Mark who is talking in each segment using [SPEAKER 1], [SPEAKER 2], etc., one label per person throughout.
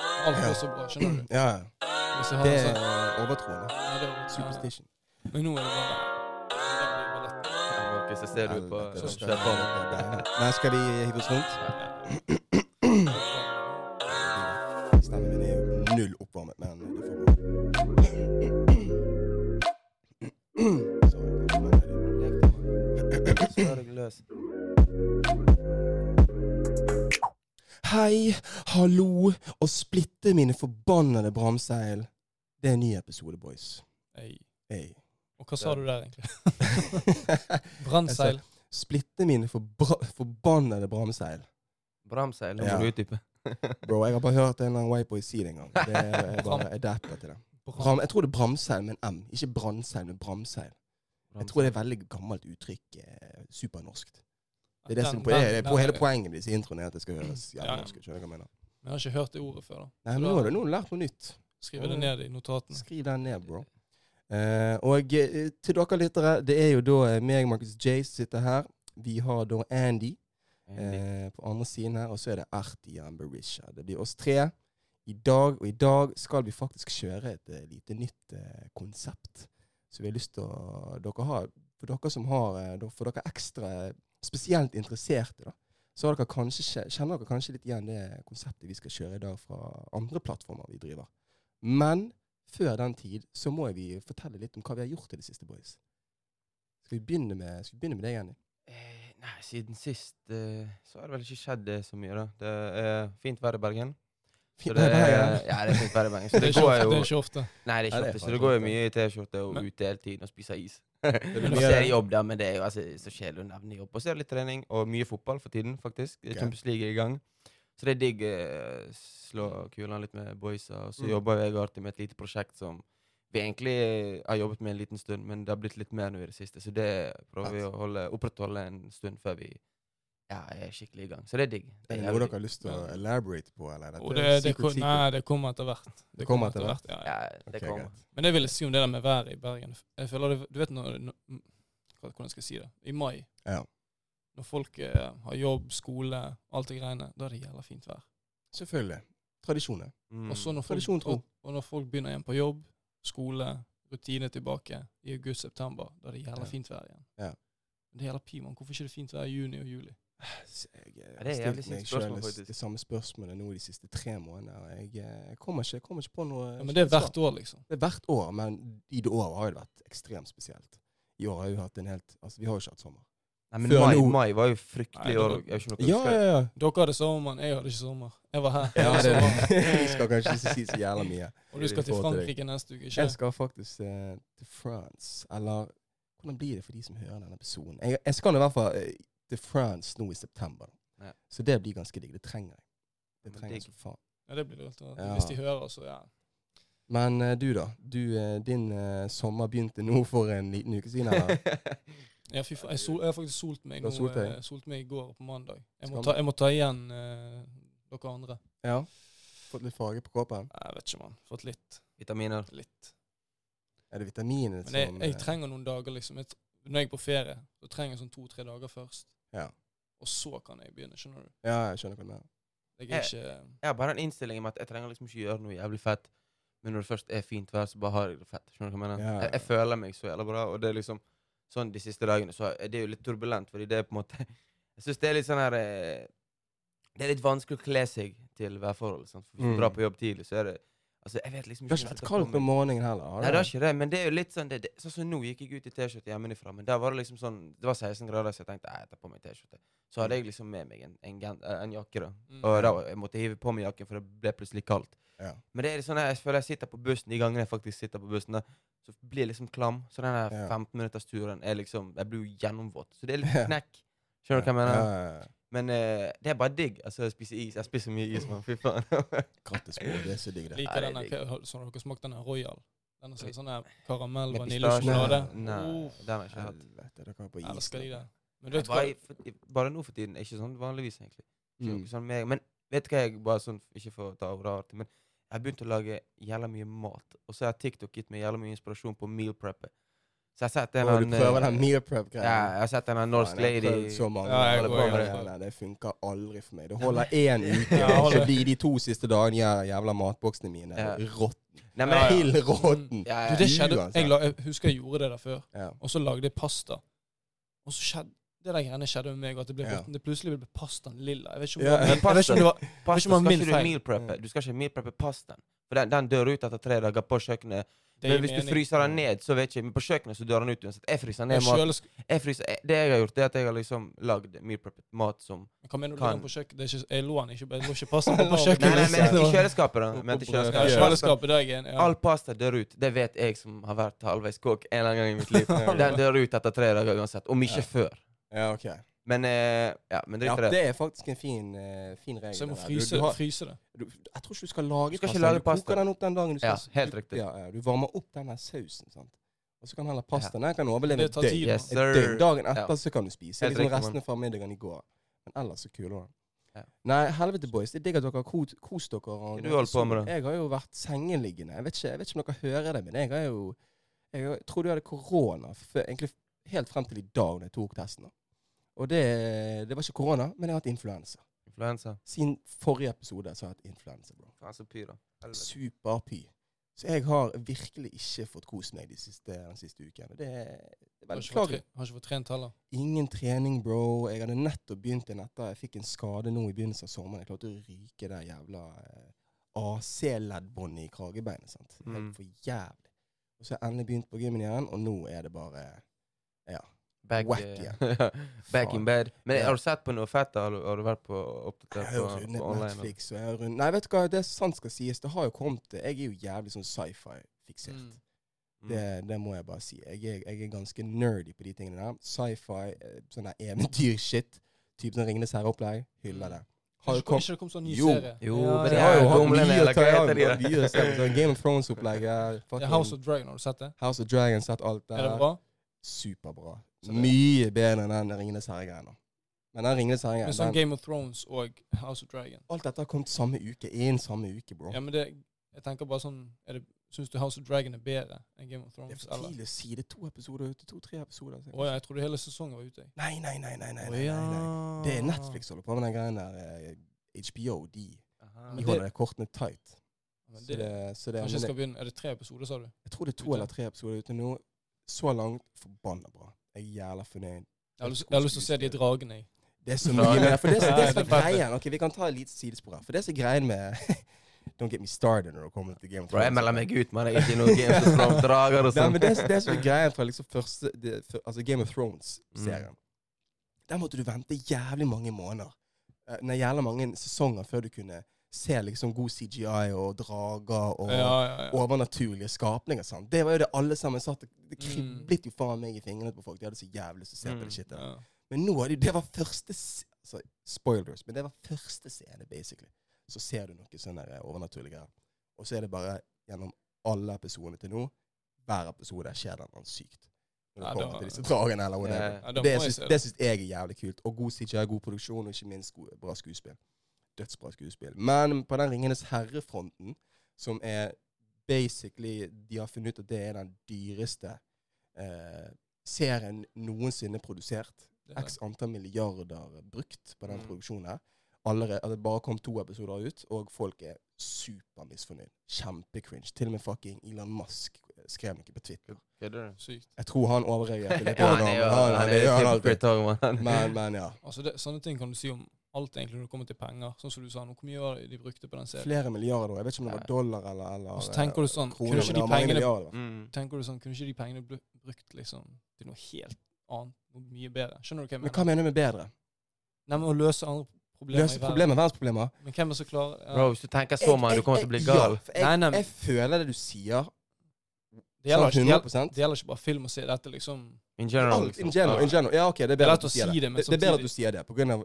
[SPEAKER 1] alt går så bra. Skjønner du?
[SPEAKER 2] Ja, ja.
[SPEAKER 1] Og så har
[SPEAKER 2] Det
[SPEAKER 1] han
[SPEAKER 2] er
[SPEAKER 1] sånn,
[SPEAKER 3] altså-
[SPEAKER 2] overtroende.
[SPEAKER 1] ja, det var
[SPEAKER 2] Superstition.
[SPEAKER 1] Men nå er det bare
[SPEAKER 3] Ok, så ser du på
[SPEAKER 2] Helvete,
[SPEAKER 1] så
[SPEAKER 2] skal
[SPEAKER 1] jeg
[SPEAKER 3] Stefan.
[SPEAKER 2] vi- Nei, skal vi hive oss rundt? Stemmen min er jo null oppvarmet, men det får gå. Så, men det er-
[SPEAKER 3] Slår deg løs.
[SPEAKER 2] Hei, hallo, og splitte mine forbannede bramseil. Det er en ny episode, boys.
[SPEAKER 1] Ei.
[SPEAKER 2] Hey.
[SPEAKER 1] Og hva sa du der, egentlig? Brannseil.
[SPEAKER 2] Splitte mine forbra forbannede bramseil.
[SPEAKER 3] Bramseil, nå
[SPEAKER 2] Ja.
[SPEAKER 3] må du utdype.
[SPEAKER 2] Bro, jeg har bare hørt en eller annen whiteboy si det en gang. Det er bare adapter til det. Bram, jeg tror det er bramseil med en M. Ikke branseil, men bramseil. Jeg tror det er et veldig gammelt uttrykk. Eh, supernorskt. Det er det
[SPEAKER 1] Den-
[SPEAKER 2] som på, det,
[SPEAKER 1] den-
[SPEAKER 2] er
[SPEAKER 1] den-
[SPEAKER 2] på hele poenget med disse introene, er at det skal høres
[SPEAKER 1] Ja,
[SPEAKER 2] jævlig
[SPEAKER 1] ja.
[SPEAKER 2] norsk ut. skjønner du hva jeg mener?
[SPEAKER 1] Men Jeg har ikke hørt det ordet før. da.
[SPEAKER 2] Nei, men nå har du nå har du lært noe nytt.
[SPEAKER 1] Skriver det ned i notatene.
[SPEAKER 2] Skriv den ned, bro. Eh, og eh, til dere lyttere, det er jo da eh, meg, Marcus J, som sitter her. Vi har da Andy eh, på andre siden her, og så er det Arti og Berisha. Det blir oss tre i dag, og i dag skal vi faktisk kjøre et eh, lite nytt eh, konsept. Så vi har lyst til å dere har, For dere som har eh, da- For dere ekstra spesielt interesserte, da, så har dere kanskje, kje- kjenner dere kanskje litt igjen det konseptet vi skal kjøre i dag fra andre plattformer vi driver. Men før den tid så må vi fortelle litt om hva vi har gjort i det siste, boys. Skal vi begynne med, skal vi begynne med deg, Andy?
[SPEAKER 3] Eh, Nei, siden sist eh, så har det vel ikke skjedd eh, så mye, da. Det er fint vær i Bergen. Så
[SPEAKER 2] Fint,
[SPEAKER 3] det
[SPEAKER 2] nei,
[SPEAKER 3] er,
[SPEAKER 2] nei, nei.
[SPEAKER 3] ja, det er fint vær i Bergen.
[SPEAKER 1] Det
[SPEAKER 3] Så
[SPEAKER 1] er
[SPEAKER 3] det
[SPEAKER 1] ikke ofte.
[SPEAKER 3] går jo
[SPEAKER 1] Det er ikke ofte.
[SPEAKER 3] Nei, det er
[SPEAKER 2] Nei,
[SPEAKER 3] ikke
[SPEAKER 2] det er
[SPEAKER 3] ofte, så
[SPEAKER 2] faktisk
[SPEAKER 3] det går jo
[SPEAKER 2] ofte.
[SPEAKER 3] mye i T-skjorte og
[SPEAKER 1] Men-
[SPEAKER 3] ute hele tiden og spiser is.
[SPEAKER 2] blir
[SPEAKER 3] Og
[SPEAKER 2] mye-
[SPEAKER 3] så er det jobb der, men det er jo altså, så kjedelig å nevne jobb. Og så er det litt trening, og mye fotball for tiden, faktisk.
[SPEAKER 2] Ok.
[SPEAKER 3] Champions League er i gang. Så det er digg. eh, Slå kulene litt med boysa. Og så
[SPEAKER 2] Mm.
[SPEAKER 3] jobber jo jeg og Arti med et lite prosjekt som vi egentlig eh, har jobbet med en liten stund, men det har blitt litt mer nå i det siste. Så det prøver vi å holde, opprettholde en stund før vi ja, er skikkelig i gang. Så det er digg.
[SPEAKER 2] Er det
[SPEAKER 3] jævlig
[SPEAKER 2] noe dere
[SPEAKER 3] digg.
[SPEAKER 2] har lyst til å elaborate på, eller? Dette
[SPEAKER 1] Og
[SPEAKER 2] er
[SPEAKER 1] det, det,
[SPEAKER 2] secret,
[SPEAKER 1] kom-
[SPEAKER 2] secret.
[SPEAKER 1] nei, det kommer etter hvert.
[SPEAKER 2] Det kommer etter
[SPEAKER 1] ja, ja.
[SPEAKER 3] Ja, det
[SPEAKER 2] Ok,
[SPEAKER 3] kommer.
[SPEAKER 2] greit.
[SPEAKER 1] Men det vil jeg si om det der med været i Bergen. Jeg føler det, Du vet når, når mm, hva- Hvordan skal jeg si det? I mai,
[SPEAKER 2] Ja.
[SPEAKER 1] når folk eh, har jobb, skole, alt det greiene, da er det jævla fint vær.
[SPEAKER 2] Selvfølgelig. Tradisjoner.
[SPEAKER 3] Mm.
[SPEAKER 1] Og så når folk,
[SPEAKER 2] Tradisjon tro.
[SPEAKER 1] og, og når folk begynner igjen på jobb, skole, rutine tilbake i august-september, da er det jævla
[SPEAKER 2] Ja.
[SPEAKER 1] fint vær igjen.
[SPEAKER 2] Ja.
[SPEAKER 1] Men Det gjelder piman. Hvorfor ikke det er fint vær i juni og juli?
[SPEAKER 2] Så Jeg, jeg
[SPEAKER 3] Ja, det er
[SPEAKER 2] har
[SPEAKER 3] jævlig
[SPEAKER 2] stilt
[SPEAKER 3] sykt
[SPEAKER 2] meg
[SPEAKER 3] spørsmål,
[SPEAKER 2] selv
[SPEAKER 3] faktisk.
[SPEAKER 2] det samme spørsmålet nå de siste tre månedene. og Jeg, eh, jeg kommer, ikke, jeg kommer ikke på noe
[SPEAKER 1] Ja, men det er hvert år, liksom.
[SPEAKER 2] Det er hvert år, men i det året har det vært ekstremt spesielt. I år har vi hatt en helt Altså, vi har jo ikke hatt sommer.
[SPEAKER 3] Nei, men
[SPEAKER 2] Før
[SPEAKER 3] mai,
[SPEAKER 2] nå-
[SPEAKER 3] mai var jo
[SPEAKER 1] Nei,
[SPEAKER 3] fryktelig i
[SPEAKER 1] det
[SPEAKER 3] år.
[SPEAKER 1] var-
[SPEAKER 3] og Jeg vet ikke om dere
[SPEAKER 2] Ja,
[SPEAKER 3] husker det.
[SPEAKER 2] ja, ja.
[SPEAKER 1] Dere hadde sommer, jeg hadde ikke sommer. Jeg var her.
[SPEAKER 2] Ja,
[SPEAKER 1] Jeg
[SPEAKER 2] det
[SPEAKER 1] hadde
[SPEAKER 2] er
[SPEAKER 1] sommer.
[SPEAKER 2] det. Vi skal kanskje ikke si så jævla mye.
[SPEAKER 1] Og du skal til
[SPEAKER 2] Få til deg.
[SPEAKER 1] Frankrike neste uke, ikke?
[SPEAKER 2] Jeg skal faktisk eh, til France. Eller hvordan blir det for de som hører denne episoden? Jeg, jeg skal i hvert fall eh, til France nå i september.
[SPEAKER 3] Ja.
[SPEAKER 2] Så det blir ganske digg. Det trenger jeg. Det
[SPEAKER 3] Men
[SPEAKER 2] trenger jeg
[SPEAKER 3] digg.
[SPEAKER 2] så faen.
[SPEAKER 1] Ja, det blir det. rett og slett.
[SPEAKER 2] Ja.
[SPEAKER 1] Hvis de hører, så ja.
[SPEAKER 2] Men eh, du, da? Du, eh, din eh, sommer begynte nå for en liten uke siden, eller?
[SPEAKER 1] Ja, fy faen. Jeg, sol, jeg har faktisk solt meg
[SPEAKER 2] Du har
[SPEAKER 1] nå.
[SPEAKER 2] solt deg?
[SPEAKER 1] eh, solt meg i går på mandag. Jeg må
[SPEAKER 2] Skam.
[SPEAKER 1] ta, jeg må ta igjen eh, dere andre.
[SPEAKER 2] ja. Fått litt farge på kroppen?
[SPEAKER 1] Nei, Jeg vet ikke, mann. Fått litt.
[SPEAKER 3] Vitaminer.
[SPEAKER 1] litt.
[SPEAKER 2] Er det vitaminene
[SPEAKER 1] Men jeg,
[SPEAKER 2] som
[SPEAKER 1] jeg
[SPEAKER 2] eh,
[SPEAKER 1] trenger noen dager, liksom. Jeg, tr- når jeg er på ferie, så trenger jeg sånn to-tre dager først.
[SPEAKER 2] Ja.
[SPEAKER 1] Og så kan jeg begynne, skjønner du.
[SPEAKER 2] eh, Ja, jeg skjønner hva du mener.
[SPEAKER 1] Jeg
[SPEAKER 3] Eh.
[SPEAKER 1] er ikke
[SPEAKER 3] Jeg har bare en innstilling om at jeg trenger liksom ikke gjøre noe jævlig fett. Men når det først er fint vær, så bare har jeg det fett. Skjønner du hva jeg
[SPEAKER 2] Ja,
[SPEAKER 3] mener?
[SPEAKER 2] ja, ja.
[SPEAKER 3] Jeg, jeg føler meg så jævla bra, og det er liksom sånn de siste dagene. Så er det jo litt turbulent, fordi det er på en måte Jeg syns det er litt sånn her eh, Det er litt vanskelig å kle seg til værforholdet. sant? For Hvis
[SPEAKER 2] Mm.
[SPEAKER 3] du drar på jobb tidlig, så er det Altså, jeg vet liksom
[SPEAKER 2] Det har ikke
[SPEAKER 3] ikke hva jeg
[SPEAKER 2] vært
[SPEAKER 3] skal ta på
[SPEAKER 2] kaldt om
[SPEAKER 3] meg.
[SPEAKER 2] morgenen heller. har
[SPEAKER 3] Nei, det
[SPEAKER 2] det?
[SPEAKER 3] er ikke det, men det er jo litt sånn det, det, Sånn som nå gikk jeg ut i T-skjorte hjemmefra, men der var det liksom sånn Det var 16 grader, så jeg tenkte "Nei, jeg tar på meg T-skjorte. Så hadde jeg liksom med meg en, en, gen- eh, en jakke, da.
[SPEAKER 1] Mm.
[SPEAKER 3] Og da var- jeg måtte hive på meg jakken, for det ble plutselig kaldt.
[SPEAKER 2] Ja.
[SPEAKER 3] Men det er litt sånn jeg føler jeg sitter på bussen de gangene jeg faktisk sitter på bussen, da, så blir jeg liksom klam. Så den
[SPEAKER 2] Ja.
[SPEAKER 3] der 15-minuttersturen er liksom Jeg blir jo gjennomvåt. Så det er litt
[SPEAKER 2] Ja.
[SPEAKER 3] knekk. Skjønner du hva jeg
[SPEAKER 2] Ja,
[SPEAKER 3] mener?
[SPEAKER 2] ja, ja.
[SPEAKER 3] Men eh, det er bare digg. Altså, jeg spiser is. Jeg spiser mye is, mann. Fy faen.
[SPEAKER 2] Kattespor, det er så digg, det.
[SPEAKER 3] Ja,
[SPEAKER 1] liker
[SPEAKER 3] det er
[SPEAKER 1] denne.
[SPEAKER 3] digg.
[SPEAKER 1] Hva- sånn har- Så har dere smakt denne Royal? Denne som er sånn her karamell,
[SPEAKER 3] Med
[SPEAKER 1] vanilje,
[SPEAKER 3] pistasje.
[SPEAKER 1] sjokolade?
[SPEAKER 3] Nei,
[SPEAKER 1] Uff.
[SPEAKER 3] den har jeg ikke hatt.
[SPEAKER 2] Helvete, dere har på is.
[SPEAKER 1] Jeg elsker de
[SPEAKER 2] dere.
[SPEAKER 1] der. Men du
[SPEAKER 3] Bare,
[SPEAKER 1] vet hva
[SPEAKER 3] i- bare nå for tiden. Ikke sånn vanligvis, egentlig. Ikke
[SPEAKER 2] Mm.
[SPEAKER 3] noe sånn meg. Men vet du hva jeg bare sånn, ikke for å ta ordet artig, men jeg har begynt å lage jævla mye mat. Og så har TikTok gitt meg jævla mye inspirasjon på meal prepper. Så jeg har sett en
[SPEAKER 2] Og du
[SPEAKER 3] annen,
[SPEAKER 2] prøver den
[SPEAKER 3] eh,
[SPEAKER 2] meal
[SPEAKER 3] ja,
[SPEAKER 2] prep-greien.
[SPEAKER 3] jeg har sett en annen norsk
[SPEAKER 2] Faen, jeg har
[SPEAKER 3] lady
[SPEAKER 2] prøvd Så mange.
[SPEAKER 1] Ja, jeg
[SPEAKER 2] ganger.
[SPEAKER 1] går
[SPEAKER 2] Bare
[SPEAKER 1] i alle
[SPEAKER 2] det,
[SPEAKER 1] fall.
[SPEAKER 2] nei, det funker aldri for meg. Det holder én uke.
[SPEAKER 1] Ja, holder.
[SPEAKER 2] Fordi de to siste dagene gjør jævla matboksene mine
[SPEAKER 3] Ja.
[SPEAKER 2] råtne.
[SPEAKER 3] Nei, men
[SPEAKER 1] Ja, ja.
[SPEAKER 2] Til råtten.
[SPEAKER 1] Du,
[SPEAKER 3] Ja, ja.
[SPEAKER 1] det skjedde.
[SPEAKER 2] Uansett.
[SPEAKER 1] Jeg, la, jeg husker jeg gjorde det der før,
[SPEAKER 2] altså. Ja.
[SPEAKER 1] og så lagde jeg pasta. Og så skjedde det der greiene skjedde med meg, at det, ble,
[SPEAKER 2] Ja.
[SPEAKER 1] borten- det plutselig ble pastaen lilla. Jeg vet ikke om
[SPEAKER 2] Ja.
[SPEAKER 1] det var, jeg
[SPEAKER 3] Men
[SPEAKER 1] vet ikke om det var
[SPEAKER 3] Pasta
[SPEAKER 1] om det var
[SPEAKER 3] skal
[SPEAKER 1] min
[SPEAKER 3] ikke du
[SPEAKER 1] feil.
[SPEAKER 3] meal preppe. Du skal ikke meal preppe pastaen. For den, den dør ut etter tre dager på kjøkkenet.
[SPEAKER 1] det Mm.
[SPEAKER 3] Men hvis du fryser den ned, så vet jeg ikke. Men på kjøkkenet så dør den ut uansett. Jeg fryser ned
[SPEAKER 1] ned
[SPEAKER 3] mat. Jeg fryser, jeg- det jeg har gjort, det er at jeg har liksom lagd meal preppet mat som
[SPEAKER 1] Hva mener du
[SPEAKER 3] Kan.
[SPEAKER 1] den på kjøkkenet? Det er ikke, jeg lå den ikke, jeg lå ikke pastaen
[SPEAKER 2] Jeg
[SPEAKER 1] på liksom.
[SPEAKER 2] lå-
[SPEAKER 3] Nei, nei,
[SPEAKER 1] kjøkkenet.
[SPEAKER 3] men i
[SPEAKER 1] så-
[SPEAKER 3] kjøleskapet. da. Men til
[SPEAKER 1] Ja,
[SPEAKER 2] Ja,
[SPEAKER 3] kjøleskapet.
[SPEAKER 1] kjøleskapet, det er jeg enig i. ja.
[SPEAKER 3] All pasta dør ut. Det vet jeg som har vært halvveis kokk en eller annen gang i mitt liv.
[SPEAKER 2] Ja.
[SPEAKER 3] Den dør ut etter tre dager uansett. Om
[SPEAKER 2] Ja.
[SPEAKER 3] ikke før.
[SPEAKER 2] ja, ok.
[SPEAKER 3] Men eh, ja, men
[SPEAKER 2] Ja,
[SPEAKER 3] drit i det.
[SPEAKER 2] det er faktisk en fin, eh, fin regel.
[SPEAKER 1] Så jeg må
[SPEAKER 2] det der. Du-
[SPEAKER 1] fryse,
[SPEAKER 2] du har-
[SPEAKER 1] fryse det.
[SPEAKER 2] du, jeg tror ikke du skal lage
[SPEAKER 3] Du skal ikke
[SPEAKER 2] pastaen.
[SPEAKER 3] lage
[SPEAKER 2] Du
[SPEAKER 3] pasta.
[SPEAKER 2] koker den opp den dagen du
[SPEAKER 3] Ja,
[SPEAKER 2] skal
[SPEAKER 3] helt riktig.
[SPEAKER 2] Ja, ja, du varmer opp den her sausen, sant. Og så kan heller pastaen Den kan overleve
[SPEAKER 1] Det
[SPEAKER 2] et
[SPEAKER 1] tar
[SPEAKER 2] døgn.
[SPEAKER 1] tid.
[SPEAKER 3] Yes,
[SPEAKER 2] Et døgn.
[SPEAKER 3] sir.
[SPEAKER 2] Dagen
[SPEAKER 3] Ja.
[SPEAKER 2] etter så kan du spise
[SPEAKER 3] Helt
[SPEAKER 2] liksom
[SPEAKER 3] riktig,
[SPEAKER 2] restene fra middagen i går. Men ellers så kuler det.
[SPEAKER 3] Ja.
[SPEAKER 2] Nei, helvete, boys. Det er digg at dere har ko- kost dere. og-
[SPEAKER 3] Hva du holder på med da?
[SPEAKER 2] Jeg har jo vært sengeliggende. Jeg vet ikke, jeg vet ikke om dere hører det, men jeg har jo Jeg har- tror du hadde korona før- egentlig helt frem til i dag da jeg tok testen. da. Og det, det var ikke korona, men jeg har hatt influensa.
[SPEAKER 3] Influensa.
[SPEAKER 2] Siden forrige episode så har jeg hatt influensa, bro
[SPEAKER 3] Faen, så pyr, da. Helvete.
[SPEAKER 2] superpy. Så jeg har virkelig ikke fått kost meg de siste, den siste uken. Og Det er det
[SPEAKER 1] Har
[SPEAKER 2] er veldig
[SPEAKER 1] ikke fått
[SPEAKER 2] beklagelig.
[SPEAKER 1] tre- har ikke fått trent heller.
[SPEAKER 2] Ingen trening, bro. Jeg hadde nettopp begynt igjen etter jeg fikk en skade nå i begynnelsen av sommeren. Jeg klarte å ryke det jævla eh, AC-leddbåndet i kragebeinet. sant?
[SPEAKER 3] Mm.
[SPEAKER 2] Helt for jævlig. Og så har jeg endelig begynt på gymmen igjen, og nå er det bare
[SPEAKER 3] Back,
[SPEAKER 2] Whack,
[SPEAKER 3] eh, Back
[SPEAKER 2] Faen.
[SPEAKER 3] in bed. Men
[SPEAKER 2] Ja.
[SPEAKER 3] har du sett på noe fett? da? Har du, har du vært på
[SPEAKER 2] Jeg
[SPEAKER 3] oppdatert
[SPEAKER 2] har
[SPEAKER 3] på,
[SPEAKER 2] jo rundet
[SPEAKER 3] altså, på online?
[SPEAKER 2] Netflix og jeg har rundet Nei, vet du hva, det er sant skal sies. Det har jo kommet Jeg er jo jævlig sånn sci-fi-fiksert.
[SPEAKER 1] Mm.
[SPEAKER 2] Det, det må jeg bare si. Jeg er, jeg er ganske nerdy på de tingene der. Sci-fi, eh, sånn der eventyrshit. Typ sånn Ringenes herre-opplegg.
[SPEAKER 3] Mm.
[SPEAKER 2] Hyller det. Har jo
[SPEAKER 1] Ikke
[SPEAKER 2] kommet
[SPEAKER 1] ikke det kom sånn ny
[SPEAKER 2] Jo.
[SPEAKER 1] serie?
[SPEAKER 3] Jo,
[SPEAKER 1] Ja,
[SPEAKER 3] men
[SPEAKER 2] Jeg
[SPEAKER 1] ja,
[SPEAKER 2] har jo
[SPEAKER 1] ja.
[SPEAKER 2] hatt
[SPEAKER 3] Gomlene,
[SPEAKER 2] mye å
[SPEAKER 3] eller
[SPEAKER 2] ta
[SPEAKER 3] hva
[SPEAKER 2] igjen.
[SPEAKER 3] heter de der?
[SPEAKER 2] mye å se på. Sånn Game of Thrones-opplegget.
[SPEAKER 1] Det
[SPEAKER 2] fucking
[SPEAKER 1] er House of Dragon, har du sett det?
[SPEAKER 2] House of Dragons, sett alt
[SPEAKER 1] Er det
[SPEAKER 2] der.
[SPEAKER 1] bra?
[SPEAKER 2] Superbra.
[SPEAKER 1] Så det-
[SPEAKER 2] Mye bedre enn den Ringenes herre-greia nå. Men den Ringenes
[SPEAKER 1] Men sånn
[SPEAKER 2] herre-greia den-
[SPEAKER 1] Game of Thrones og House of Dragon.
[SPEAKER 2] Alt dette har kommet samme uke. Én samme uke, bro.
[SPEAKER 1] Ja, men det, jeg tenker bare sånn er det, Syns du House of Dragon er bedre enn Game of
[SPEAKER 2] Det er
[SPEAKER 1] Thrones?
[SPEAKER 2] for
[SPEAKER 1] eller?
[SPEAKER 2] tidlig å si. Det er to episoder ute. To-tre episoder.
[SPEAKER 1] Å ja, jeg trodde hele sesongen var ute. jeg.
[SPEAKER 2] Nei, nei, nei, nei, nei,
[SPEAKER 1] Å
[SPEAKER 2] nei, nei, nei.
[SPEAKER 1] ja.
[SPEAKER 2] Det er Netflix som holder på med den greien der. eh, HBO, de
[SPEAKER 3] Aha.
[SPEAKER 2] De
[SPEAKER 1] Men
[SPEAKER 2] holder det kortene tight.
[SPEAKER 1] Men
[SPEAKER 2] Så
[SPEAKER 1] det,
[SPEAKER 2] det, så
[SPEAKER 1] kanskje
[SPEAKER 2] det, men
[SPEAKER 1] jeg
[SPEAKER 2] det,
[SPEAKER 1] skal begynne Er det tre episoder, sa du?
[SPEAKER 2] jeg tror det er to
[SPEAKER 1] Ute.
[SPEAKER 2] eller tre episoder ute nå. Så langt forbanna bra. Jeg er jævla
[SPEAKER 1] Jeg
[SPEAKER 2] fornøyd.
[SPEAKER 1] har lyst, jeg har lyst til å se de dragene. jeg.
[SPEAKER 2] Det er så
[SPEAKER 3] Ja.
[SPEAKER 2] mye mer. For det, er så- det
[SPEAKER 1] Ja,
[SPEAKER 2] som er
[SPEAKER 1] det er fett, det.
[SPEAKER 2] greien Ok, Vi kan ta et lite sidespor her. For det som er greien med Don't get me started når det kommer til Game of
[SPEAKER 3] Bro, jeg melder
[SPEAKER 2] Thrones.
[SPEAKER 3] meg ut, mann. Jeg er ikke noe Games of Thrones drager og
[SPEAKER 2] Nei,
[SPEAKER 3] sånn.
[SPEAKER 2] men det, det som er greien fra liksom første det, for, Altså Game of Thrones-serien
[SPEAKER 3] Mm.
[SPEAKER 2] Der måtte du vente jævlig mange måneder. Eh, Nei, jævla mange sesonger før du kunne se liksom god CGI og drager og
[SPEAKER 1] Ja, ja, ja.
[SPEAKER 2] overnaturlige skapninger. Sant? Det var jo det alle sammen satt og- Det
[SPEAKER 1] Mm.
[SPEAKER 2] kriblet jo faen meg i fingrene på folk. De hadde så jævlig lyst til å se på
[SPEAKER 3] Mm,
[SPEAKER 2] det shitet.
[SPEAKER 1] ja.
[SPEAKER 2] Men nå er det jo Det var første s- altså, Spoilers, men det var første scene, basically. Så ser du noe sånne der overnaturlige greier. Og så er det bare gjennom alle episodene til nå Hver episode skjer det noe sykt. Når
[SPEAKER 1] Ja,
[SPEAKER 2] det kommer
[SPEAKER 1] da-
[SPEAKER 2] til disse dragene eller whatever.
[SPEAKER 3] Ja,
[SPEAKER 1] ja, da må
[SPEAKER 2] det
[SPEAKER 1] jeg
[SPEAKER 2] syns
[SPEAKER 1] se det.
[SPEAKER 2] det syns jeg er jævlig kult. Og god CGI, god produksjon, og ikke minst gode- bra skuespill. Dødsbra skuespill. Men på den Ringenes herre-fronten, som er basically De har funnet ut at det er den dyreste eh, serien noensinne produsert.
[SPEAKER 1] Det er
[SPEAKER 2] X antall milliarder brukt på den
[SPEAKER 3] Mm.
[SPEAKER 2] produksjonen her. Allerede, altså det bare kom to episoder ut, og folk er supermisfornøyd. Kjempecringe. Til og med fucking Elon Musk skrev noe på Twitter.
[SPEAKER 3] Kødder du?
[SPEAKER 1] Sykt.
[SPEAKER 2] Jeg tror han overreagerte litt.
[SPEAKER 3] Ja, han er jo
[SPEAKER 2] Han-
[SPEAKER 3] han
[SPEAKER 2] han-
[SPEAKER 3] er
[SPEAKER 2] det
[SPEAKER 3] jo
[SPEAKER 2] gjør han alltid.
[SPEAKER 3] hypocrite også, mann.
[SPEAKER 2] Men, men ja.
[SPEAKER 1] Altså det, Sånne ting kan du si om alt egentlig når det kommer til penger. Sånn som du sa, nå, Hvor mye var det de brukte på den serien?
[SPEAKER 2] Flere milliarder. Jeg vet ikke om det var
[SPEAKER 3] Nei.
[SPEAKER 2] dollar eller, eller
[SPEAKER 1] Og så tenker du sånn,
[SPEAKER 2] kroner,
[SPEAKER 1] kunne ikke
[SPEAKER 2] men
[SPEAKER 1] de
[SPEAKER 2] det var mange
[SPEAKER 1] pengene-
[SPEAKER 2] milliarder, da.
[SPEAKER 3] Mm.
[SPEAKER 1] Tenker du sånn, Kunne ikke de pengene bli brukt liksom til noe helt annet? Noe mye bedre? Skjønner du hva jeg
[SPEAKER 2] Men hva
[SPEAKER 1] mener?
[SPEAKER 2] mener du med bedre?
[SPEAKER 1] Nei, men Å løse andre problemer
[SPEAKER 2] Løse
[SPEAKER 1] i verden.
[SPEAKER 2] problemer, verdensproblemer?
[SPEAKER 1] Men hvem er det som klarer ja,
[SPEAKER 3] Bro, hvis du tenker så, mann, du kommer til å bli gal.
[SPEAKER 2] Ja, for jeg,
[SPEAKER 1] Nei, nei, men-
[SPEAKER 2] jeg føler det du sier,
[SPEAKER 1] Det gjelder,
[SPEAKER 2] sånn
[SPEAKER 1] ikke, det, gjelder,
[SPEAKER 2] 100
[SPEAKER 1] det gjelder ikke bare film og se dette, liksom.
[SPEAKER 3] In general,
[SPEAKER 2] Alt,
[SPEAKER 3] liksom.
[SPEAKER 2] in general, in general. Ja, ok, det er
[SPEAKER 1] Det er
[SPEAKER 2] bedre
[SPEAKER 1] lett
[SPEAKER 2] at du
[SPEAKER 1] å
[SPEAKER 2] sier
[SPEAKER 1] si
[SPEAKER 2] det.
[SPEAKER 1] det, men
[SPEAKER 2] Det, det er bedre at
[SPEAKER 1] samtidig-
[SPEAKER 2] du sier det, på grunn av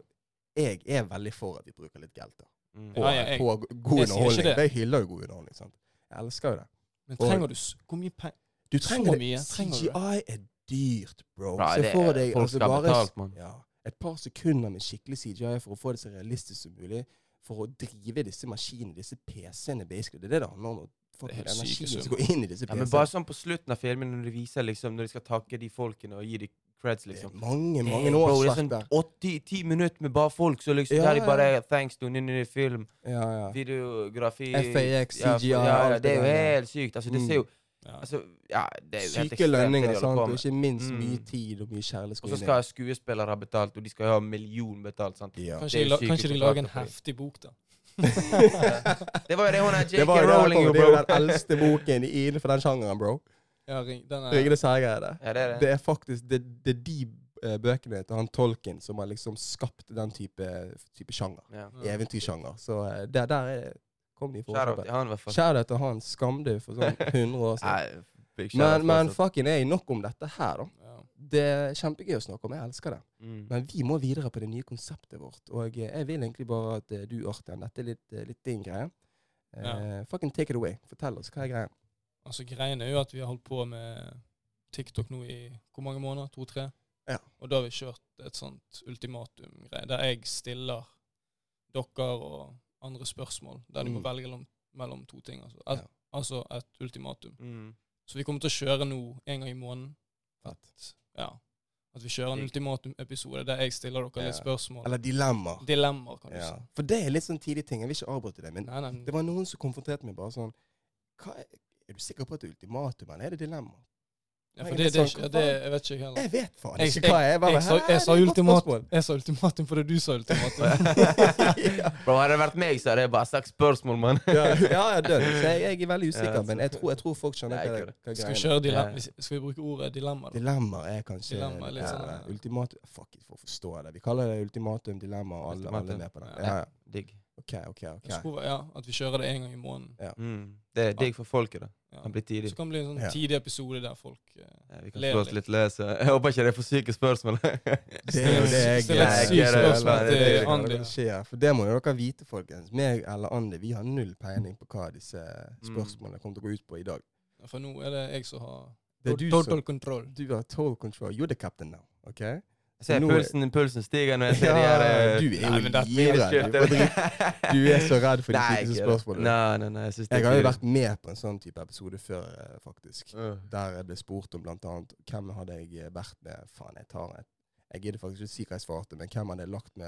[SPEAKER 2] jeg er veldig for at vi bruker litt gelt da.
[SPEAKER 3] Mm.
[SPEAKER 2] på,
[SPEAKER 1] Ja, ja, jeg-
[SPEAKER 2] på
[SPEAKER 1] jeg
[SPEAKER 2] god
[SPEAKER 1] sier ikke
[SPEAKER 2] underholdning.
[SPEAKER 1] det.
[SPEAKER 2] Jeg hyller jo god underholdning. sant? Jeg elsker jo det.
[SPEAKER 1] Men
[SPEAKER 2] Og-
[SPEAKER 1] trenger du s- Hvor mye penger
[SPEAKER 2] Du
[SPEAKER 1] Så
[SPEAKER 2] trenger det.
[SPEAKER 1] mye trenger du det.
[SPEAKER 2] CGI er dyrt, bro.
[SPEAKER 3] Bra,
[SPEAKER 2] Se
[SPEAKER 3] det
[SPEAKER 2] for
[SPEAKER 3] er-
[SPEAKER 2] deg
[SPEAKER 3] folk
[SPEAKER 2] altså,
[SPEAKER 3] skal ha
[SPEAKER 2] bare s-
[SPEAKER 3] betalt, mann.
[SPEAKER 2] ja, et par sekunder med skikkelig CGI for å få det så realistisk som mulig. For å drive disse maskinene, disse PC-ene, basically. Det er det det handler om. Å
[SPEAKER 1] Det er
[SPEAKER 2] fucking
[SPEAKER 1] helt syke
[SPEAKER 2] energien som
[SPEAKER 1] summer.
[SPEAKER 2] går inn i disse
[SPEAKER 3] Ja, men
[SPEAKER 2] PC-ene.
[SPEAKER 3] bare sånn på slutten av filmen, når de viser liksom, når de skal takke de folkene og gi de creds,
[SPEAKER 2] Det er
[SPEAKER 3] liksom.
[SPEAKER 2] mange, mange
[SPEAKER 3] Damn, bro, det er
[SPEAKER 2] årsverk
[SPEAKER 3] sånn
[SPEAKER 2] der.
[SPEAKER 3] 80-10 minutter med bare folk, så liksom,
[SPEAKER 2] Ja,
[SPEAKER 3] der de
[SPEAKER 2] ja.
[SPEAKER 3] bare Thanks to Nini Film,
[SPEAKER 2] Ja, ja.
[SPEAKER 3] videografi
[SPEAKER 2] FAX,
[SPEAKER 3] ja, for-
[SPEAKER 2] CGI,
[SPEAKER 3] ja, ja,
[SPEAKER 2] alt
[SPEAKER 3] Det er jo
[SPEAKER 2] det der.
[SPEAKER 3] helt sykt. Altså, det
[SPEAKER 2] Mm.
[SPEAKER 3] ser jo
[SPEAKER 1] Ja.
[SPEAKER 3] altså, ja, det er jo helt
[SPEAKER 2] Syke lønninger,
[SPEAKER 3] det de holder
[SPEAKER 2] sant?
[SPEAKER 3] på
[SPEAKER 2] og
[SPEAKER 3] med.
[SPEAKER 2] ikke minst mye
[SPEAKER 3] Mm.
[SPEAKER 2] tid og mye kjærlighet.
[SPEAKER 3] Og så skal skuespillere ha betalt, og de skal ha million betalt. sant?
[SPEAKER 2] ja.
[SPEAKER 1] Kanskje,
[SPEAKER 3] det er
[SPEAKER 1] de la,
[SPEAKER 3] syke
[SPEAKER 1] kanskje de lager en
[SPEAKER 3] kontrakter på
[SPEAKER 1] heftig bok, da.
[SPEAKER 3] Det var jo det hun er
[SPEAKER 2] Det,
[SPEAKER 3] J.K.
[SPEAKER 2] var, det,
[SPEAKER 3] Rowling
[SPEAKER 2] det,
[SPEAKER 3] gjorde,
[SPEAKER 2] det er jo
[SPEAKER 3] bro.
[SPEAKER 2] den eldste boken innenfor den sjangeren, bro.
[SPEAKER 1] Ja, ring, den er,
[SPEAKER 2] Ringene Særgei er det.
[SPEAKER 3] Ja, det er det.
[SPEAKER 2] Det er faktisk det, det er de eh, bøkene til han Tolkien som har liksom skapt den type, type sjanger.
[SPEAKER 3] Ja.
[SPEAKER 1] Ja.
[SPEAKER 2] Eventyrsjanger. Så eh, der, der er, kom de
[SPEAKER 3] Shout out
[SPEAKER 2] forkjøpet.
[SPEAKER 3] til han, i hvert fall.
[SPEAKER 2] Kjære til han, skam deg for sånn 100 år siden.
[SPEAKER 3] Nei, big shout out
[SPEAKER 2] Men,
[SPEAKER 3] til
[SPEAKER 2] men
[SPEAKER 3] han, så.
[SPEAKER 2] fucking er nok om dette her, da.
[SPEAKER 1] ja.
[SPEAKER 2] Det er kjempegøy å snakke om, jeg elsker det.
[SPEAKER 3] Mm.
[SPEAKER 2] Men vi må videre på det nye konseptet vårt. Og eh, jeg vil egentlig bare at eh, du, Artian, dette er litt, eh, litt din greie. Eh,
[SPEAKER 1] Ja.
[SPEAKER 2] Fucking take it away. Fortell oss hva er greia.
[SPEAKER 1] Altså Greien er jo at vi har holdt på med TikTok nå i hvor mange måneder? To-tre?
[SPEAKER 2] Ja.
[SPEAKER 1] Og da har vi kjørt et sånt ultimatum-greie, der jeg stiller dere og andre spørsmål, der de må
[SPEAKER 2] Mm.
[SPEAKER 1] velge mellom, mellom to ting. Altså. Et,
[SPEAKER 2] Ja.
[SPEAKER 1] altså et ultimatum.
[SPEAKER 3] Mm.
[SPEAKER 1] Så vi kommer til å kjøre nå en gang i måneden. At, ja, at vi kjører en
[SPEAKER 3] Digg.
[SPEAKER 1] ultimatum-episode der jeg stiller dere litt
[SPEAKER 2] Ja.
[SPEAKER 1] spørsmål.
[SPEAKER 2] Eller dilemmaer.
[SPEAKER 1] Dilemmaer, kan du
[SPEAKER 2] Ja.
[SPEAKER 1] si.
[SPEAKER 2] For det er litt sånn tidlig ting. Jeg vil ikke avbryte det, men
[SPEAKER 1] liksom. Nei, nei,
[SPEAKER 2] det var noen som konfronterte meg bare sånn hva er, er du sikker på at det er ultimatum, eller er det dilemma?
[SPEAKER 1] ja,
[SPEAKER 2] Nei,
[SPEAKER 1] for det,
[SPEAKER 2] det Eh.
[SPEAKER 1] det,
[SPEAKER 2] er
[SPEAKER 1] er
[SPEAKER 2] sånn,
[SPEAKER 1] ikke- ja,
[SPEAKER 2] hva
[SPEAKER 1] det,
[SPEAKER 2] faen?
[SPEAKER 1] jeg vet ikke jeg heller.
[SPEAKER 2] Jeg vet faen
[SPEAKER 1] Jeg-
[SPEAKER 2] ikke hva jeg er. Bare,
[SPEAKER 1] Jeg sa,
[SPEAKER 2] "Hæ,
[SPEAKER 1] jeg sa
[SPEAKER 2] det er et godt
[SPEAKER 1] ultimatum,
[SPEAKER 2] spørsmål."
[SPEAKER 1] jeg sa ultimatum fordi du sa ultimatum.
[SPEAKER 2] ja,
[SPEAKER 3] Bro, hadde det vært meg, så hadde jeg bare sagt spørsmål, mann.
[SPEAKER 2] ja, ja dønn. Så jeg, jeg er veldig usikker,
[SPEAKER 3] Ja,
[SPEAKER 2] men jeg tror, jeg tror folk skjønner
[SPEAKER 3] Nei,
[SPEAKER 2] hva,
[SPEAKER 3] ikke det.
[SPEAKER 2] hva
[SPEAKER 1] Skal vi
[SPEAKER 2] greia er.
[SPEAKER 1] kjøre dilemma?
[SPEAKER 3] Ja.
[SPEAKER 1] Skal vi bruke ordet dilemma? da?
[SPEAKER 2] Dilemmaer er kanskje
[SPEAKER 1] Dilemma er litt
[SPEAKER 2] ja,
[SPEAKER 1] sånn, ja.
[SPEAKER 2] ultimatum Fuck it, for å forstå det. Vi kaller det ultimatum, dilemma, og alle, alle
[SPEAKER 3] Ultimatum.
[SPEAKER 2] er med på det.
[SPEAKER 1] Ja.
[SPEAKER 2] Ja, ja.
[SPEAKER 3] Digg.
[SPEAKER 2] OK, OK. ok.
[SPEAKER 1] Jeg tror, ja, At vi kjører det én gang i måneden.
[SPEAKER 3] Mm. Det er digg for folket, da.
[SPEAKER 1] Ja.
[SPEAKER 3] Han blir tidlig.
[SPEAKER 1] Så kan det bli en sånn
[SPEAKER 2] Ja.
[SPEAKER 1] tidlig episode der folk eh,
[SPEAKER 3] Ja, vi kan
[SPEAKER 1] Ler
[SPEAKER 3] slå oss
[SPEAKER 1] litt.
[SPEAKER 3] litt løs. og- Jeg håper ikke det er for syke spørsmål.
[SPEAKER 2] Det er jo det jeg
[SPEAKER 1] Stiller et
[SPEAKER 3] jeg-
[SPEAKER 1] sykt
[SPEAKER 3] jeg-
[SPEAKER 1] spørsmål
[SPEAKER 3] jeg- jeg-
[SPEAKER 1] til
[SPEAKER 3] jeg- jeg-
[SPEAKER 1] Andy.
[SPEAKER 2] Hva skjer? For det må jo dere vite, folkens. Meg eller Andy, vi har null peiling på hva disse
[SPEAKER 1] Mm.
[SPEAKER 2] spørsmålene kommer til å gå ut på i dag.
[SPEAKER 1] Ja, For nå er det jeg som har
[SPEAKER 2] Det er du
[SPEAKER 1] total
[SPEAKER 2] som
[SPEAKER 1] control.
[SPEAKER 2] Du har total control. You're the captain now, OK?
[SPEAKER 3] Jeg ser
[SPEAKER 2] Nå-
[SPEAKER 3] pulsen, pulsen stiger når jeg ser de her eh,
[SPEAKER 2] du er
[SPEAKER 1] Nei,
[SPEAKER 2] jo
[SPEAKER 1] men dette
[SPEAKER 3] mine
[SPEAKER 2] livredd. Du
[SPEAKER 3] skjøtter.
[SPEAKER 2] er drit- Du er så redd for de
[SPEAKER 3] Nei,
[SPEAKER 2] typiske
[SPEAKER 3] ikke det.
[SPEAKER 2] spørsmålene.
[SPEAKER 3] Nei, nei, nei, jeg synes det
[SPEAKER 2] Jeg har jo
[SPEAKER 3] ikke-
[SPEAKER 2] vært med på en sånn type episode før, eh, faktisk.
[SPEAKER 3] Øh.
[SPEAKER 2] Der jeg ble spurt om blant annet hvem hadde jeg eh, vært med Faen, jeg tar et Jeg gidder faktisk ikke si hva jeg svarte, men hvem hadde jeg lagt med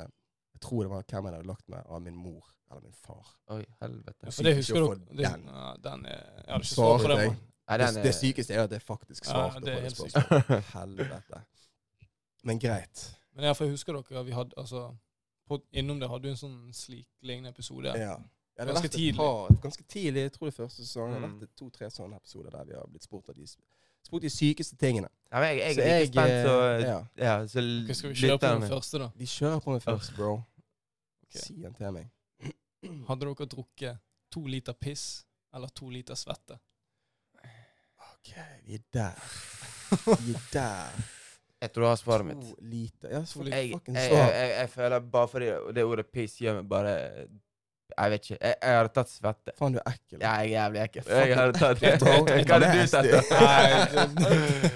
[SPEAKER 2] Jeg tror det var hvem jeg hadde lagt med av min mor eller min far.
[SPEAKER 3] Oi, helvete.
[SPEAKER 1] Ja, for det husker
[SPEAKER 2] Sykt å
[SPEAKER 1] dere.
[SPEAKER 2] få
[SPEAKER 1] Det,
[SPEAKER 2] den.
[SPEAKER 1] ja, den er, jeg hadde ikke svart på
[SPEAKER 2] Svarte
[SPEAKER 1] den.
[SPEAKER 2] jeg.
[SPEAKER 1] man.
[SPEAKER 3] Nei,
[SPEAKER 2] Det,
[SPEAKER 3] den er-
[SPEAKER 2] det sykeste er at jeg faktisk
[SPEAKER 1] Ja,
[SPEAKER 2] svarte
[SPEAKER 1] det
[SPEAKER 2] på
[SPEAKER 1] er
[SPEAKER 2] det
[SPEAKER 1] helt
[SPEAKER 2] spørsmålet. Helvete. Men greit.
[SPEAKER 1] Men ja, for jeg husker dere, vi hadde altså på, Innom det hadde vi en sånn slik lignende episode.
[SPEAKER 2] Ja. ja. det har
[SPEAKER 1] Ganske
[SPEAKER 2] vært et
[SPEAKER 1] tidlig.
[SPEAKER 2] Par, ganske tidlig. Jeg tror det er første sesong. Det har
[SPEAKER 3] Mm.
[SPEAKER 2] vært to-tre sånne episoder der vi har blitt spurt av de, spurt de sykeste tingene.
[SPEAKER 3] Nei, men jeg, jeg
[SPEAKER 2] Så
[SPEAKER 3] er like spent, så
[SPEAKER 2] eh, ja.
[SPEAKER 3] Ja, så
[SPEAKER 1] Ok, skal vi kjøre på den
[SPEAKER 3] lytterne-
[SPEAKER 1] første, da?
[SPEAKER 2] De kjører på meg først, bro.
[SPEAKER 1] Ok.
[SPEAKER 2] Si den til meg.
[SPEAKER 1] Hadde dere drukket to liter piss eller to liter svette?
[SPEAKER 2] OK, vi er der. Vi er der.
[SPEAKER 3] Jeg tror du har svaret mitt.
[SPEAKER 2] To liter Ja, så
[SPEAKER 1] To liter.
[SPEAKER 3] Jeg,
[SPEAKER 2] fucking
[SPEAKER 3] jeg, jeg,
[SPEAKER 2] svar.
[SPEAKER 3] jeg, jeg føler bare fordi det ordet piss gjør meg bare Jeg vet ikke. Jeg, jeg hadde tatt svette.
[SPEAKER 2] Faen, du er ekkel.
[SPEAKER 3] Ja, jeg er jævlig ekkel. Jeg hadde tatt
[SPEAKER 2] Bro,
[SPEAKER 3] Hva hadde du
[SPEAKER 2] nasty.
[SPEAKER 3] tatt? da?
[SPEAKER 1] Nei,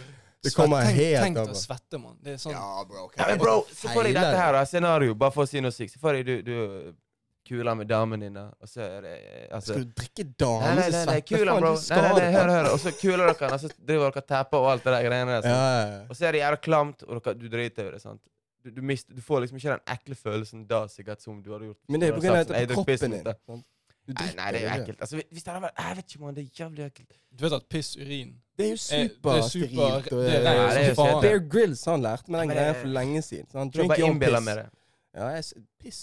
[SPEAKER 2] Det kommer
[SPEAKER 1] tenk,
[SPEAKER 2] helt
[SPEAKER 1] Tenk
[SPEAKER 2] av,
[SPEAKER 1] deg
[SPEAKER 2] bro.
[SPEAKER 1] å svette, mann. Det er sånn
[SPEAKER 2] Ja, bro. ok.
[SPEAKER 3] Ja, men bro, se for deg dette
[SPEAKER 2] Hele-
[SPEAKER 3] her, da. Scenario. Bare for å si noe sykt. Se for deg du, du kuler med damen din, da. Og så er det altså,
[SPEAKER 2] Skal du drikke
[SPEAKER 3] Nei, nei,
[SPEAKER 2] damens
[SPEAKER 3] nei,
[SPEAKER 2] svette?
[SPEAKER 3] nei kuler,
[SPEAKER 2] Faen,
[SPEAKER 3] bro.
[SPEAKER 2] du
[SPEAKER 3] Nei, nei, nei,
[SPEAKER 2] skadet
[SPEAKER 3] hør,
[SPEAKER 2] meg.
[SPEAKER 3] hør. Og så kuler dere, og så driver dere og tapper og alt det der greiene der.
[SPEAKER 2] Ja,
[SPEAKER 3] sant?
[SPEAKER 2] ja, ja.
[SPEAKER 3] Og så er det jævla klamt, og dere, du driter i det, sant. Du, du, mister, du får liksom ikke den ekle følelsen da, sikkert, som du hadde gjort.
[SPEAKER 2] Men det er
[SPEAKER 3] Når
[SPEAKER 2] på
[SPEAKER 3] du
[SPEAKER 2] grunn
[SPEAKER 3] har
[SPEAKER 2] av
[SPEAKER 3] sagt
[SPEAKER 2] at det er
[SPEAKER 3] sånn, «Nei, jeg
[SPEAKER 2] kroppen
[SPEAKER 3] drikker
[SPEAKER 2] din.
[SPEAKER 3] piss
[SPEAKER 2] sant? Du
[SPEAKER 3] Nei,
[SPEAKER 2] drikker
[SPEAKER 3] nei, det er jo
[SPEAKER 2] jo
[SPEAKER 3] ekkelt. Altså, hvis- hvis det hadde vært Jeg vet ikke, mann. Det er jævlig ekkelt.
[SPEAKER 1] Du vet at piss, urin
[SPEAKER 2] Det er
[SPEAKER 1] Eh,
[SPEAKER 2] jo
[SPEAKER 1] er- Det er,
[SPEAKER 2] supersterilt. og-
[SPEAKER 1] liksom
[SPEAKER 3] Nei,
[SPEAKER 1] det
[SPEAKER 3] det
[SPEAKER 1] er
[SPEAKER 3] er jo
[SPEAKER 1] faen.
[SPEAKER 3] helt-
[SPEAKER 2] eh, Bear Grylls han lærte meg den
[SPEAKER 3] Men
[SPEAKER 2] greia
[SPEAKER 3] det-
[SPEAKER 2] for lenge siden. Så han
[SPEAKER 3] Jeg tror
[SPEAKER 2] drink
[SPEAKER 3] bare
[SPEAKER 2] your own
[SPEAKER 3] innbiller
[SPEAKER 2] piss.
[SPEAKER 3] meg det.
[SPEAKER 2] Ja, jeg, s- piss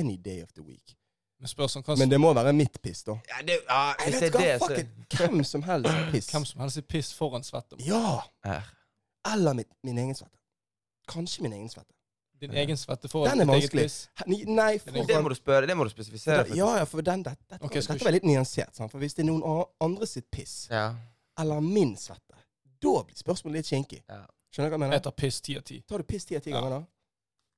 [SPEAKER 2] any day of the week.
[SPEAKER 1] Men spørs om hva
[SPEAKER 2] Men det må være mitt piss, da.
[SPEAKER 3] Ja, det, ja,
[SPEAKER 2] Jeg
[SPEAKER 3] hvis det
[SPEAKER 2] vet
[SPEAKER 3] er det,
[SPEAKER 2] hva,
[SPEAKER 3] så
[SPEAKER 2] fuck it. Hvem som helst har piss.
[SPEAKER 1] Hvem som helst er piss foran svette. mann.
[SPEAKER 2] Ja!
[SPEAKER 3] Her.
[SPEAKER 2] Eller mitt, min egen svette. Kanskje min egen svette.
[SPEAKER 1] Din
[SPEAKER 3] Ja.
[SPEAKER 1] egen svette foran
[SPEAKER 2] Den er
[SPEAKER 1] ditt eget
[SPEAKER 2] vanskelig.
[SPEAKER 1] piss.
[SPEAKER 2] He- ni- Nei,
[SPEAKER 1] er
[SPEAKER 2] for
[SPEAKER 3] Men det må du spørre, det må du spesifisere. faktisk.
[SPEAKER 2] Ja, ja, for den, dette, dette,
[SPEAKER 1] Ok, skal vi
[SPEAKER 2] dette var litt nyansert. Sant? For hvis det er noen an- andre sitt piss,
[SPEAKER 3] Ja.
[SPEAKER 2] eller min svette, da blir spørsmålet litt kinkig.
[SPEAKER 3] Ja.
[SPEAKER 2] Skjønner du hva jeg mener?
[SPEAKER 1] Jeg tar piss ti av ti.
[SPEAKER 2] Tar du piss ti av ti
[SPEAKER 1] Ja.
[SPEAKER 2] ganger, da?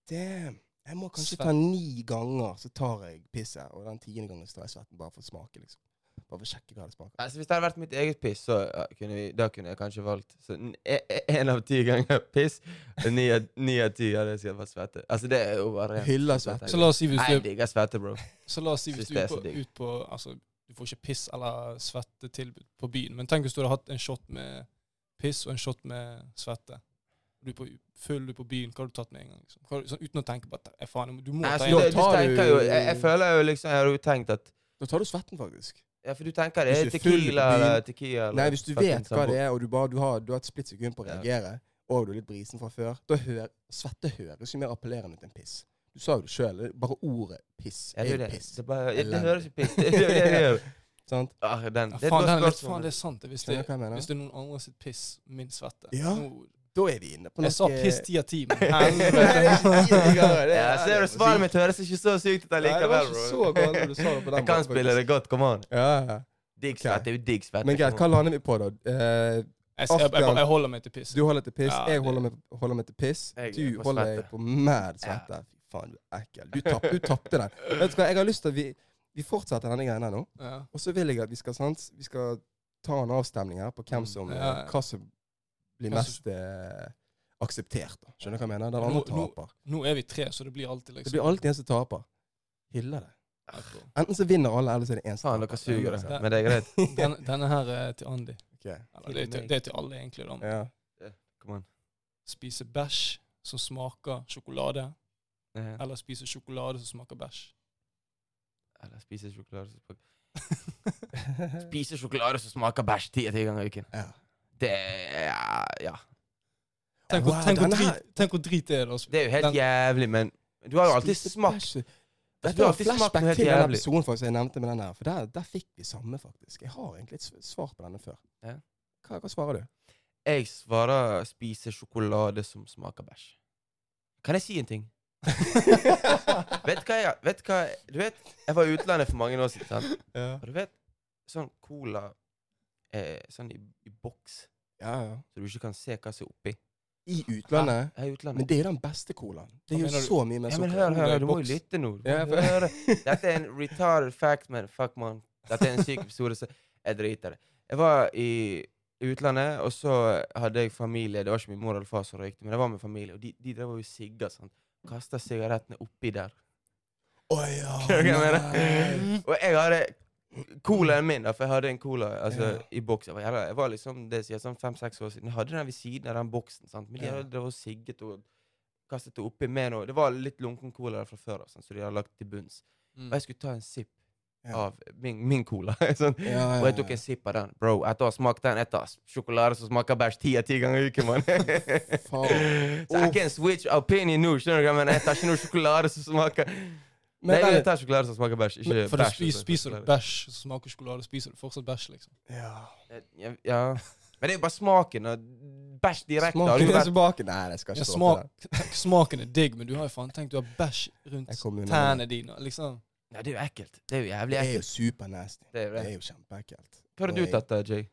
[SPEAKER 2] Damn. Jeg må kanskje
[SPEAKER 1] Svett.
[SPEAKER 2] ta ni ganger, så tar jeg pisset. Og den tiende gangen så tar jeg svetten bare for å smake, liksom. Bare for å sjekke hva det smaker.
[SPEAKER 3] Altså, hvis det hadde vært mitt eget piss, så ja, kunne vi, da kunne jeg kanskje valgt så, n- e- e- en av ti ganger piss. og Ni av ni av ti hadde sikkert vært svette. Altså, det er jo bare
[SPEAKER 2] Hyller svette.
[SPEAKER 1] Så la oss si hvis
[SPEAKER 3] Nei,
[SPEAKER 1] du
[SPEAKER 3] jeg
[SPEAKER 1] er,
[SPEAKER 3] digger svette, bro.
[SPEAKER 1] så la oss si hvis
[SPEAKER 3] Synes
[SPEAKER 1] du er
[SPEAKER 3] det er
[SPEAKER 1] på,
[SPEAKER 3] så digg.
[SPEAKER 1] ut på altså, du får ikke piss eller svettetilbud på byen. Men tenk hvis du hadde hatt en shot med piss og en shot med svette. Du er på, full, du er på byen, hva har du tatt med en gang? Liksom? Hva, har du- sånn, uten å tenke på at eh, faen, du må
[SPEAKER 3] Nei,
[SPEAKER 1] ta
[SPEAKER 3] altså,
[SPEAKER 1] en
[SPEAKER 2] da
[SPEAKER 3] det,
[SPEAKER 1] gang.
[SPEAKER 3] du
[SPEAKER 2] tar
[SPEAKER 3] tenker
[SPEAKER 2] du-
[SPEAKER 3] jo, jeg, jeg føler jo liksom Jeg har jo tenkt at
[SPEAKER 2] Da tar du svetten, faktisk.
[SPEAKER 3] Ja, for du tenker det
[SPEAKER 2] Hvis
[SPEAKER 3] er
[SPEAKER 2] du er full på
[SPEAKER 3] tequila
[SPEAKER 2] byen-
[SPEAKER 3] eller tequila eller
[SPEAKER 2] Nei, hvis du
[SPEAKER 3] fucking
[SPEAKER 2] vet hva
[SPEAKER 3] sambo-
[SPEAKER 2] det er, og du, bare, du, har, du har et splitt sekund på å
[SPEAKER 3] Ja.
[SPEAKER 2] reagere, og du er litt brisen fra før, da hører svette høres jo mer appellerende ut enn piss. Du sa jo det sjøl. Bare ordet piss
[SPEAKER 3] Ja,
[SPEAKER 2] er
[SPEAKER 3] det,
[SPEAKER 2] jo
[SPEAKER 3] er det.
[SPEAKER 2] piss.
[SPEAKER 3] Det, er bare, ja, det
[SPEAKER 2] Elendig.
[SPEAKER 3] høres jo piss Det er jo det det gjør.
[SPEAKER 2] Sant?
[SPEAKER 3] Ah, den.
[SPEAKER 1] Ja,
[SPEAKER 3] Det er et
[SPEAKER 1] faen,
[SPEAKER 3] godt
[SPEAKER 1] den er litt,
[SPEAKER 3] spørsmål.
[SPEAKER 1] faen, det er sant. det, Hvis det,
[SPEAKER 2] Skjønner du hva jeg mener?
[SPEAKER 1] hvis det er noen andre sitt piss, min svette.
[SPEAKER 2] Ja.
[SPEAKER 1] Nå,
[SPEAKER 2] Da er vi inne på noe
[SPEAKER 1] jeg sa piss ti av ti, men
[SPEAKER 2] Nei, det er
[SPEAKER 1] helvete.
[SPEAKER 2] ikke tidligere, det er-
[SPEAKER 3] Ja, ser du, svaret mitt høres ikke så
[SPEAKER 2] Nei,
[SPEAKER 3] sykt ut
[SPEAKER 2] det
[SPEAKER 3] allikevel,
[SPEAKER 2] var ikke så
[SPEAKER 3] bro.
[SPEAKER 2] galt når du sa det på den
[SPEAKER 3] Jeg kan spille det godt, come on.
[SPEAKER 2] Ja, ja.
[SPEAKER 3] Digg svett, det er jo digg svett.
[SPEAKER 2] Men greit, hva
[SPEAKER 3] liksom.
[SPEAKER 2] lander vi på, da? Eh,
[SPEAKER 1] Jeg, jeg, jeg, jeg holder meg til piss.
[SPEAKER 2] Du holder til piss,
[SPEAKER 1] Ja,
[SPEAKER 2] jeg
[SPEAKER 1] det-
[SPEAKER 2] holder meg, holder meg til piss.
[SPEAKER 3] Jeg er
[SPEAKER 2] Du
[SPEAKER 3] på
[SPEAKER 2] holder
[SPEAKER 3] svette.
[SPEAKER 2] deg på mad svette. Fy faen, du er ekkel. Du tapp- Du tapte den. Vet du hva, jeg har lyst til at vi, vi fortsetter denne greia her nå.
[SPEAKER 1] Ja.
[SPEAKER 2] Og så vil jeg at vi skal, sant, vi skal ta en avstemning her på hvem som, eh,
[SPEAKER 1] Ja, Mm. ja.
[SPEAKER 2] hva som blir
[SPEAKER 1] Hvem som-
[SPEAKER 2] mest eh, akseptert. Da. Skjønner du hva jeg mener? Den
[SPEAKER 1] Nå-
[SPEAKER 2] andre
[SPEAKER 1] nå-
[SPEAKER 2] taper.
[SPEAKER 1] Nå er vi tre, så det blir alltid
[SPEAKER 2] Det
[SPEAKER 1] liksom
[SPEAKER 2] blir alltid en som taper. Hyller det.
[SPEAKER 1] Akkurat.
[SPEAKER 2] Enten så vinner alle, eller så er det en som
[SPEAKER 3] Faen, dere
[SPEAKER 2] taper.
[SPEAKER 3] suger, altså. Men det er greit.
[SPEAKER 1] Den, denne her er til Andy.
[SPEAKER 2] Ok.
[SPEAKER 1] Eller, det, er til, det er til alle, egentlig. da.
[SPEAKER 2] Ja.
[SPEAKER 3] Come on.
[SPEAKER 1] Spise bæsj som smaker sjokolade,
[SPEAKER 3] Ja.
[SPEAKER 1] eller spise sjokolade som smaker bæsj.
[SPEAKER 3] Eller spise sjokolade som smaker Spise sjokolade som smaker bæsj ti av ti ganger i uken.
[SPEAKER 2] ja.
[SPEAKER 3] Det er Ja.
[SPEAKER 1] Tenk,
[SPEAKER 2] Wow,
[SPEAKER 1] hvor- tenk, hvor
[SPEAKER 2] denne her-
[SPEAKER 1] drit, tenk hvor drit det er, da.
[SPEAKER 3] Det er jo helt
[SPEAKER 1] Den-
[SPEAKER 3] jævlig, men du har jo alltid
[SPEAKER 2] Spise
[SPEAKER 3] smakt
[SPEAKER 2] bæsj.
[SPEAKER 3] Altså,
[SPEAKER 2] Dette
[SPEAKER 3] du har
[SPEAKER 2] var
[SPEAKER 3] alltid smakt
[SPEAKER 2] flashback
[SPEAKER 3] noe helt
[SPEAKER 2] til den
[SPEAKER 3] jævlig.
[SPEAKER 2] episoden faktisk jeg nevnte med den her. For der, der fikk vi samme, faktisk. Jeg har egentlig et s- svar på denne før.
[SPEAKER 3] Ja.
[SPEAKER 2] Hva, hva svarer du?
[SPEAKER 3] Jeg svarer spise sjokolade som smaker bæsj. Kan jeg si en ting? Vet du hva jeg vet du hva, Du vet, jeg var i utlandet for mange år siden. Sant?
[SPEAKER 2] Ja,
[SPEAKER 3] Og du vet, sånn cola eh, Sånn i, i boks,
[SPEAKER 2] ja. ja.
[SPEAKER 3] så du ikke kan se hva som er oppi.
[SPEAKER 2] I utlandet.
[SPEAKER 3] Jeg er i
[SPEAKER 2] Men
[SPEAKER 3] utlandet.
[SPEAKER 2] det er jo den beste colaen.
[SPEAKER 1] Hva
[SPEAKER 2] Det er jo
[SPEAKER 1] mener du?
[SPEAKER 2] så mye mer
[SPEAKER 3] ja, men
[SPEAKER 2] sukker.
[SPEAKER 3] hør, hør,
[SPEAKER 1] cola i
[SPEAKER 3] du må
[SPEAKER 1] boks.
[SPEAKER 3] jo lytte nå. Du
[SPEAKER 2] Ja,
[SPEAKER 3] må
[SPEAKER 2] for-
[SPEAKER 3] høre. Dette er en retarded fact, man. Fuck, man. Dette er en syk episode, så jeg driter det. Jeg var i i utlandet, og så hadde jeg familie. Det var ikke min mor eller far som røykte, men jeg var med familie, og de, de drev og sigga sånn. Kasta sigarettene oppi der.
[SPEAKER 2] Å ja,
[SPEAKER 3] Skjønner du hva jeg
[SPEAKER 2] nei.
[SPEAKER 3] mener? Og jeg hadde colaen min, da, for jeg hadde en cola altså,
[SPEAKER 2] Ja.
[SPEAKER 3] i boks. Jeg var, jævla- jeg var liksom det sier jeg, sånn fem-seks år siden. Jeg hadde den ved siden av den boksen. sant? Men de
[SPEAKER 2] Ja.
[SPEAKER 3] hadde drevet og sigget og kastet det oppi med noe. Det var litt lunken cola der fra før, da, sånn, så de hadde lagt til bunns.
[SPEAKER 1] Mm.
[SPEAKER 3] Og jeg skulle ta en sipp
[SPEAKER 2] Ja.
[SPEAKER 3] av min, min cola. sånn.
[SPEAKER 2] Ja, ja,
[SPEAKER 3] Og jeg
[SPEAKER 2] ja.
[SPEAKER 3] tok en sipp av den. Bro, etter å ha smakt den etter sjokolade som smaker bæsj ti av ti ganger i uken, mann. Så jeg kan switch opinion nå, skjønner du hva jeg mener? Jeg tar ikke noe sjokolade som smaker
[SPEAKER 2] Men
[SPEAKER 3] Nei, jeg
[SPEAKER 2] den,
[SPEAKER 3] tar sjokolade som smaker bæsj, ikke
[SPEAKER 1] Men- For du
[SPEAKER 3] bæsj.
[SPEAKER 1] spiser,
[SPEAKER 3] altså. som
[SPEAKER 1] spiser du
[SPEAKER 3] smaker
[SPEAKER 1] bæsj som smaker sjokolade, spiser du fortsatt bæsj, liksom.
[SPEAKER 2] ja.
[SPEAKER 3] Eh, Ja, ja. Men det er jo bare smaken. Og bæsj direkte. har
[SPEAKER 2] Smaken
[SPEAKER 3] du
[SPEAKER 2] er
[SPEAKER 3] vært-
[SPEAKER 2] tilbake. Nei, det skal
[SPEAKER 1] Ja,
[SPEAKER 2] ikke stå på
[SPEAKER 1] smak, smaken er digg, men du har jo faen tenkt du har bæsj rundt
[SPEAKER 2] Jeg kommer unna
[SPEAKER 1] tærne dine. liksom.
[SPEAKER 3] Nei, det er jo ekkelt. Det er jo jævlig
[SPEAKER 2] Det er jo
[SPEAKER 3] ekkelt.
[SPEAKER 2] supernasty.
[SPEAKER 3] Det er jo
[SPEAKER 2] Det
[SPEAKER 3] det.
[SPEAKER 2] er jo kjempeekkelt.
[SPEAKER 3] Hva har du
[SPEAKER 2] Og jeg-
[SPEAKER 3] tatt da, Jay?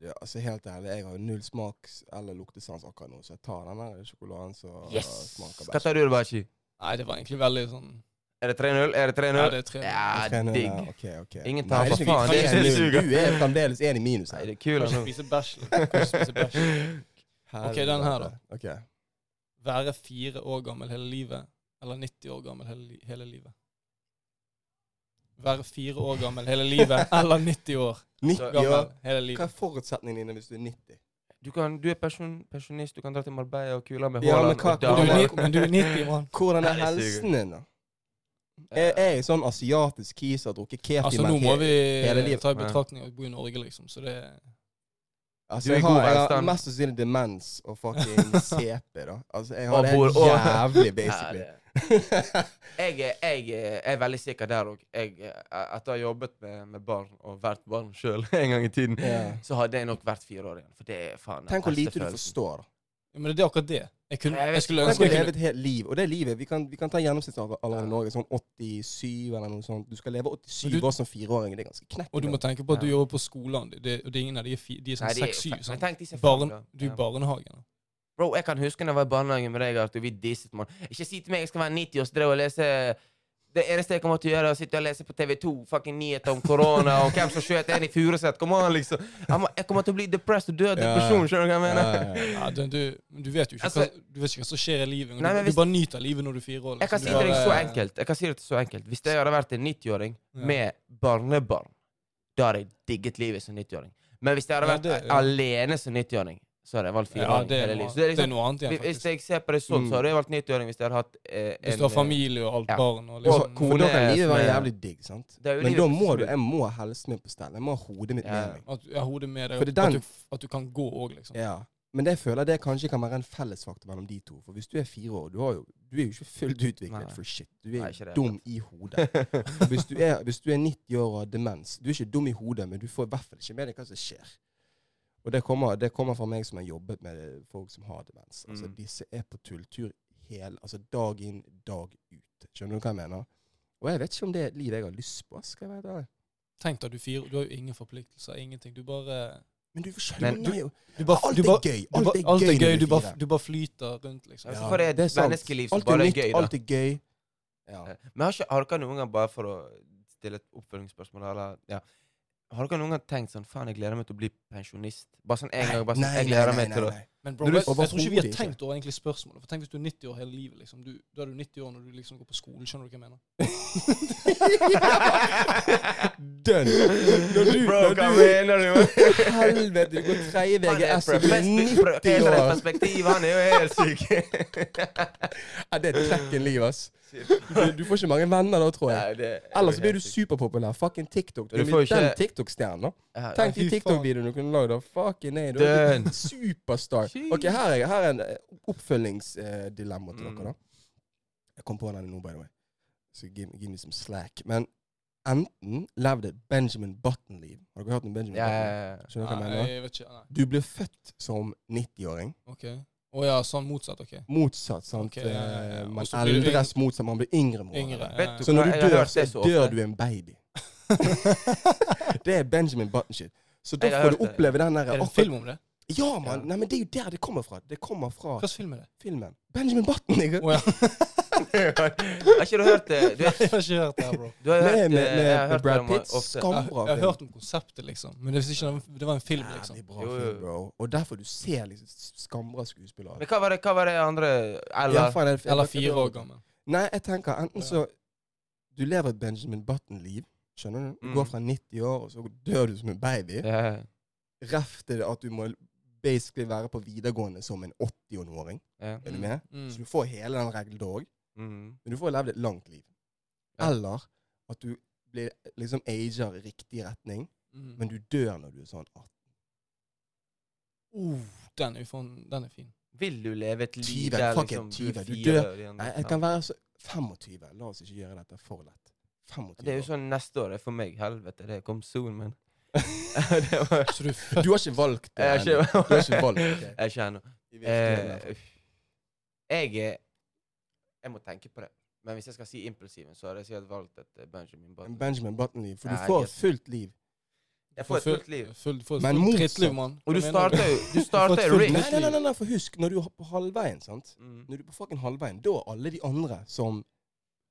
[SPEAKER 2] Ja, altså Helt ærlig, jeg har jo null smaks- eller luktesans akkurat nå, så jeg tar den der sjokoladen som
[SPEAKER 3] Yes!
[SPEAKER 2] smaker
[SPEAKER 3] Hva
[SPEAKER 2] best.
[SPEAKER 3] tar du, Bashi?
[SPEAKER 1] Nei, det var egentlig veldig sånn
[SPEAKER 3] Er det 3-0? Er det
[SPEAKER 1] Ja,
[SPEAKER 3] 3-0?
[SPEAKER 1] det er tre.
[SPEAKER 3] Ja,
[SPEAKER 2] Trener,
[SPEAKER 3] digg.
[SPEAKER 2] ja, ok, ok.
[SPEAKER 3] Ingen
[SPEAKER 2] Nei,
[SPEAKER 3] taper,
[SPEAKER 2] det er ikke noe
[SPEAKER 3] faen, det er
[SPEAKER 2] trener,
[SPEAKER 3] ikke
[SPEAKER 2] Du er fremdeles en i minus
[SPEAKER 3] Nei,
[SPEAKER 2] her.
[SPEAKER 3] det er kul
[SPEAKER 1] Kan ikke
[SPEAKER 3] nå.
[SPEAKER 1] spise bæsj. liksom. Kan ikke spise bæsj. Ok, den her da.
[SPEAKER 2] Ok.
[SPEAKER 1] Være fire år gammel hele livet, eller 90 år gammel hele, li- hele livet. Være fire år gammel hele livet, eller 90 år
[SPEAKER 2] 90
[SPEAKER 1] gammel
[SPEAKER 2] år.
[SPEAKER 1] hele
[SPEAKER 2] Hva
[SPEAKER 1] livet.
[SPEAKER 2] er forutsetningene dine hvis du er 90?
[SPEAKER 3] Du, kan, du er pensjon- pensjonist, du kan dra til Marbella og kule med
[SPEAKER 2] Ja, men
[SPEAKER 3] Haaland.
[SPEAKER 2] hva-
[SPEAKER 1] Men
[SPEAKER 3] og
[SPEAKER 1] du, er
[SPEAKER 3] damer.
[SPEAKER 1] ni- men du er 90, mann.
[SPEAKER 2] Hvordan er
[SPEAKER 3] Nei, det suger.
[SPEAKER 2] helsen din, da? Er er jeg sånn asiatisk kis som har drukket kefir
[SPEAKER 1] Altså,
[SPEAKER 2] men
[SPEAKER 1] nå må
[SPEAKER 2] he-
[SPEAKER 1] vi
[SPEAKER 2] hele livet.
[SPEAKER 1] ta i betraktning at vi bor i Norge, liksom. Så det er
[SPEAKER 2] altså,
[SPEAKER 3] Du er i
[SPEAKER 2] jeg, har,
[SPEAKER 3] god
[SPEAKER 2] jeg har
[SPEAKER 3] velstand.
[SPEAKER 2] mest sannsynlig demens og fucking CP, da. Altså, jeg har
[SPEAKER 3] Og
[SPEAKER 2] det
[SPEAKER 3] bor- og-
[SPEAKER 2] jævlig,
[SPEAKER 3] Ja,
[SPEAKER 2] basically.
[SPEAKER 3] det- jeg, er- jeg er- er veldig sikker der òg. Etter å ha jobbet med, med barn, og vært barn sjøl en gang i tiden,
[SPEAKER 2] Ja.
[SPEAKER 3] så hadde jeg nok vært fire år igjen. For det er faen den
[SPEAKER 2] Tenk hvor
[SPEAKER 3] beste
[SPEAKER 2] lite du
[SPEAKER 3] følelsen.
[SPEAKER 2] forstår, da.
[SPEAKER 1] Ja, Men det er akkurat det. Jeg, kunne,
[SPEAKER 3] Jeg vet
[SPEAKER 1] jeg skulle
[SPEAKER 3] ikke.
[SPEAKER 2] Tenk
[SPEAKER 1] ønske
[SPEAKER 2] å
[SPEAKER 1] jeg
[SPEAKER 2] leve
[SPEAKER 1] kunne
[SPEAKER 2] et helt liv. Og det livet Vi kan, vi kan ta gjennomsnittsalderen i
[SPEAKER 3] Ja.
[SPEAKER 2] Norge, sånn 87 eller noe sånt. Du skal leve 87
[SPEAKER 1] Men du-
[SPEAKER 2] år som fireåring. Det er ganske knekk.
[SPEAKER 1] Og du må tenke på at du
[SPEAKER 3] Ja.
[SPEAKER 1] jobber på skolen, det- det, og det er ingen av de er, fi,
[SPEAKER 2] liksom
[SPEAKER 1] de er sånn
[SPEAKER 3] Nei, de er-
[SPEAKER 1] 6-7.
[SPEAKER 3] Nei,
[SPEAKER 1] Sånn.
[SPEAKER 3] tenk, de ser faen, da.
[SPEAKER 1] Barn, du
[SPEAKER 3] Ja.
[SPEAKER 1] er barnehagen.
[SPEAKER 3] Bro, jeg kan huske da jeg var i barnehagen med deg, Arthur. Vi disset, mann. Ikke si til meg jeg skal være 90 år, så drev jeg og lese Det eneste jeg kommer til å gjøre, er å sitte og lese på TV2 fucking nyheter om korona og hvem som skjøt en i Furuset. Kom an, liksom. Jeg, må, jeg kommer til å bli depressed og dø av
[SPEAKER 2] Ja, ja.
[SPEAKER 3] depresjon, skjønner du hva jeg mener?
[SPEAKER 2] Ja, ja, ja.
[SPEAKER 1] Ja, du, du, men du vet jo ikke,
[SPEAKER 3] Altså-
[SPEAKER 1] hva, du vet ikke hva som skjer i livet. men
[SPEAKER 3] Nei, men
[SPEAKER 1] du,
[SPEAKER 3] hvis-
[SPEAKER 1] du bare nyter livet når du er fire år.
[SPEAKER 3] Jeg kan
[SPEAKER 1] liksom.
[SPEAKER 3] si
[SPEAKER 1] Du
[SPEAKER 3] det til deg
[SPEAKER 1] bare-
[SPEAKER 3] så enkelt. Jeg kan si det så enkelt. Hvis jeg hadde vært en 90-åring
[SPEAKER 1] Ja.
[SPEAKER 3] med barnebarn, da hadde jeg digget livet som 90-åring. Men hvis jeg hadde
[SPEAKER 1] Ja,
[SPEAKER 3] vært
[SPEAKER 1] det- ja.
[SPEAKER 3] alene som 90-åring, så hadde jeg valgt
[SPEAKER 1] Ja,
[SPEAKER 3] fireåring
[SPEAKER 1] det er,
[SPEAKER 3] hele
[SPEAKER 1] noe,
[SPEAKER 3] livet. Så det er
[SPEAKER 1] det er
[SPEAKER 3] liksom,
[SPEAKER 1] noe annet igjen,
[SPEAKER 3] hvis
[SPEAKER 1] faktisk.
[SPEAKER 3] jeg ser på det sånn,
[SPEAKER 2] Mm.
[SPEAKER 3] så hadde jeg valgt 90-åring hvis jeg hadde hatt eh, en
[SPEAKER 1] Hvis du har familie og alt
[SPEAKER 3] ja.
[SPEAKER 1] barn og
[SPEAKER 3] Og
[SPEAKER 1] liksom
[SPEAKER 3] kone
[SPEAKER 2] For da kan livet
[SPEAKER 3] som
[SPEAKER 2] være
[SPEAKER 3] er-
[SPEAKER 2] jævlig digg, sant?
[SPEAKER 3] eh, Det er jo
[SPEAKER 2] Men
[SPEAKER 3] livet
[SPEAKER 2] da
[SPEAKER 3] som
[SPEAKER 2] må
[SPEAKER 3] snur.
[SPEAKER 2] du, jeg må ha helsen min på stell. Jeg må ha hodet mitt
[SPEAKER 3] Ja.
[SPEAKER 2] med meg.
[SPEAKER 1] At du har hodet med deg,
[SPEAKER 2] For
[SPEAKER 1] og
[SPEAKER 2] det er
[SPEAKER 1] at,
[SPEAKER 2] den-
[SPEAKER 1] du, at du kan gå òg, liksom.
[SPEAKER 2] Ja. Men det jeg føler det kanskje kan være en fellesfaktor mellom de to. For hvis du er fire år, du, har jo, du er jo ikke fullt utviklet
[SPEAKER 3] Nei.
[SPEAKER 2] for shit. Du er
[SPEAKER 3] Nei, ikke
[SPEAKER 2] jo
[SPEAKER 3] det.
[SPEAKER 2] dum i hodet. Hvis du, er, hvis du er 90 år og har demens, du er ikke dum i hodet, men du får i hvert fall ikke med deg hva som skjer. Og det kommer, det kommer fra meg som har jobbet med folk som har demens. Altså,
[SPEAKER 3] Mm.
[SPEAKER 2] Disse er på tulltur hel, altså dag inn, dag ut. Skjønner du hva jeg mener? Og jeg vet ikke om det er et liv jeg har lyst på. skal jeg være ærlig.
[SPEAKER 1] Tenk deg at du er fire, du har jo ingen forpliktelser, ingenting. Du bare
[SPEAKER 2] Men du skjønner
[SPEAKER 3] Men
[SPEAKER 2] jo
[SPEAKER 3] du-
[SPEAKER 2] nei, jo.
[SPEAKER 1] du bare,
[SPEAKER 2] Alt
[SPEAKER 1] du
[SPEAKER 2] er
[SPEAKER 1] bare,
[SPEAKER 2] gøy.
[SPEAKER 1] Du
[SPEAKER 2] Alt
[SPEAKER 1] bare,
[SPEAKER 2] er
[SPEAKER 1] alt er gøy,
[SPEAKER 2] når
[SPEAKER 1] du
[SPEAKER 2] er
[SPEAKER 1] bare,
[SPEAKER 2] fire.
[SPEAKER 1] du bare flyter rundt, liksom.
[SPEAKER 3] Ja,
[SPEAKER 1] Ja.
[SPEAKER 3] så får jeg et
[SPEAKER 2] det er sant.
[SPEAKER 3] menneskeliv som
[SPEAKER 2] Alt
[SPEAKER 3] bare er
[SPEAKER 2] nytt,
[SPEAKER 3] gøy, da.
[SPEAKER 2] Alt er gøy. Ja.
[SPEAKER 3] Men har, ikke, har dere noen gang, bare for å stille et oppfølgingsspørsmål eller, ja. Har dere noen gang tenkt sånn Faen, jeg gleder meg til å bli pensjonist. Bare sånn en gang. bare sånn, jeg gleder meg til å...
[SPEAKER 1] Men bro,
[SPEAKER 2] Men du-
[SPEAKER 1] jeg, jeg tror ikke vi har
[SPEAKER 2] Overhodet ikke.
[SPEAKER 1] tenkt over egentlig spørsmålet. For tenk hvis du er 90 år hele livet, liksom. Du, da er du 90 år når du liksom går på skolen, skjønner du hva jeg mener?
[SPEAKER 2] Dønn! Når du,
[SPEAKER 3] Bro, hva
[SPEAKER 2] når
[SPEAKER 3] mener du?
[SPEAKER 2] du helvete, du går tredje
[SPEAKER 3] Han er
[SPEAKER 2] VGS
[SPEAKER 3] fra
[SPEAKER 2] og blir
[SPEAKER 3] perspektiv- fra
[SPEAKER 2] 90
[SPEAKER 3] hele
[SPEAKER 2] år!
[SPEAKER 3] perspektiv, han er jo helt syk.
[SPEAKER 2] Ja, det er trekken liv, ass. Du, du får ikke mange venner da, tror jeg.
[SPEAKER 3] Nei, det er
[SPEAKER 2] Ellers
[SPEAKER 3] jo
[SPEAKER 2] så blir
[SPEAKER 3] helt
[SPEAKER 2] du
[SPEAKER 3] sykt.
[SPEAKER 2] superpopulær. Fucking TikTok. Du
[SPEAKER 3] Du
[SPEAKER 2] er
[SPEAKER 3] får
[SPEAKER 2] blitt
[SPEAKER 3] ikke-
[SPEAKER 2] den TikTok-stjernen. da.
[SPEAKER 3] Ja,
[SPEAKER 2] Tenk
[SPEAKER 1] Ja,
[SPEAKER 2] de
[SPEAKER 1] fy
[SPEAKER 2] TikTok-videoene du kunne lagd. da. Fucking nei, du er
[SPEAKER 3] Dønn.
[SPEAKER 2] en superstar.
[SPEAKER 3] Jeez.
[SPEAKER 2] Ok, her er, her er en eh, oppfølgingsdilemma til
[SPEAKER 3] Mm.
[SPEAKER 2] dere, da. Jeg kom på den nå, by the way. Så give, give me some slack. Men enten levde et Benjamin Button-liv. Har dere hørt om Benjamin
[SPEAKER 3] Ja,
[SPEAKER 2] Button?
[SPEAKER 3] ja, ja.
[SPEAKER 2] Skjønner du hva jeg
[SPEAKER 1] Nei,
[SPEAKER 2] mener?
[SPEAKER 1] jeg vet ikke. Nei.
[SPEAKER 2] Du ble født som 90-åring.
[SPEAKER 1] Ok. Å ja, sånn motsatt, ok.
[SPEAKER 2] Motsatt, sant?
[SPEAKER 1] Ok, ja, ja, ja.
[SPEAKER 2] Eh,
[SPEAKER 1] Og
[SPEAKER 2] Man
[SPEAKER 1] så blir du
[SPEAKER 2] eldres motsatt, man blir yngre. med årene.
[SPEAKER 1] Yngre.
[SPEAKER 3] Vet du
[SPEAKER 2] Så når
[SPEAKER 3] hva,
[SPEAKER 2] du
[SPEAKER 3] jeg har
[SPEAKER 2] dør,
[SPEAKER 3] hørt
[SPEAKER 2] så
[SPEAKER 3] det så ofte.
[SPEAKER 2] dør du en baby. det er Benjamin Button-shit. Så da
[SPEAKER 3] Jeg har
[SPEAKER 2] får du
[SPEAKER 3] hørt det.
[SPEAKER 2] oppleve den
[SPEAKER 1] Er
[SPEAKER 2] derre
[SPEAKER 1] det en film om det?
[SPEAKER 2] Ja, mann!
[SPEAKER 3] Ja.
[SPEAKER 2] Nei, men det er jo der det kommer fra. Det kommer fra
[SPEAKER 1] Hva slags film er det?
[SPEAKER 2] filmen. Benjamin Button! Ikke?
[SPEAKER 1] Å ja.
[SPEAKER 3] Har ikke du hørt det? Du,
[SPEAKER 1] Nei, jeg har ikke hørt det, her, bro.
[SPEAKER 3] du har
[SPEAKER 2] Med, med,
[SPEAKER 3] hørt det?
[SPEAKER 2] med,
[SPEAKER 3] Jeg har hørt
[SPEAKER 2] Brad
[SPEAKER 3] det
[SPEAKER 2] Pitt.
[SPEAKER 3] ofte.
[SPEAKER 1] Jeg,
[SPEAKER 2] Skambra.
[SPEAKER 1] jeg har hørt om konseptet, liksom. Men det, visste ikke, det var en film, liksom.
[SPEAKER 2] Jævlig bra
[SPEAKER 3] Jo, jo.
[SPEAKER 2] film, bro. Og derfor du ser liksom skambra skuespillere.
[SPEAKER 3] Men hva var det, hva var det andre Ella?
[SPEAKER 2] Ja, faen, jeg- jeg-
[SPEAKER 1] Eller
[SPEAKER 2] jeg-
[SPEAKER 1] fire år gammel.
[SPEAKER 2] Nei, jeg tenker enten
[SPEAKER 1] Ja.
[SPEAKER 2] så Du lever et Benjamin Button-liv. Skjønner du? Du
[SPEAKER 3] Mm.
[SPEAKER 2] går fra 90 år, og så dør du som en baby.
[SPEAKER 3] Ja, ja,
[SPEAKER 2] Ref til at du må basically være på videregående som en 80-åring.
[SPEAKER 3] ja.
[SPEAKER 2] Er du med?
[SPEAKER 1] Mm.
[SPEAKER 2] Så du får hele den regelen da òg.
[SPEAKER 3] Mm.
[SPEAKER 2] Men du får levd et langt liv.
[SPEAKER 3] Ja.
[SPEAKER 2] Eller at du blir liksom ager i riktig retning,
[SPEAKER 1] Mm.
[SPEAKER 2] men du dør når du er sånn 18.
[SPEAKER 1] Uh, den, er jo faen- den er fin.
[SPEAKER 3] Vil du leve et liv
[SPEAKER 2] Tyven,
[SPEAKER 3] der
[SPEAKER 2] fuck
[SPEAKER 3] liksom
[SPEAKER 2] it,
[SPEAKER 3] du
[SPEAKER 2] tyven, du
[SPEAKER 3] fire
[SPEAKER 2] dør.
[SPEAKER 3] igjen?
[SPEAKER 2] Nei, jeg kan være så 25. La oss ikke gjøre dette for lett. 25
[SPEAKER 3] Det er jo
[SPEAKER 2] år.
[SPEAKER 3] sånn neste år er for meg. Helvete, det kom soon, men Det var-
[SPEAKER 1] Så du er født
[SPEAKER 2] Du har ikke valgt det.
[SPEAKER 3] Jeg
[SPEAKER 2] ennå. Du har ikke valgt
[SPEAKER 3] Jeg
[SPEAKER 2] det.
[SPEAKER 3] er ikke ennå.
[SPEAKER 2] I virkeligheten, i hvert
[SPEAKER 3] Eh,
[SPEAKER 2] fall.
[SPEAKER 3] Jeg er Jeg må tenke på det. Men hvis jeg skal si impulsiven, så hadde jeg sikkert valgt et eh, Benjamin
[SPEAKER 2] En
[SPEAKER 3] Button.
[SPEAKER 2] Benjamin Button-liv. For du
[SPEAKER 3] Nei,
[SPEAKER 2] får
[SPEAKER 3] jeg-
[SPEAKER 2] fullt liv.
[SPEAKER 3] Jeg får et
[SPEAKER 1] full-
[SPEAKER 3] fullt liv.
[SPEAKER 1] Full, full,
[SPEAKER 2] Men
[SPEAKER 1] fullt
[SPEAKER 2] motsatt.
[SPEAKER 1] drittliv, mann.
[SPEAKER 3] Og du
[SPEAKER 1] Hva mener
[SPEAKER 3] starter jo Du
[SPEAKER 1] får
[SPEAKER 3] starter
[SPEAKER 1] et
[SPEAKER 3] jo
[SPEAKER 1] fullt
[SPEAKER 2] Nei,
[SPEAKER 3] rich.
[SPEAKER 1] liv.
[SPEAKER 2] nei, nei, nei, nei, for husk, når du er på halvveien, sant
[SPEAKER 3] Mm.
[SPEAKER 2] Når du er på fucking halvveien, da er alle de andre som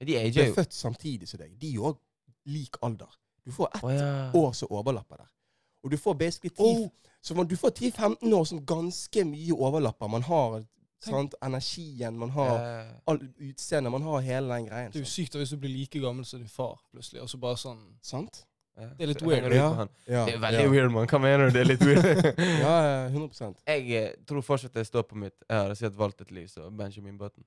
[SPEAKER 3] De ager
[SPEAKER 2] ble
[SPEAKER 3] jo.
[SPEAKER 2] født samtidig som deg, de er òg lik alder. Du får ett
[SPEAKER 3] Å ja.
[SPEAKER 2] år som overlapper der. Og du får basically 10,
[SPEAKER 1] Oh.
[SPEAKER 2] så man, du får 10-15 år som ganske mye overlapper. Man har sant, energien, man har
[SPEAKER 3] Eh,
[SPEAKER 2] all utseendet, man har hele den greien.
[SPEAKER 1] Det er jo
[SPEAKER 2] Sant?
[SPEAKER 1] sykt da, hvis du blir like gammel som din far, plutselig. Og så bare sånn
[SPEAKER 2] sant?
[SPEAKER 3] ja.
[SPEAKER 1] Det er litt
[SPEAKER 3] Så henger
[SPEAKER 1] weird.
[SPEAKER 3] du ut på han.
[SPEAKER 2] Ja,
[SPEAKER 3] Det er veldig
[SPEAKER 2] ja.
[SPEAKER 3] weird, mann. Hva mener du? Det er litt weird.
[SPEAKER 2] Ja, ja, 100
[SPEAKER 3] Jeg eh, tror fortsatt jeg står på mitt. Jeg hadde sikkert valgt et liv som Benjamin Button.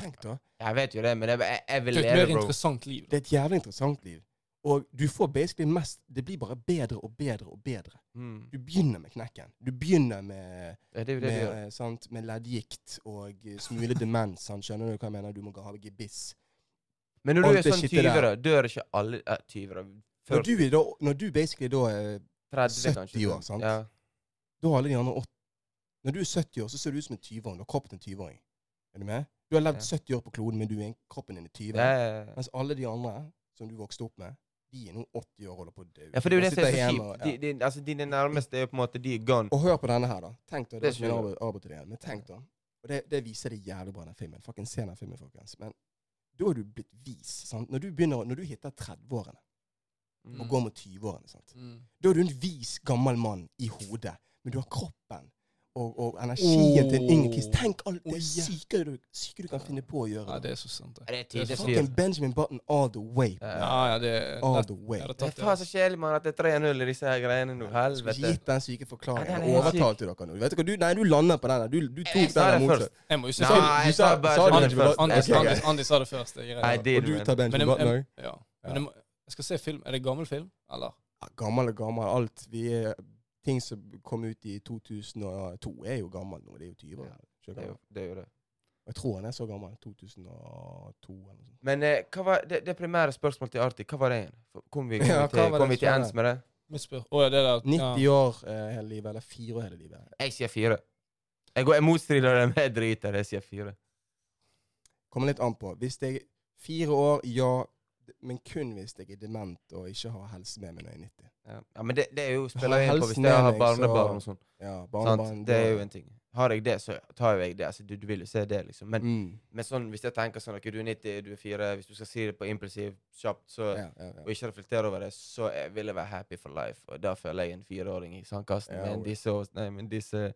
[SPEAKER 2] Tenk da.
[SPEAKER 3] Jeg vet jo det, men jeg, jeg, jeg vil
[SPEAKER 1] Det er et
[SPEAKER 3] leve,
[SPEAKER 1] mer
[SPEAKER 3] bro.
[SPEAKER 1] interessant liv.
[SPEAKER 2] Det er et jævlig interessant liv. Og du får basically mest Det blir bare bedre og bedre og bedre.
[SPEAKER 3] Mm.
[SPEAKER 2] Du begynner med knekken. Du begynner med,
[SPEAKER 3] Ja, det er jo det du
[SPEAKER 2] med,
[SPEAKER 3] gjør.
[SPEAKER 2] eh, sant, med leddgikt og eh, smule demens. Sant? Skjønner du hva jeg mener? Du må ha gebiss.
[SPEAKER 3] Men når du
[SPEAKER 2] alt
[SPEAKER 3] er
[SPEAKER 2] det
[SPEAKER 3] sånn
[SPEAKER 2] shitet der.
[SPEAKER 3] 20, da, dør ikke alle eh, 20, da.
[SPEAKER 2] Når
[SPEAKER 3] Før
[SPEAKER 2] du, er da, når du basically da eh, er
[SPEAKER 3] 30, kanskje.
[SPEAKER 2] 70 år, sant?
[SPEAKER 3] Ja.
[SPEAKER 2] Da har alle de andre 80 Når du er 70 år, så ser du ut som en 20-åring. Du har kroppen til en 20-åring. Er du med? Du har levd
[SPEAKER 3] Ja.
[SPEAKER 2] 70 år på kloden, men du er en, kroppen din er 20.
[SPEAKER 3] Ja, ja, ja.
[SPEAKER 2] Mens alle de andre som du vokste opp med, de er nå 80 år og holder på å dø.
[SPEAKER 3] ja, for det er
[SPEAKER 2] De
[SPEAKER 3] jo det som
[SPEAKER 2] sitter
[SPEAKER 3] er så
[SPEAKER 2] hjemme
[SPEAKER 3] kjipt.
[SPEAKER 2] og-
[SPEAKER 3] De,
[SPEAKER 2] ja.
[SPEAKER 3] de, altså, dine nærmeste er jo på en måte de er gone.
[SPEAKER 2] Og hør på denne her, da. Tenk da, det,
[SPEAKER 3] Det
[SPEAKER 2] var ikke min
[SPEAKER 3] skjønner
[SPEAKER 2] arbe- arbeid til det igjen, men tenk da. Og det, det viser det jævlig bra, den filmen. Fucking se den filmen, folkens. Men da er du blitt vis. Sant? Når du begynner, å- når du hitter 30-årene
[SPEAKER 3] Mm.
[SPEAKER 2] og går mot 20-årene, sant?
[SPEAKER 1] Mm.
[SPEAKER 2] da er du en vis, gammel mann i hodet. Men du har kroppen og, og energien til en yngre kis. Tenk alt
[SPEAKER 1] Oh,
[SPEAKER 2] det
[SPEAKER 1] ja.
[SPEAKER 2] syke du, syke du kan finne på å gjøre.
[SPEAKER 1] Ja, det er så sant, det.
[SPEAKER 3] Det er
[SPEAKER 1] Det er
[SPEAKER 3] tidlig
[SPEAKER 1] sant.
[SPEAKER 3] styr.
[SPEAKER 2] Fucking Benjamin Button all the way.
[SPEAKER 3] Ja.
[SPEAKER 1] Ja, ja, det er
[SPEAKER 2] All
[SPEAKER 1] det-
[SPEAKER 2] the way.
[SPEAKER 1] jeg hadde
[SPEAKER 3] Det
[SPEAKER 1] tatt
[SPEAKER 3] er faen så
[SPEAKER 1] det.
[SPEAKER 3] kjedelig, mann, at det er 3-0 i disse her greiene nå.
[SPEAKER 2] Skulle
[SPEAKER 3] Helvete.
[SPEAKER 2] altså. ikke gitt den syke
[SPEAKER 3] Ja,
[SPEAKER 2] forklaringen.
[SPEAKER 3] den er
[SPEAKER 2] Jeg
[SPEAKER 3] helt syk.
[SPEAKER 2] overtalte dere nå. Vet dere, du, nei, du landet på den der. Du, du
[SPEAKER 3] jeg
[SPEAKER 2] tok
[SPEAKER 3] sa
[SPEAKER 2] den der
[SPEAKER 3] det
[SPEAKER 2] motsatt.
[SPEAKER 1] Jeg må jo si sånn,
[SPEAKER 2] Du
[SPEAKER 3] Nei,
[SPEAKER 1] Andi-
[SPEAKER 2] sa- du
[SPEAKER 3] jeg
[SPEAKER 2] sa-
[SPEAKER 3] sa bare-
[SPEAKER 2] du sa
[SPEAKER 3] Anders
[SPEAKER 2] Benjamin
[SPEAKER 3] først.
[SPEAKER 2] Button.
[SPEAKER 1] Andi-
[SPEAKER 3] Jeg sa-
[SPEAKER 2] Ok,
[SPEAKER 1] Andi- Andi sa det først, jeg er
[SPEAKER 3] Nei,
[SPEAKER 1] redd.
[SPEAKER 3] det
[SPEAKER 2] Og du tar
[SPEAKER 1] Men
[SPEAKER 2] Benjamin
[SPEAKER 1] jeg,
[SPEAKER 2] Button
[SPEAKER 1] jeg,
[SPEAKER 2] òg?
[SPEAKER 1] ja. Men jeg, må- jeg skal se film. Er det gammel film, eller?
[SPEAKER 2] Gammel og gammel. Alt vi er Ting som kom ut i 2002, er jo gammel nå. Det er jo 20 år.
[SPEAKER 3] Ja.
[SPEAKER 2] Skjønner
[SPEAKER 3] Det
[SPEAKER 2] du?
[SPEAKER 3] er jo- det er jo det.
[SPEAKER 2] Jeg tror han er så gammel. 2002 eller noe sånt.
[SPEAKER 3] Men eh, hva var det, det primære spørsmålet til Arti, hva var det igjen? Kom vi, kom
[SPEAKER 2] Ja,
[SPEAKER 3] vi til,
[SPEAKER 2] hva var
[SPEAKER 3] kom vi
[SPEAKER 2] det
[SPEAKER 3] til
[SPEAKER 2] svaret?
[SPEAKER 3] ends med det?
[SPEAKER 1] Mitt spør... Å ja, det der.
[SPEAKER 2] 90
[SPEAKER 1] ja.
[SPEAKER 2] år eh, hele livet, eller fire år hele livet.
[SPEAKER 3] Jeg sier fire. Jeg går jeg motstrider det med driter. Jeg sier fire.
[SPEAKER 2] Kommer litt an på. Hvis jeg Fire år, ja. Men kun hvis jeg er dement og ikke har helse med meg når jeg er 90.
[SPEAKER 3] Ja, ja men det, det er jo
[SPEAKER 2] Har
[SPEAKER 3] spiller
[SPEAKER 2] jeg
[SPEAKER 3] inn på
[SPEAKER 2] helsen
[SPEAKER 3] hvis jeg
[SPEAKER 2] med
[SPEAKER 3] har
[SPEAKER 2] meg,
[SPEAKER 3] barnebarn og
[SPEAKER 2] så-
[SPEAKER 3] sånn.
[SPEAKER 2] Ja,
[SPEAKER 3] Sant?
[SPEAKER 2] barnebarn
[SPEAKER 3] Det
[SPEAKER 2] da-
[SPEAKER 3] er jo en ting. Har jeg det, så tar jo jeg det. Altså, du, du vil jo se det, liksom. Men,
[SPEAKER 2] Mm.
[SPEAKER 3] men sånn, hvis jeg tenker sånn ok, du er 90, du er 4, hvis du skal si det på impulsiv kjapt, så
[SPEAKER 2] Ja, ja, ja.
[SPEAKER 3] og ikke reflektere over det, så jeg vil jeg være happy for life. Og da føler jeg en fireåring i sandkassen
[SPEAKER 2] Ja,
[SPEAKER 3] med en
[SPEAKER 2] oi.
[SPEAKER 3] disse og Nei, men disse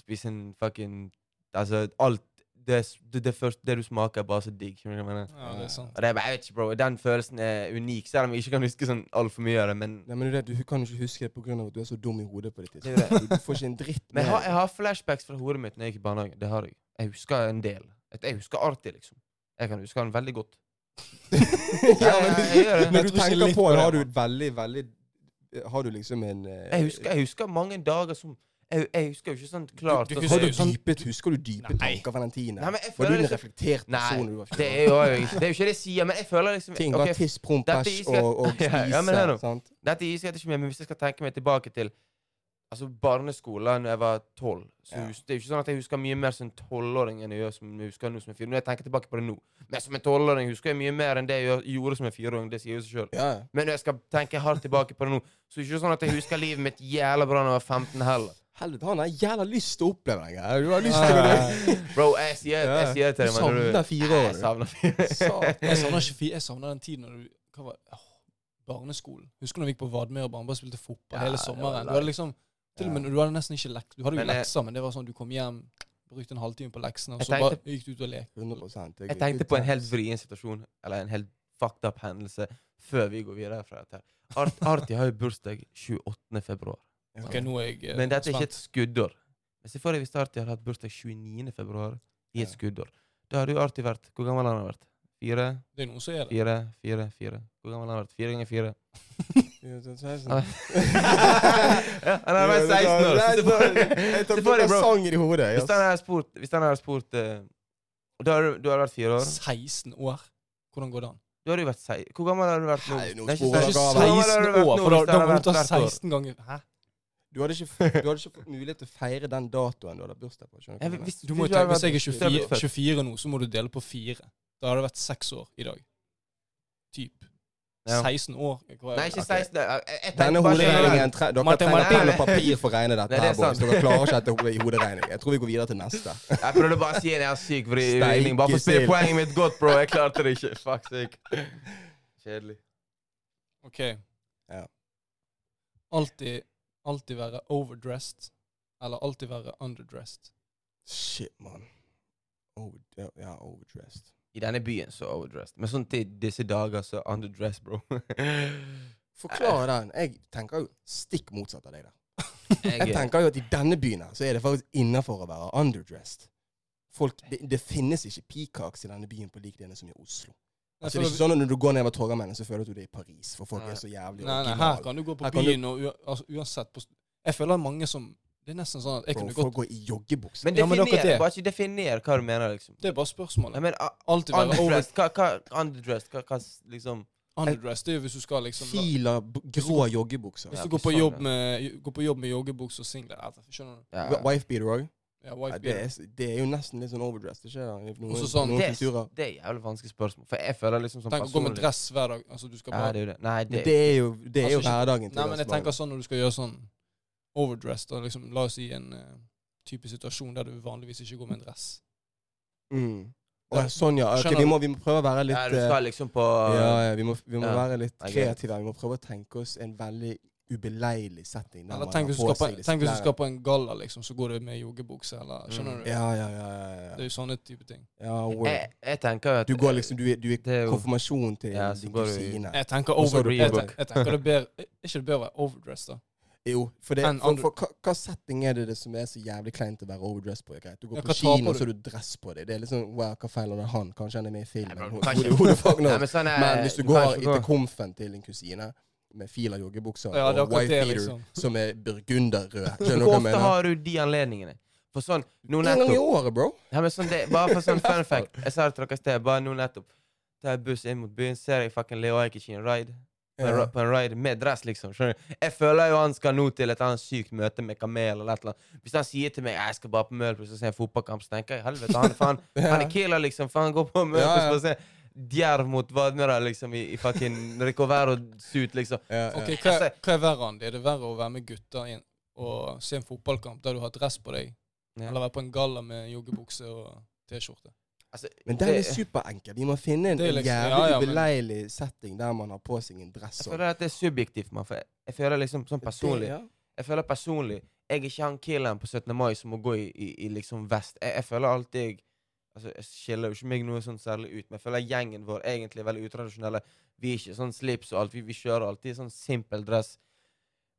[SPEAKER 3] Spise en fucking Altså, alt Det, s- det, det, første, det du smaker, er bare så digg. skjønner du hva jeg mener?
[SPEAKER 1] ja, det er sant.
[SPEAKER 3] Og det er bare, jeg vet ikke, bro, Den følelsen er unik, selv om jeg ikke kan huske sånn altfor mye av det. Men,
[SPEAKER 2] Nei, men det, er det, Du kan jo ikke huske det pga. at du er så dum i hodet på det
[SPEAKER 3] Det er jo
[SPEAKER 2] tidspunktet. Du får ikke en dritt
[SPEAKER 3] men
[SPEAKER 2] med
[SPEAKER 3] jeg, har, jeg har flashbacks fra hodet mitt når jeg gikk i barnehagen. Det har jeg. Jeg husker en del. At Jeg husker Arti, liksom. Jeg kan huske han veldig godt.
[SPEAKER 2] ja,
[SPEAKER 3] Nei,
[SPEAKER 2] men,
[SPEAKER 3] jeg- jeg gjør det.
[SPEAKER 2] når
[SPEAKER 1] Jeg
[SPEAKER 2] du
[SPEAKER 1] tror ikke
[SPEAKER 2] tenker
[SPEAKER 1] litt
[SPEAKER 2] på
[SPEAKER 1] på
[SPEAKER 2] det,
[SPEAKER 1] det,
[SPEAKER 2] har du et veldig, veldig Har du liksom en eh,
[SPEAKER 3] Jeg husker, jeg husker mange dager som Jeg, jeg husker jo ikke sånn klart.
[SPEAKER 1] du
[SPEAKER 3] og
[SPEAKER 1] husker
[SPEAKER 3] sånn-
[SPEAKER 2] Har du
[SPEAKER 1] sånn-
[SPEAKER 2] dypet, Husker du dype
[SPEAKER 1] Nei.
[SPEAKER 2] tanker fra den tiden?
[SPEAKER 3] Nei, men jeg
[SPEAKER 2] var du
[SPEAKER 3] føler
[SPEAKER 2] en
[SPEAKER 3] liksom-
[SPEAKER 2] reflektert
[SPEAKER 3] Nei,
[SPEAKER 2] person? når du var
[SPEAKER 3] Det er jo jeg ikke. Det er jo ikke det jeg sier, men jeg føler liksom
[SPEAKER 2] Ting
[SPEAKER 3] ok,
[SPEAKER 2] var tiss, promp,
[SPEAKER 3] dette
[SPEAKER 2] bæsj
[SPEAKER 3] skal-
[SPEAKER 2] og, og
[SPEAKER 3] Ja,
[SPEAKER 2] spise.
[SPEAKER 3] ja, men hør nå.
[SPEAKER 2] sant?
[SPEAKER 3] Dette gir seg ikke mer, men hvis jeg skal tenke meg tilbake til altså barneskolen da jeg var tolv så
[SPEAKER 2] Ja.
[SPEAKER 3] hus- Det er jo ikke sånn at jeg husker mye mer som tolvåring enn jeg gjør som jeg husker nå som en fyr. Når jeg tenker tilbake på det nå. Men som en tolvåring husker jeg mye mer enn det jeg gjør- gjorde som en fireåring. Det sier jo seg sjøl.
[SPEAKER 2] Ja, ja.
[SPEAKER 3] Men når jeg skal tenke hardt tilbake på det nå, så er det ikke sånn at jeg husker livet mitt jævla bra da jeg var 15 heller.
[SPEAKER 2] Helvete, han har jævla lyst til å oppleve den greia. Du har lyst til å
[SPEAKER 1] Ja.
[SPEAKER 3] Bro, jeg sier, jeg sier
[SPEAKER 2] Du
[SPEAKER 3] det til deg, men
[SPEAKER 2] savner fire
[SPEAKER 3] Jeg
[SPEAKER 2] år. du.
[SPEAKER 3] savner fire.
[SPEAKER 2] Satan.
[SPEAKER 1] Jeg savner ikke fi- Jeg savner den tiden når du hva var, åh, Barneskolen. Husker du når vi gikk på Vadmø og barn bare spilte fotball
[SPEAKER 3] Ja,
[SPEAKER 1] hele
[SPEAKER 3] det var
[SPEAKER 1] sommeren? Du
[SPEAKER 3] live.
[SPEAKER 1] hadde liksom Til og med når du hadde nesten ikke lek, Du hadde jo
[SPEAKER 3] Men jeg-
[SPEAKER 1] lekser, men det var sånn du kom hjem, brukte en halvtime på leksene, og
[SPEAKER 3] Jeg
[SPEAKER 1] så bare
[SPEAKER 3] tenkte-
[SPEAKER 1] gikk du ut og lekte.
[SPEAKER 2] 100%,
[SPEAKER 3] Jeg tenkte på en helt vrien situasjon, eller en helt fucked up hendelse, før vi går videre fra dette. her. Art, Arti har jo bursdag 28. februar.
[SPEAKER 2] Ja.
[SPEAKER 1] Ok, nå er jeg eh,
[SPEAKER 3] Men dette er ikke et
[SPEAKER 1] spent.
[SPEAKER 3] skuddår. Men Se for deg hvis Arti hadde hatt bursdag 29. februar i
[SPEAKER 2] Ja.
[SPEAKER 3] et skuddår. Da hadde jo Arti vært Hvor gammel har han vært? Fire,
[SPEAKER 1] Det er noen som er det.
[SPEAKER 3] fire, fire, fire. Hvor gammel har han vært? Fire ganger fire.
[SPEAKER 2] Ja, det er
[SPEAKER 3] Ah.
[SPEAKER 2] sånn.
[SPEAKER 3] ja, han hadde vært 16 år. Se for
[SPEAKER 2] Jeg
[SPEAKER 3] deg- se
[SPEAKER 2] tar
[SPEAKER 3] for
[SPEAKER 2] på
[SPEAKER 3] deg, bro.
[SPEAKER 2] sang i det hodet.
[SPEAKER 3] Hvis han hadde spurt, hvis han hadde spurt eh, da har du, du hadde vært fire år.
[SPEAKER 1] 16 år. Hvordan går det an?
[SPEAKER 3] Du hadde jo vært sei... Hvor gammel har du vært nå?
[SPEAKER 2] Nei, nå
[SPEAKER 3] Nei, ikke
[SPEAKER 2] sporer
[SPEAKER 3] sei-
[SPEAKER 2] jeg
[SPEAKER 1] Ikke
[SPEAKER 2] gammel.
[SPEAKER 3] Hvor gammel har
[SPEAKER 1] 16
[SPEAKER 3] du vært
[SPEAKER 1] år,
[SPEAKER 3] nå
[SPEAKER 1] for da,
[SPEAKER 3] hvis
[SPEAKER 1] da
[SPEAKER 3] han
[SPEAKER 1] må du
[SPEAKER 3] hadde vært
[SPEAKER 1] ta
[SPEAKER 3] hvert år?
[SPEAKER 1] 16 ganger Hæ?
[SPEAKER 2] Du hadde, ikke, f- du hadde ikke fått mulighet til å feire den datoen du hadde bursdag på. skjønner du hva
[SPEAKER 3] Jeg,
[SPEAKER 2] jeg mener?
[SPEAKER 3] hvis,
[SPEAKER 1] Du må jo
[SPEAKER 3] hvis
[SPEAKER 1] tenke,
[SPEAKER 3] hadde
[SPEAKER 1] Hvis jeg er
[SPEAKER 3] vært- hvis hadde
[SPEAKER 1] 24,
[SPEAKER 3] blitt
[SPEAKER 1] 24
[SPEAKER 3] født-
[SPEAKER 1] nå, så må du dele på 4. Da har det vært 6 år i dag. Typ.
[SPEAKER 3] Ja.
[SPEAKER 1] 16 år. hva er
[SPEAKER 3] Nei,
[SPEAKER 1] det?
[SPEAKER 3] ikke
[SPEAKER 2] Ok.
[SPEAKER 3] 16. Jeg, jeg, jeg
[SPEAKER 2] Denne
[SPEAKER 3] tenkte bare generelt.
[SPEAKER 2] hoderegningen tre- Dere
[SPEAKER 1] Martin,
[SPEAKER 2] trenger
[SPEAKER 3] Martin.
[SPEAKER 2] penn og papir for å regne
[SPEAKER 3] Nei,
[SPEAKER 2] dette.
[SPEAKER 3] det er
[SPEAKER 2] her, boys.
[SPEAKER 3] sant.
[SPEAKER 2] Dere klarer ikke dette i hoderegning. Jeg tror vi går videre til neste.
[SPEAKER 3] Jeg prøvde bare å si en jeg er syk vri-
[SPEAKER 2] Steike
[SPEAKER 3] vridning. Bare for å spille
[SPEAKER 2] sild.
[SPEAKER 3] poenget mitt godt, bro. Jeg klarte det ikke. Fuck sick. Kjedelig.
[SPEAKER 1] Ok.
[SPEAKER 2] Ja.
[SPEAKER 1] Alltid, alltid være overdressed, eller alltid være underdressed.
[SPEAKER 2] Shit, mann. Over- ja, ja, overdressed.
[SPEAKER 3] I denne byen så overdressed. Men sånn til disse dager så underdressed, bro.
[SPEAKER 2] Forklar
[SPEAKER 1] Eh.
[SPEAKER 2] den. Jeg tenker jo stikk motsatt av deg der. Jeg
[SPEAKER 3] Jeg,
[SPEAKER 2] tenker jo at i denne byen her, så er det faktisk innafor å være underdressed. Folk, det, det finnes ikke peacocks i denne byen på lik linje som i Oslo. Altså, det er ikke sånn at Når du går ned ved Torgallmennen, så føler du det er i Paris, for folk
[SPEAKER 3] Nei.
[SPEAKER 2] er så jævlig
[SPEAKER 1] Nei, nei, her
[SPEAKER 2] originale.
[SPEAKER 1] kan du gå på
[SPEAKER 2] Her kan du-
[SPEAKER 1] byen og ua- altså, uansett på s- Jeg føler mange som Det er nesten sånn at jeg
[SPEAKER 2] Bro,
[SPEAKER 1] kunne gått
[SPEAKER 2] folk går i joggebukser.
[SPEAKER 3] men
[SPEAKER 1] Ja, men akkurat
[SPEAKER 3] definer,
[SPEAKER 1] det.
[SPEAKER 3] bare ikke definer hva du mener, liksom.
[SPEAKER 1] Det er bare
[SPEAKER 3] Nei,
[SPEAKER 1] spørsmålet.
[SPEAKER 3] men uh,
[SPEAKER 1] Alltid være over,
[SPEAKER 3] underdressed, hva, hva underdressed, hva, hva s- liksom
[SPEAKER 1] underdressed. Det er jo hvis du skal liksom la-
[SPEAKER 2] Fila, b- grå joggebukser.
[SPEAKER 1] Hvis
[SPEAKER 3] Ja,
[SPEAKER 1] du går
[SPEAKER 3] fy
[SPEAKER 1] på
[SPEAKER 3] faen,
[SPEAKER 1] jobb
[SPEAKER 3] ja.
[SPEAKER 1] med, går på jobb med joggebukse og singlet altså, Skjønner du?
[SPEAKER 3] ja.
[SPEAKER 2] Wifebeater òg.
[SPEAKER 1] Ja,
[SPEAKER 2] Ja,
[SPEAKER 1] wife
[SPEAKER 2] det,
[SPEAKER 1] beater.
[SPEAKER 2] er s- det er jo nesten litt sånn overdressed. Ikke? det? I Noen,
[SPEAKER 1] Også sånn,
[SPEAKER 2] noen
[SPEAKER 3] det,
[SPEAKER 2] kulturer.
[SPEAKER 3] det er jævlig vanskelig spørsmål. For jeg føler liksom sånn
[SPEAKER 1] Tenk å gå med
[SPEAKER 3] personlig
[SPEAKER 1] dress hver dag. Altså, du skal
[SPEAKER 3] Ja,
[SPEAKER 1] bare
[SPEAKER 3] det er jo det. Nei,
[SPEAKER 2] Men
[SPEAKER 3] det
[SPEAKER 2] det er jo, det er jo
[SPEAKER 1] Altså, ikke-
[SPEAKER 2] hverdagen til
[SPEAKER 1] Nei, men jeg
[SPEAKER 2] ganske mange.
[SPEAKER 1] tenker sånn når du skal gjøre sånn overdressed, og liksom, la oss si en eh, type situasjon der du vanligvis ikke går med en dress.
[SPEAKER 2] mm. Å, Sånn, ja. Ok,
[SPEAKER 1] Skjønner
[SPEAKER 2] vi,
[SPEAKER 1] du?
[SPEAKER 2] må, vi må prøve å være litt
[SPEAKER 3] Ja, du
[SPEAKER 2] eh,
[SPEAKER 3] skal liksom på
[SPEAKER 2] ja, ja, Vi må, vi må
[SPEAKER 3] Ja.
[SPEAKER 2] være litt
[SPEAKER 3] Jeg er-
[SPEAKER 2] kreative. Vi må prøve å tenke oss en veldig ubeleilig setting. der
[SPEAKER 1] Eller
[SPEAKER 2] man
[SPEAKER 1] tenk
[SPEAKER 2] har
[SPEAKER 1] hvis du
[SPEAKER 2] på
[SPEAKER 1] skal på,
[SPEAKER 2] seg disse
[SPEAKER 1] tenk hvis du
[SPEAKER 2] klærne.
[SPEAKER 1] skal på en galla, liksom, så går du med joggebukse, eller Skjønner
[SPEAKER 3] Mm.
[SPEAKER 1] du?
[SPEAKER 2] Ja, ja, ja. ja,
[SPEAKER 1] Det
[SPEAKER 2] ja.
[SPEAKER 1] er jo sånne type ting.
[SPEAKER 2] ja
[SPEAKER 3] jeg,
[SPEAKER 2] word.
[SPEAKER 3] jeg tenker at
[SPEAKER 2] Du går liksom Du er, du
[SPEAKER 3] Eh, Det er
[SPEAKER 2] er
[SPEAKER 3] jo-
[SPEAKER 2] konfirmasjon til
[SPEAKER 3] Ja, så
[SPEAKER 2] din
[SPEAKER 3] går du i-
[SPEAKER 2] kusine.
[SPEAKER 1] Jeg tenker
[SPEAKER 3] Og så
[SPEAKER 1] over, jeg,
[SPEAKER 3] Reebok.
[SPEAKER 1] tenker, jeg tenker det er bedre Er ikke det bedre å være overdressed, da?
[SPEAKER 2] Jo, for, det,
[SPEAKER 1] En
[SPEAKER 2] for,
[SPEAKER 1] andre-
[SPEAKER 2] for hva, hva setting er det, det som er så jævlig kleint å være overdressed på? Greit? Du går
[SPEAKER 1] Ja,
[SPEAKER 2] på
[SPEAKER 1] hva
[SPEAKER 2] kino,
[SPEAKER 1] taper
[SPEAKER 2] og
[SPEAKER 1] du?
[SPEAKER 2] så har du dress på deg. Det er liksom, wow, Hva feiler det han? Kanskje han er med i
[SPEAKER 3] Nei, bro,
[SPEAKER 2] filmen?
[SPEAKER 3] du
[SPEAKER 2] Hvor-
[SPEAKER 3] kan
[SPEAKER 2] hvor-
[SPEAKER 3] ikke-
[SPEAKER 2] hvor det fagner.
[SPEAKER 3] Nei, men, sånn er,
[SPEAKER 1] Eh,
[SPEAKER 2] Men hvis du
[SPEAKER 3] du kan
[SPEAKER 2] går
[SPEAKER 3] ikke
[SPEAKER 2] i
[SPEAKER 3] gå-
[SPEAKER 2] til komfen til en kusine med fila joggebukser
[SPEAKER 1] Ja, det er
[SPEAKER 2] og
[SPEAKER 1] akkurat
[SPEAKER 2] white
[SPEAKER 1] det,
[SPEAKER 2] beater
[SPEAKER 1] liksom.
[SPEAKER 2] som er burgunderrød Skjønner du hva
[SPEAKER 3] Hvor
[SPEAKER 2] jeg
[SPEAKER 3] ofte
[SPEAKER 2] mener?
[SPEAKER 3] har du de anledningene? For sånn, nå
[SPEAKER 2] En gang i
[SPEAKER 3] nettopp
[SPEAKER 2] året, bro.
[SPEAKER 3] Nei, men sånn, det, bare for sånn fun fact. Jeg sa det til dere i sted. Bare nå nettopp. Tar jeg buss inn mot byen, ser jeg fucking Leo Ajkic i en ride. På en,
[SPEAKER 2] Ja.
[SPEAKER 3] ra- på en ride med dress, liksom. Skjønner du? Jeg føler jo han skal nå til et annet sykt møte med Kamel eller et eller annet. Hvis han sier til meg jeg skal bare på Møhlpris og se en fotballkamp, så tenker jeg helvete, han, faen, han er killer, liksom. For han går på Møhlpris
[SPEAKER 2] Ja, ja.
[SPEAKER 3] for å se Djerv mot Vadmera, liksom, i, i fucking Ricovero-suit, liksom.
[SPEAKER 2] Ja, ja.
[SPEAKER 1] Ok, hva,
[SPEAKER 3] Altså-
[SPEAKER 1] hva er verre, Andy? Er det verre å være med gutter inn og se en fotballkamp der du har dress på deg,
[SPEAKER 3] Ja.
[SPEAKER 1] eller være på en galla med joggebukse og T-skjorte?
[SPEAKER 3] Altså,
[SPEAKER 2] Men den er superenkel. Vi må finne en
[SPEAKER 1] Det er liksom-
[SPEAKER 2] jævlig
[SPEAKER 1] ja, ja, men-
[SPEAKER 2] ubeleilig setting der man har på seg en dress.
[SPEAKER 3] Jeg
[SPEAKER 2] og-
[SPEAKER 3] føler at det er subjektivt, mann. For jeg, jeg føler liksom sånn
[SPEAKER 2] altså.
[SPEAKER 3] personlig
[SPEAKER 2] Det, ja.
[SPEAKER 3] Jeg føler personlig Jeg er ikke han killeren på 17. mai som må gå i, i, i liksom vest. Jeg, jeg føler alltid jeg Altså, jeg skiller jo ikke meg noe sånn særlig ut, men jeg føler gjengen vår egentlig er veldig utradisjonelle. Vi er ikke sånn slips og alt. Vi, vi kjører alltid sånn simpel dress.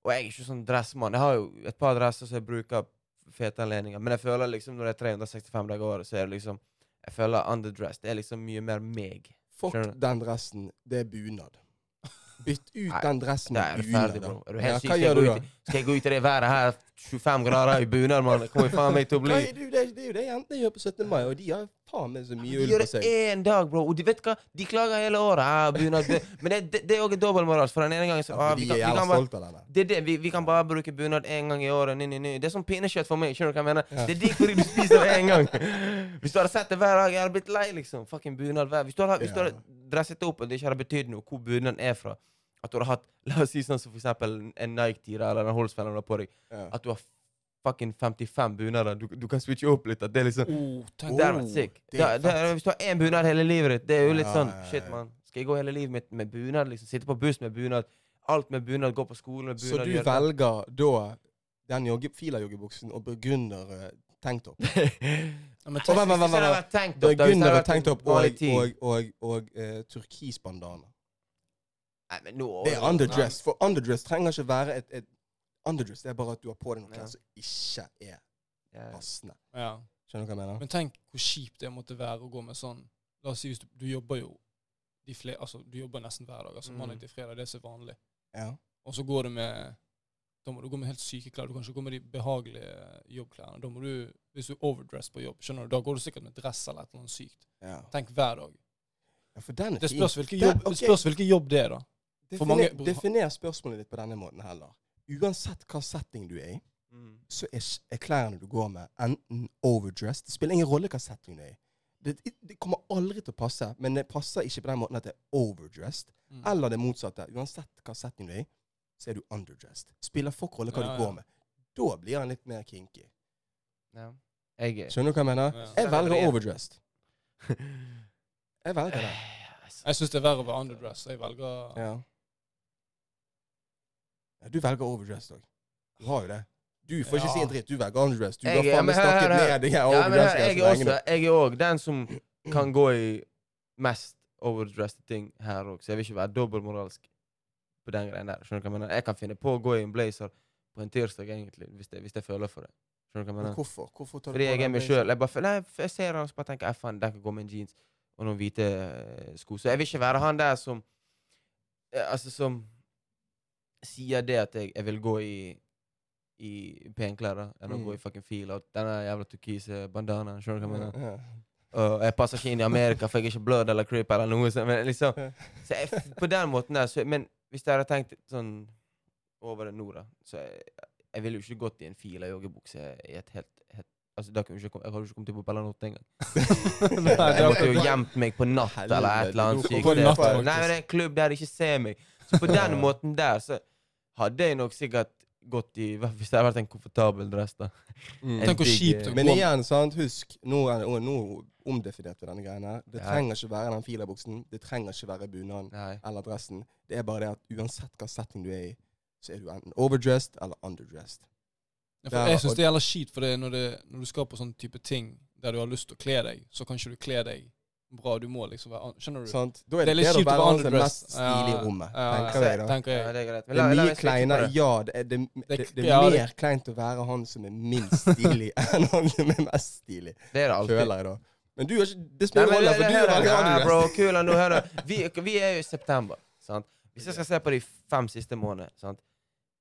[SPEAKER 3] Og jeg er ikke sånn dressmann. Jeg har jo et par dresser som jeg bruker fete anledninger, men jeg føler liksom når det er 365 dager i året, så er det liksom Jeg føler underdress. Det er liksom mye mer meg.
[SPEAKER 2] Fuck
[SPEAKER 3] Skjønner du?
[SPEAKER 2] den dressen. Det er bunad. Bytt ut
[SPEAKER 3] Nei,
[SPEAKER 2] den dressen
[SPEAKER 3] Da
[SPEAKER 2] med
[SPEAKER 3] er du
[SPEAKER 2] bunad.
[SPEAKER 3] ferdig,
[SPEAKER 2] da.
[SPEAKER 3] bro. Er du
[SPEAKER 2] Ja,
[SPEAKER 3] helt syk?
[SPEAKER 2] hva
[SPEAKER 3] Skal
[SPEAKER 2] gjør
[SPEAKER 3] jeg
[SPEAKER 2] du
[SPEAKER 3] gå
[SPEAKER 2] da?
[SPEAKER 3] ut i- skal jeg gå ut i det været her, 25 grader i bunad, mann? Det Kommer faen meg til å
[SPEAKER 2] Hva
[SPEAKER 3] bli
[SPEAKER 2] er det, det, er- det er jo det jentene gjør på 17. mai, og de har faen meg så mye
[SPEAKER 3] De
[SPEAKER 2] ull
[SPEAKER 3] gjør
[SPEAKER 2] på seg.
[SPEAKER 3] det én dag, bro. Og de vet hva? De klager hele året. Ah, bunad, bu- Men det, det, det er òg dobbeltmoral. For den ene gangen så
[SPEAKER 2] Ja,
[SPEAKER 3] ah,
[SPEAKER 2] for
[SPEAKER 3] vi
[SPEAKER 2] De er
[SPEAKER 3] kan, vi
[SPEAKER 2] jævla
[SPEAKER 3] kan bare,
[SPEAKER 2] stolte av den der.
[SPEAKER 3] det er det. Vi, vi kan bare bruke bunad én gang i året. Ny, ny, ny. Det er som pinnekjøtt for meg. Skjønner du hva jeg mener?
[SPEAKER 2] Ja.
[SPEAKER 3] Det er digg fordi du spiser det én gang. Hvis du hadde sett det hver dag, jeg hadde blitt lei, liksom. Fucking bunad hver Hvis du hadde, hvis du
[SPEAKER 2] Ja.
[SPEAKER 3] hadde dresset det opp, og det ikke hadde betydd noe hvor bunaden er fra At du hadde hatt La oss si sånn som for eksempel en Nike-tira eller en Holsfeller du har på deg.
[SPEAKER 2] Ja.
[SPEAKER 3] At du har fucking 55 bunader. Du, du kan switche opp litt. At det er liksom
[SPEAKER 1] Oh, tenk
[SPEAKER 3] Det hadde
[SPEAKER 2] Oh,
[SPEAKER 3] vært sick.
[SPEAKER 2] det er
[SPEAKER 3] Da- da- Hvis du har én bunad hele livet ditt, det er jo litt
[SPEAKER 2] Ja,
[SPEAKER 3] sånn
[SPEAKER 2] ja, ja.
[SPEAKER 3] Shit, mann. Skal jeg gå hele livet mitt med bunad? liksom Sitte på buss med bunad? Alt med bunad, gå på skolen med
[SPEAKER 2] Så
[SPEAKER 3] bunad?
[SPEAKER 2] du
[SPEAKER 3] gjøre-
[SPEAKER 2] velger da den jogge, fila-joggebuksen og burgunder tanktop?
[SPEAKER 1] Ja, men tenk,
[SPEAKER 3] Hvis
[SPEAKER 2] Å, vent, vent,
[SPEAKER 3] det
[SPEAKER 2] vent,
[SPEAKER 3] hadde
[SPEAKER 2] vent.
[SPEAKER 3] vært tanktop, da, hvis det hadde
[SPEAKER 2] Burgunder
[SPEAKER 3] vært
[SPEAKER 2] tanktop og,
[SPEAKER 3] vanlig tid.
[SPEAKER 2] og, og, og eh, turkisbandana.
[SPEAKER 3] Nei, men nå
[SPEAKER 2] Det er underdress, for underdress trenger ikke være et, et Underdress det er bare at du har på deg noe
[SPEAKER 3] Ja.
[SPEAKER 2] klær som ikke er
[SPEAKER 3] Ja.
[SPEAKER 2] passende.
[SPEAKER 1] ja.
[SPEAKER 2] Skjønner du hva jeg mener?
[SPEAKER 1] men tenk hvor kjipt det måtte være å gå med sånn La oss si hvis du, du jobber jo de fle- altså, Du jobber nesten hver dag. altså
[SPEAKER 3] Mm.
[SPEAKER 1] Mandag til fredag, det er så vanlig.
[SPEAKER 2] Ja.
[SPEAKER 1] Og så går du med Da må du gå med helt syke klær. Du kan ikke gå med de behagelige eh, jobbklærne. Da må du, Hvis du er overdress på jobb, skjønner du, da går du sikkert med dress eller et eller annet sykt.
[SPEAKER 2] Ja.
[SPEAKER 1] Tenk hver dag.
[SPEAKER 2] ja, for den er
[SPEAKER 1] Det
[SPEAKER 2] fin.
[SPEAKER 1] spørs hvilken
[SPEAKER 2] Det-
[SPEAKER 1] jobb
[SPEAKER 2] ok.
[SPEAKER 1] det, spørs hvilken jobb det er, da.
[SPEAKER 2] Definer,
[SPEAKER 1] for mange-
[SPEAKER 2] definer spørsmålet ditt på denne måten heller. Uansett hva setting du er i,
[SPEAKER 3] Mm.
[SPEAKER 2] så er, ikke- er klærne du går med, enten overdressed Det spiller ingen rolle hva setting du er i. Det, det kommer aldri til å passe, men det passer ikke på den måten at det er overdressed.
[SPEAKER 1] Mm.
[SPEAKER 2] Eller det motsatte. Uansett hva setting du er i, så er du underdressed. Spiller fuck rolle hva
[SPEAKER 1] Ja,
[SPEAKER 2] du
[SPEAKER 1] ja.
[SPEAKER 2] går med. Da blir han litt mer kinky.
[SPEAKER 3] Ja. Jeg
[SPEAKER 2] Skjønner du hva jeg mener?
[SPEAKER 1] Ja.
[SPEAKER 2] Jeg velger overdressed. Jeg velger det.
[SPEAKER 1] Jeg syns det er verre å være underdress. så Jeg velger
[SPEAKER 2] Ja. ja du velger overdressed òg. Du har jo det. Du får ikke
[SPEAKER 1] Ja.
[SPEAKER 2] si en dritt. Du velger overdressed. Du
[SPEAKER 3] Jeg-
[SPEAKER 2] har
[SPEAKER 3] ja,
[SPEAKER 2] faen
[SPEAKER 3] men
[SPEAKER 2] meg
[SPEAKER 3] her-
[SPEAKER 2] snakket
[SPEAKER 3] her- her-
[SPEAKER 2] ned de her
[SPEAKER 3] Ja, men her, jeg er
[SPEAKER 2] overdressed
[SPEAKER 3] også Jeg er òg den som kan gå i mest overdressed ting her òg, så jeg vil ikke være dobbeltmoralsk på den greien der. Skjønner du hva Jeg mener? Jeg kan finne på å gå i en blazer på en tirsdag, egentlig, hvis jeg, hvis jeg føler for det. Skjønner du hva jeg mener?
[SPEAKER 2] Hvorfor? Hvorfor tar du
[SPEAKER 3] Fordi
[SPEAKER 2] på
[SPEAKER 3] jeg er
[SPEAKER 2] den
[SPEAKER 3] meg
[SPEAKER 2] blazer?
[SPEAKER 3] sjøl. Jeg, bare føler- nei, jeg ser han og så bare tenker jeg, faen, der kan gå med en jeans og noen hvite eh, sko. Så jeg vil ikke være han der som eh, Altså, som sier det at jeg, jeg vil gå i i penklær, da, enn å
[SPEAKER 2] Mm.
[SPEAKER 3] gå i fucking fila. Denne jævla turkise bandanaen. Skjønner du hva jeg mener?
[SPEAKER 2] Ja.
[SPEAKER 3] Og jeg passer ikke inn i Amerika, for jeg er ikke blød eller creep eller noe sånt. Men liksom, så jeg, på den måten der, så, men hvis jeg hadde tenkt sånn over det nå, da, så jeg, jeg ville jo ikke gått i en fila joggebukse i et helt, helt Altså, da kunne jeg, ikke, kom- jeg hadde jo ikke kommet inn på Bellanot engang.
[SPEAKER 1] Nei, det
[SPEAKER 3] Jeg
[SPEAKER 1] er
[SPEAKER 3] måtte jo
[SPEAKER 1] akkurat-
[SPEAKER 3] gjemt meg på natt eller et eller
[SPEAKER 1] Helvete,
[SPEAKER 3] annet
[SPEAKER 1] du kom
[SPEAKER 3] sykt.
[SPEAKER 1] på
[SPEAKER 3] sted.
[SPEAKER 1] natt,
[SPEAKER 3] Nei,
[SPEAKER 1] faktisk.
[SPEAKER 3] men det er en klubb der de ikke ser meg. Så på den
[SPEAKER 2] Ja.
[SPEAKER 3] måten der, så hadde jeg nok sikkert gått i hva- Hvis det hadde vært en komfortabel dress, da.
[SPEAKER 2] Mm.
[SPEAKER 1] Tenk hvor
[SPEAKER 3] digg,
[SPEAKER 1] kjipt
[SPEAKER 3] eh,
[SPEAKER 1] det
[SPEAKER 2] Men igjen, sant? husk, nå, er det, og nå omdefinerte vi denne greien her. Det
[SPEAKER 3] Ja.
[SPEAKER 2] trenger ikke være den filabuksen, det trenger ikke være bunaden
[SPEAKER 3] Nei.
[SPEAKER 2] eller dressen. Det er bare det at uansett hva setting du er i, så er du enten overdressed eller underdressed.
[SPEAKER 1] Ja,
[SPEAKER 2] Der,
[SPEAKER 1] for jeg syns
[SPEAKER 2] og-
[SPEAKER 1] det er jævla kjipt, for det er når, det, når du skal på sånne type ting der du har lyst til å kle deg, så kan ikke du kle deg bra. Du må liksom være an- Skjønner du?
[SPEAKER 2] Sant? Da
[SPEAKER 1] Det er
[SPEAKER 2] er det, det
[SPEAKER 1] litt
[SPEAKER 2] å
[SPEAKER 1] kjipt å
[SPEAKER 2] være
[SPEAKER 1] være
[SPEAKER 2] han som er mest
[SPEAKER 1] underdressed.
[SPEAKER 2] stilig i
[SPEAKER 1] Ja,
[SPEAKER 2] rommet,
[SPEAKER 1] ja, ja.
[SPEAKER 2] tenker jeg da.
[SPEAKER 1] Tenker
[SPEAKER 3] Ja,
[SPEAKER 1] jeg.
[SPEAKER 3] det er greit. Men
[SPEAKER 2] Det
[SPEAKER 3] la-
[SPEAKER 2] er
[SPEAKER 3] la
[SPEAKER 2] mye
[SPEAKER 3] meg slikke på
[SPEAKER 2] kleinere
[SPEAKER 3] det.
[SPEAKER 2] Ja, det er, det, det, det,
[SPEAKER 1] ja,
[SPEAKER 2] er
[SPEAKER 1] det-
[SPEAKER 2] mer kleint å være han som er minst stilig, enn han som er mest stilig,
[SPEAKER 3] Det er det alltid.
[SPEAKER 2] føler jeg da. Men du er ikke Det
[SPEAKER 3] Nei,
[SPEAKER 2] spiller ingen
[SPEAKER 3] men
[SPEAKER 2] rolle,
[SPEAKER 3] det-
[SPEAKER 2] for
[SPEAKER 3] det
[SPEAKER 2] du er
[SPEAKER 3] hører
[SPEAKER 2] veldig
[SPEAKER 3] jeg. Nei, bro,
[SPEAKER 2] underdressed.
[SPEAKER 3] kul, nå hører jeg. vi, vi er jo i september. Sant? Hvis jeg skal se på de fem siste månedene sant?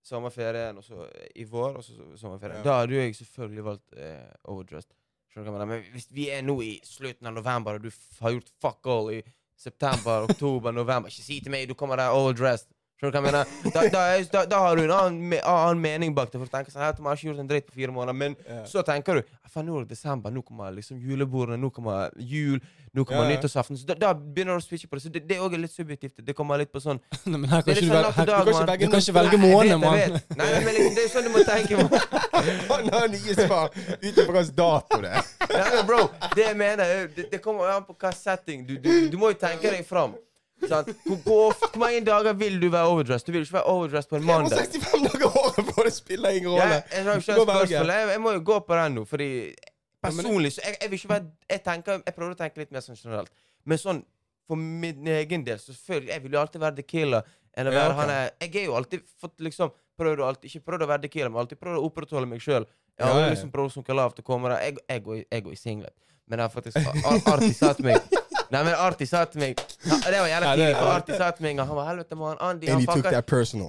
[SPEAKER 3] Sommerferien, og så i vår, og så sommerferien.
[SPEAKER 2] Ja.
[SPEAKER 3] Da hadde jo jeg selvfølgelig valgt eh, overdressed. Skjønner du hva jeg mener? Men hvis vi er nå i slutten av november, og du f- har gjort fuck all i september, oktober, november Ikke si til meg du kommer der overdressed. Skjønner du hva jeg mener? Da, da, er- da, da har du en annen, me, annen mening bak det. For du tenker sånn, «Helvete, man har ikke gjort en dritt på fire måneder, men
[SPEAKER 2] Ja.
[SPEAKER 3] så tenker du «Ja, faen, nå er det desember, nå kommer liksom julebordene, nå kommer jul, nå kommer
[SPEAKER 2] Ja, ja.
[SPEAKER 3] nyttårsaften. Så da, da begynner du å switche på det. Så det, det er også litt subjektivt. Det kommer litt på sånn
[SPEAKER 1] Nei, men her
[SPEAKER 3] Det
[SPEAKER 1] kan
[SPEAKER 3] er
[SPEAKER 1] ikke
[SPEAKER 3] litt
[SPEAKER 1] du
[SPEAKER 3] sånn
[SPEAKER 1] velge,
[SPEAKER 3] natt og
[SPEAKER 1] her,
[SPEAKER 3] dag,
[SPEAKER 2] du kan ikke
[SPEAKER 3] mann.
[SPEAKER 1] du kan ikke velge måned, mann.
[SPEAKER 3] Nei, jeg vet, jeg vet. Nei, nei, men liksom, det er sånn du må tenke. Man.
[SPEAKER 2] Han har nye svar ut ifra hvilken dato det er.
[SPEAKER 3] Nei, men bro, det jeg mener er, det, det kommer an på hva setting. Du, du, du må jo tenke deg fram. Sant? Hvor, hvor, ofte- hvor mange dager vil du være overdressed? Du vil ikke være overdressed på en mandag.
[SPEAKER 2] 365 dager i året på, det spiller ingen rolle.
[SPEAKER 3] Jeg, jeg, har jo
[SPEAKER 2] Du
[SPEAKER 3] ikke
[SPEAKER 2] må
[SPEAKER 3] et
[SPEAKER 2] velge.
[SPEAKER 3] spørsmål. Jeg, jeg må jo gå på den nå, fordi
[SPEAKER 1] men-
[SPEAKER 3] personlig så jeg, jeg vil ikke være jeg, tenker, jeg prøver å tenke litt mer sånn generelt. Men sånn for min egen del, selvfølgelig. Jeg vil jo alltid være the killer. Enn å
[SPEAKER 2] Ja,
[SPEAKER 3] være
[SPEAKER 2] ok.
[SPEAKER 3] han er, Jeg er jo alltid fått liksom prøvd å alltid, Ikke prøvd å være the killer, men alltid prøvd å opprettholde meg sjøl. Jeg har
[SPEAKER 2] Ja,
[SPEAKER 3] jo
[SPEAKER 2] ja, ja.
[SPEAKER 3] liksom prøvd å sunke lavt og komme der. Jeg, jeg, går i- jeg går i singlet. Men jeg har faktisk Ar- Arti sa til meg Nei, men Arti sa til meg Ja, Det var jævla
[SPEAKER 1] Nei, det-
[SPEAKER 3] tidlig, for Arti sa til meg og Han var helvete, mann. Andy,
[SPEAKER 2] And
[SPEAKER 3] han
[SPEAKER 2] he took
[SPEAKER 3] fucker
[SPEAKER 2] that personal.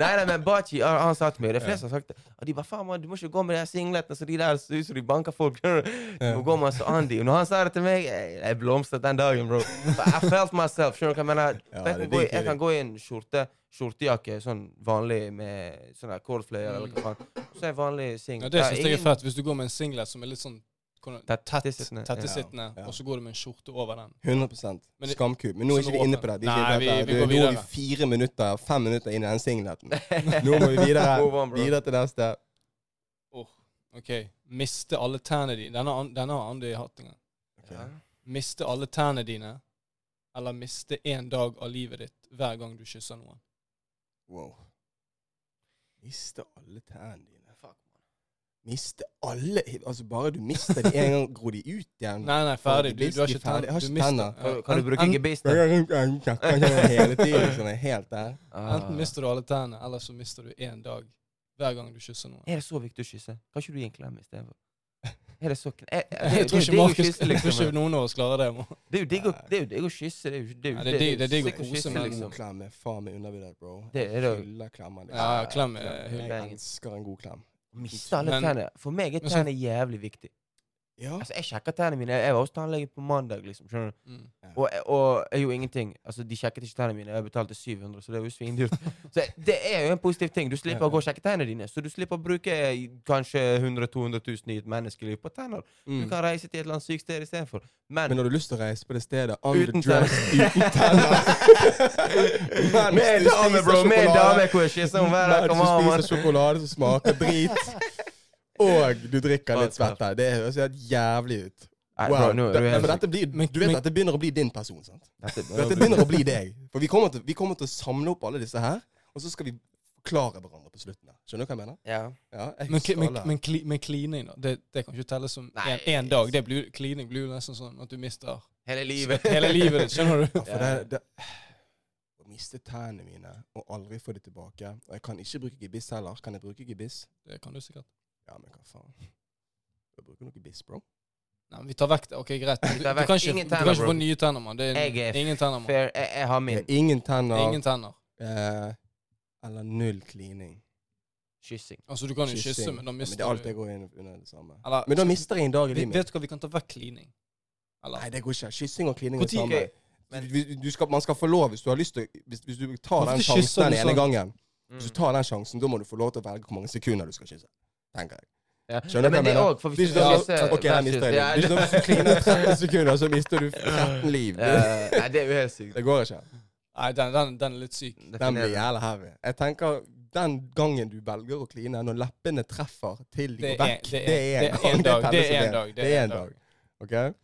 [SPEAKER 3] Nei, nei, men Bachi han, han sa til meg Det er flere som har sagt det. Og de bare faen, mann, du må ikke gå med de her singletene så de der ser ut som de banker folk. skjønner du? Du må gå med så Andy. Og når han sa det til meg, jeg, jeg blomstret den dagen, bro. For I felt myself. Skjønner du hva jeg mener?
[SPEAKER 2] Ja,
[SPEAKER 3] jeg,
[SPEAKER 2] det er digg,
[SPEAKER 3] kan gå, i-
[SPEAKER 2] det er
[SPEAKER 3] jeg kan gå i en skjorte, skjortejakke, sånn vanlig med sånn der cordflayer eller hva faen. Og så er jeg
[SPEAKER 1] Mm.
[SPEAKER 3] vanlig
[SPEAKER 1] Ja,
[SPEAKER 3] singlet.
[SPEAKER 1] det syns jeg er fett, hvis du går med en singlet som er litt sånn kon-
[SPEAKER 3] Tett-
[SPEAKER 1] tett-
[SPEAKER 3] sittende.
[SPEAKER 1] tettesittende,
[SPEAKER 2] Ja, ja.
[SPEAKER 1] og så går du med en skjorte over den.
[SPEAKER 2] 100
[SPEAKER 1] Men det-
[SPEAKER 2] Skamkub. Men nå er
[SPEAKER 1] Så
[SPEAKER 2] ikke vi
[SPEAKER 1] nå
[SPEAKER 2] inne på
[SPEAKER 1] åpner-
[SPEAKER 2] det. Vi,
[SPEAKER 1] Nei,
[SPEAKER 2] vi,
[SPEAKER 1] vi- vi går
[SPEAKER 2] nå er vi
[SPEAKER 1] videre.
[SPEAKER 2] fire minutter, fem minutter inn i den singleten. Nå må vi videre.
[SPEAKER 3] Move on, bro.
[SPEAKER 2] videre til neste.
[SPEAKER 1] OK. Miste alle tærne dine. Denne, an- denne har Andy hatt en gang.
[SPEAKER 3] Ja.
[SPEAKER 1] Miste alle tærne dine, eller miste én dag av livet ditt hver gang du kysser noen.
[SPEAKER 2] Wow. Miste alle tærne dine.
[SPEAKER 3] Fuck, mann.
[SPEAKER 2] Miste alle Altså, bare du mister de en gang, gror de ut igjen.
[SPEAKER 1] Nei, nei, ferdig. Du,
[SPEAKER 2] Gebiss,
[SPEAKER 1] du har
[SPEAKER 2] de
[SPEAKER 1] ikke
[SPEAKER 2] ferdig-
[SPEAKER 1] tenner.
[SPEAKER 2] jeg har
[SPEAKER 1] Du mister- ja.
[SPEAKER 2] ikke tenner.
[SPEAKER 3] Kan, kan du bruke
[SPEAKER 1] Enten-
[SPEAKER 3] gebisten?
[SPEAKER 2] Hele tiden sånn helt der.
[SPEAKER 3] Ah.
[SPEAKER 1] Enten mister du alle tennene, eller så mister du én dag hver gang du kysser noen.
[SPEAKER 3] Er det så viktig å kysse? Kan ikke du gi en klem istedenfor? Er det så kn- er- er-
[SPEAKER 1] Jeg
[SPEAKER 3] det-
[SPEAKER 1] tror
[SPEAKER 3] det-
[SPEAKER 1] ikke
[SPEAKER 3] det er jo
[SPEAKER 1] Markus
[SPEAKER 3] kysse,
[SPEAKER 1] Jeg
[SPEAKER 3] liksom.
[SPEAKER 1] tror ikke noen av oss klarer det. Mo.
[SPEAKER 3] Det er jo digg å, det er jo digg å kysse. Det er jo det er jo-
[SPEAKER 1] Ja, det er digg- det er digg å
[SPEAKER 3] sikkert
[SPEAKER 1] kose
[SPEAKER 3] kysse,
[SPEAKER 1] med
[SPEAKER 2] Men
[SPEAKER 1] en
[SPEAKER 2] god
[SPEAKER 3] liksom.
[SPEAKER 2] klem er faen meg undervurdert, bro.
[SPEAKER 3] Det er det jo.
[SPEAKER 2] Hyller klemmer. liksom.
[SPEAKER 1] Ja, klem
[SPEAKER 3] eh,
[SPEAKER 1] er hyll.
[SPEAKER 2] Jeg elsker en god klem.
[SPEAKER 3] Miste alle
[SPEAKER 1] Men-
[SPEAKER 3] tennene. For meg er
[SPEAKER 1] Men så-
[SPEAKER 3] tennene jævlig viktig.
[SPEAKER 2] Ja.
[SPEAKER 3] Altså, Jeg sjekker tennene mine. Jeg var hos tannlegen på mandag, liksom. skjønner du?
[SPEAKER 1] Mm.
[SPEAKER 3] Og, og jeg gjorde ingenting. Altså, De sjekket ikke tennene mine. Jeg betalte 700, så det var jo svindyrt. Så det er jo en positiv ting. Du slipper å gå og sjekke tennene dine. Så du slipper å bruke eh, kanskje 100 000-200 000 i et menneskeliv på tenner. Du
[SPEAKER 2] Mm.
[SPEAKER 3] kan reise til et eller annet sykt sted istedenfor. Men
[SPEAKER 2] Men når du har lyst til å reise på det stedet
[SPEAKER 3] Uten
[SPEAKER 2] underdressed, uten tenner Mens
[SPEAKER 3] Med en
[SPEAKER 2] du
[SPEAKER 3] dame,
[SPEAKER 2] spiser
[SPEAKER 3] bro! Med en
[SPEAKER 2] sjokolade.
[SPEAKER 3] dame! Hvor jeg kysser henne hver dag.
[SPEAKER 2] Mens
[SPEAKER 3] Kom an,
[SPEAKER 2] du
[SPEAKER 3] mann.
[SPEAKER 2] spiser sjokolade som smaker drit, og du drikker litt svette. Det høres helt jævlig ut.
[SPEAKER 3] Nei,
[SPEAKER 2] Wow.
[SPEAKER 3] bro, nå er du
[SPEAKER 2] Det-
[SPEAKER 3] helt
[SPEAKER 2] for dette blir,
[SPEAKER 1] Men-
[SPEAKER 2] du vet
[SPEAKER 1] men-
[SPEAKER 2] at det begynner å bli din person, sant?
[SPEAKER 3] Dette-
[SPEAKER 2] Dette begynner å bli deg. For vi kommer til, vi kommer til å samle opp alle disse her, og så skal vi forklare hverandre på slutten. her. Skjønner du hva jeg mener?
[SPEAKER 3] Ja.
[SPEAKER 2] Ja, jeg
[SPEAKER 1] Men,
[SPEAKER 2] husker
[SPEAKER 1] kli- men,
[SPEAKER 2] alle.
[SPEAKER 1] men, kli- men klining, da. Det, det kan ikke telles som
[SPEAKER 3] Nei.
[SPEAKER 1] én dag. Det blir, klining blir jo nesten sånn at du mister
[SPEAKER 3] Hele livet.
[SPEAKER 1] hele livet ditt. Skjønner du?
[SPEAKER 2] For det, det, å miste tennene mine og aldri få de tilbake Og jeg kan ikke bruke gebiss heller. Kan jeg bruke gebiss?
[SPEAKER 1] Det kan du sikkert.
[SPEAKER 2] Ja, men hva faen? Jeg bruker noe gebiss, bro.
[SPEAKER 1] Nei, men vi tar vekk det. OK, greit. Du,
[SPEAKER 3] Vi
[SPEAKER 1] du,
[SPEAKER 3] tar vekk
[SPEAKER 1] kan ikke,
[SPEAKER 3] ingen
[SPEAKER 1] du kan
[SPEAKER 3] tenner,
[SPEAKER 1] ikke
[SPEAKER 3] bro.
[SPEAKER 1] få nye tenner, mann. Det
[SPEAKER 3] Jeg er
[SPEAKER 1] er ingen tenner, mann.
[SPEAKER 3] Fair. Jeg, jeg har
[SPEAKER 2] Jeg
[SPEAKER 3] min.
[SPEAKER 2] har ingen tenner
[SPEAKER 1] Ingen tenner.
[SPEAKER 2] eh, eller null klining.
[SPEAKER 3] Kyssing.
[SPEAKER 1] Altså, du kan jo kysse,
[SPEAKER 2] Kyssing.
[SPEAKER 1] men da
[SPEAKER 2] Ja,
[SPEAKER 1] mister
[SPEAKER 2] det er alt
[SPEAKER 1] du
[SPEAKER 2] jeg går inn under det samme.
[SPEAKER 1] Eller-
[SPEAKER 2] Men da mister jeg en dag i
[SPEAKER 1] Vi-
[SPEAKER 2] livet mitt.
[SPEAKER 1] Vet du hva, vi kan ta vekk klining. Eller
[SPEAKER 2] Nei, det går ikke. Kyssing og klining
[SPEAKER 1] Hvor
[SPEAKER 2] er
[SPEAKER 1] tid-
[SPEAKER 2] sammen.
[SPEAKER 3] Ok,
[SPEAKER 2] Men,
[SPEAKER 3] men-
[SPEAKER 2] du, du skal, man skal få lov hvis du har lyst til Hvis, hvis du tar
[SPEAKER 1] Hvorfor
[SPEAKER 2] den
[SPEAKER 1] kysser
[SPEAKER 2] sjansen
[SPEAKER 1] du
[SPEAKER 2] den ene
[SPEAKER 1] sånn?
[SPEAKER 2] gangen, hvis du
[SPEAKER 3] Mm.
[SPEAKER 2] tar den sjansen, da må du få lov til å velge hvor mange sekunder du skal kysse. Tenker jeg.
[SPEAKER 3] Ja.
[SPEAKER 2] Skjønner du
[SPEAKER 3] Ja,
[SPEAKER 2] hva jeg
[SPEAKER 3] men det
[SPEAKER 2] mener?
[SPEAKER 3] òg, for hvis
[SPEAKER 2] Det er
[SPEAKER 3] du
[SPEAKER 2] ikke sånn,
[SPEAKER 3] mister
[SPEAKER 2] ok, her mister jeg
[SPEAKER 3] Ja,
[SPEAKER 2] liv. Det er ikke sånn hvis du kliner 30 sekunder, så mister du 13 liv.
[SPEAKER 3] ja, Nei, det er jo helt sykt.
[SPEAKER 2] Det går ikke.
[SPEAKER 1] Nei, den, den, den er litt syk.
[SPEAKER 3] Det
[SPEAKER 2] Den
[SPEAKER 3] finner
[SPEAKER 2] blir
[SPEAKER 3] jeg.
[SPEAKER 2] jævla heavy. Jeg tenker den gangen du velger å kline, når leppene treffer til de
[SPEAKER 1] Det
[SPEAKER 2] går
[SPEAKER 1] er-
[SPEAKER 2] vekk,
[SPEAKER 1] det er- det er en dag, det er en dag,
[SPEAKER 2] Det er en dag. Ok?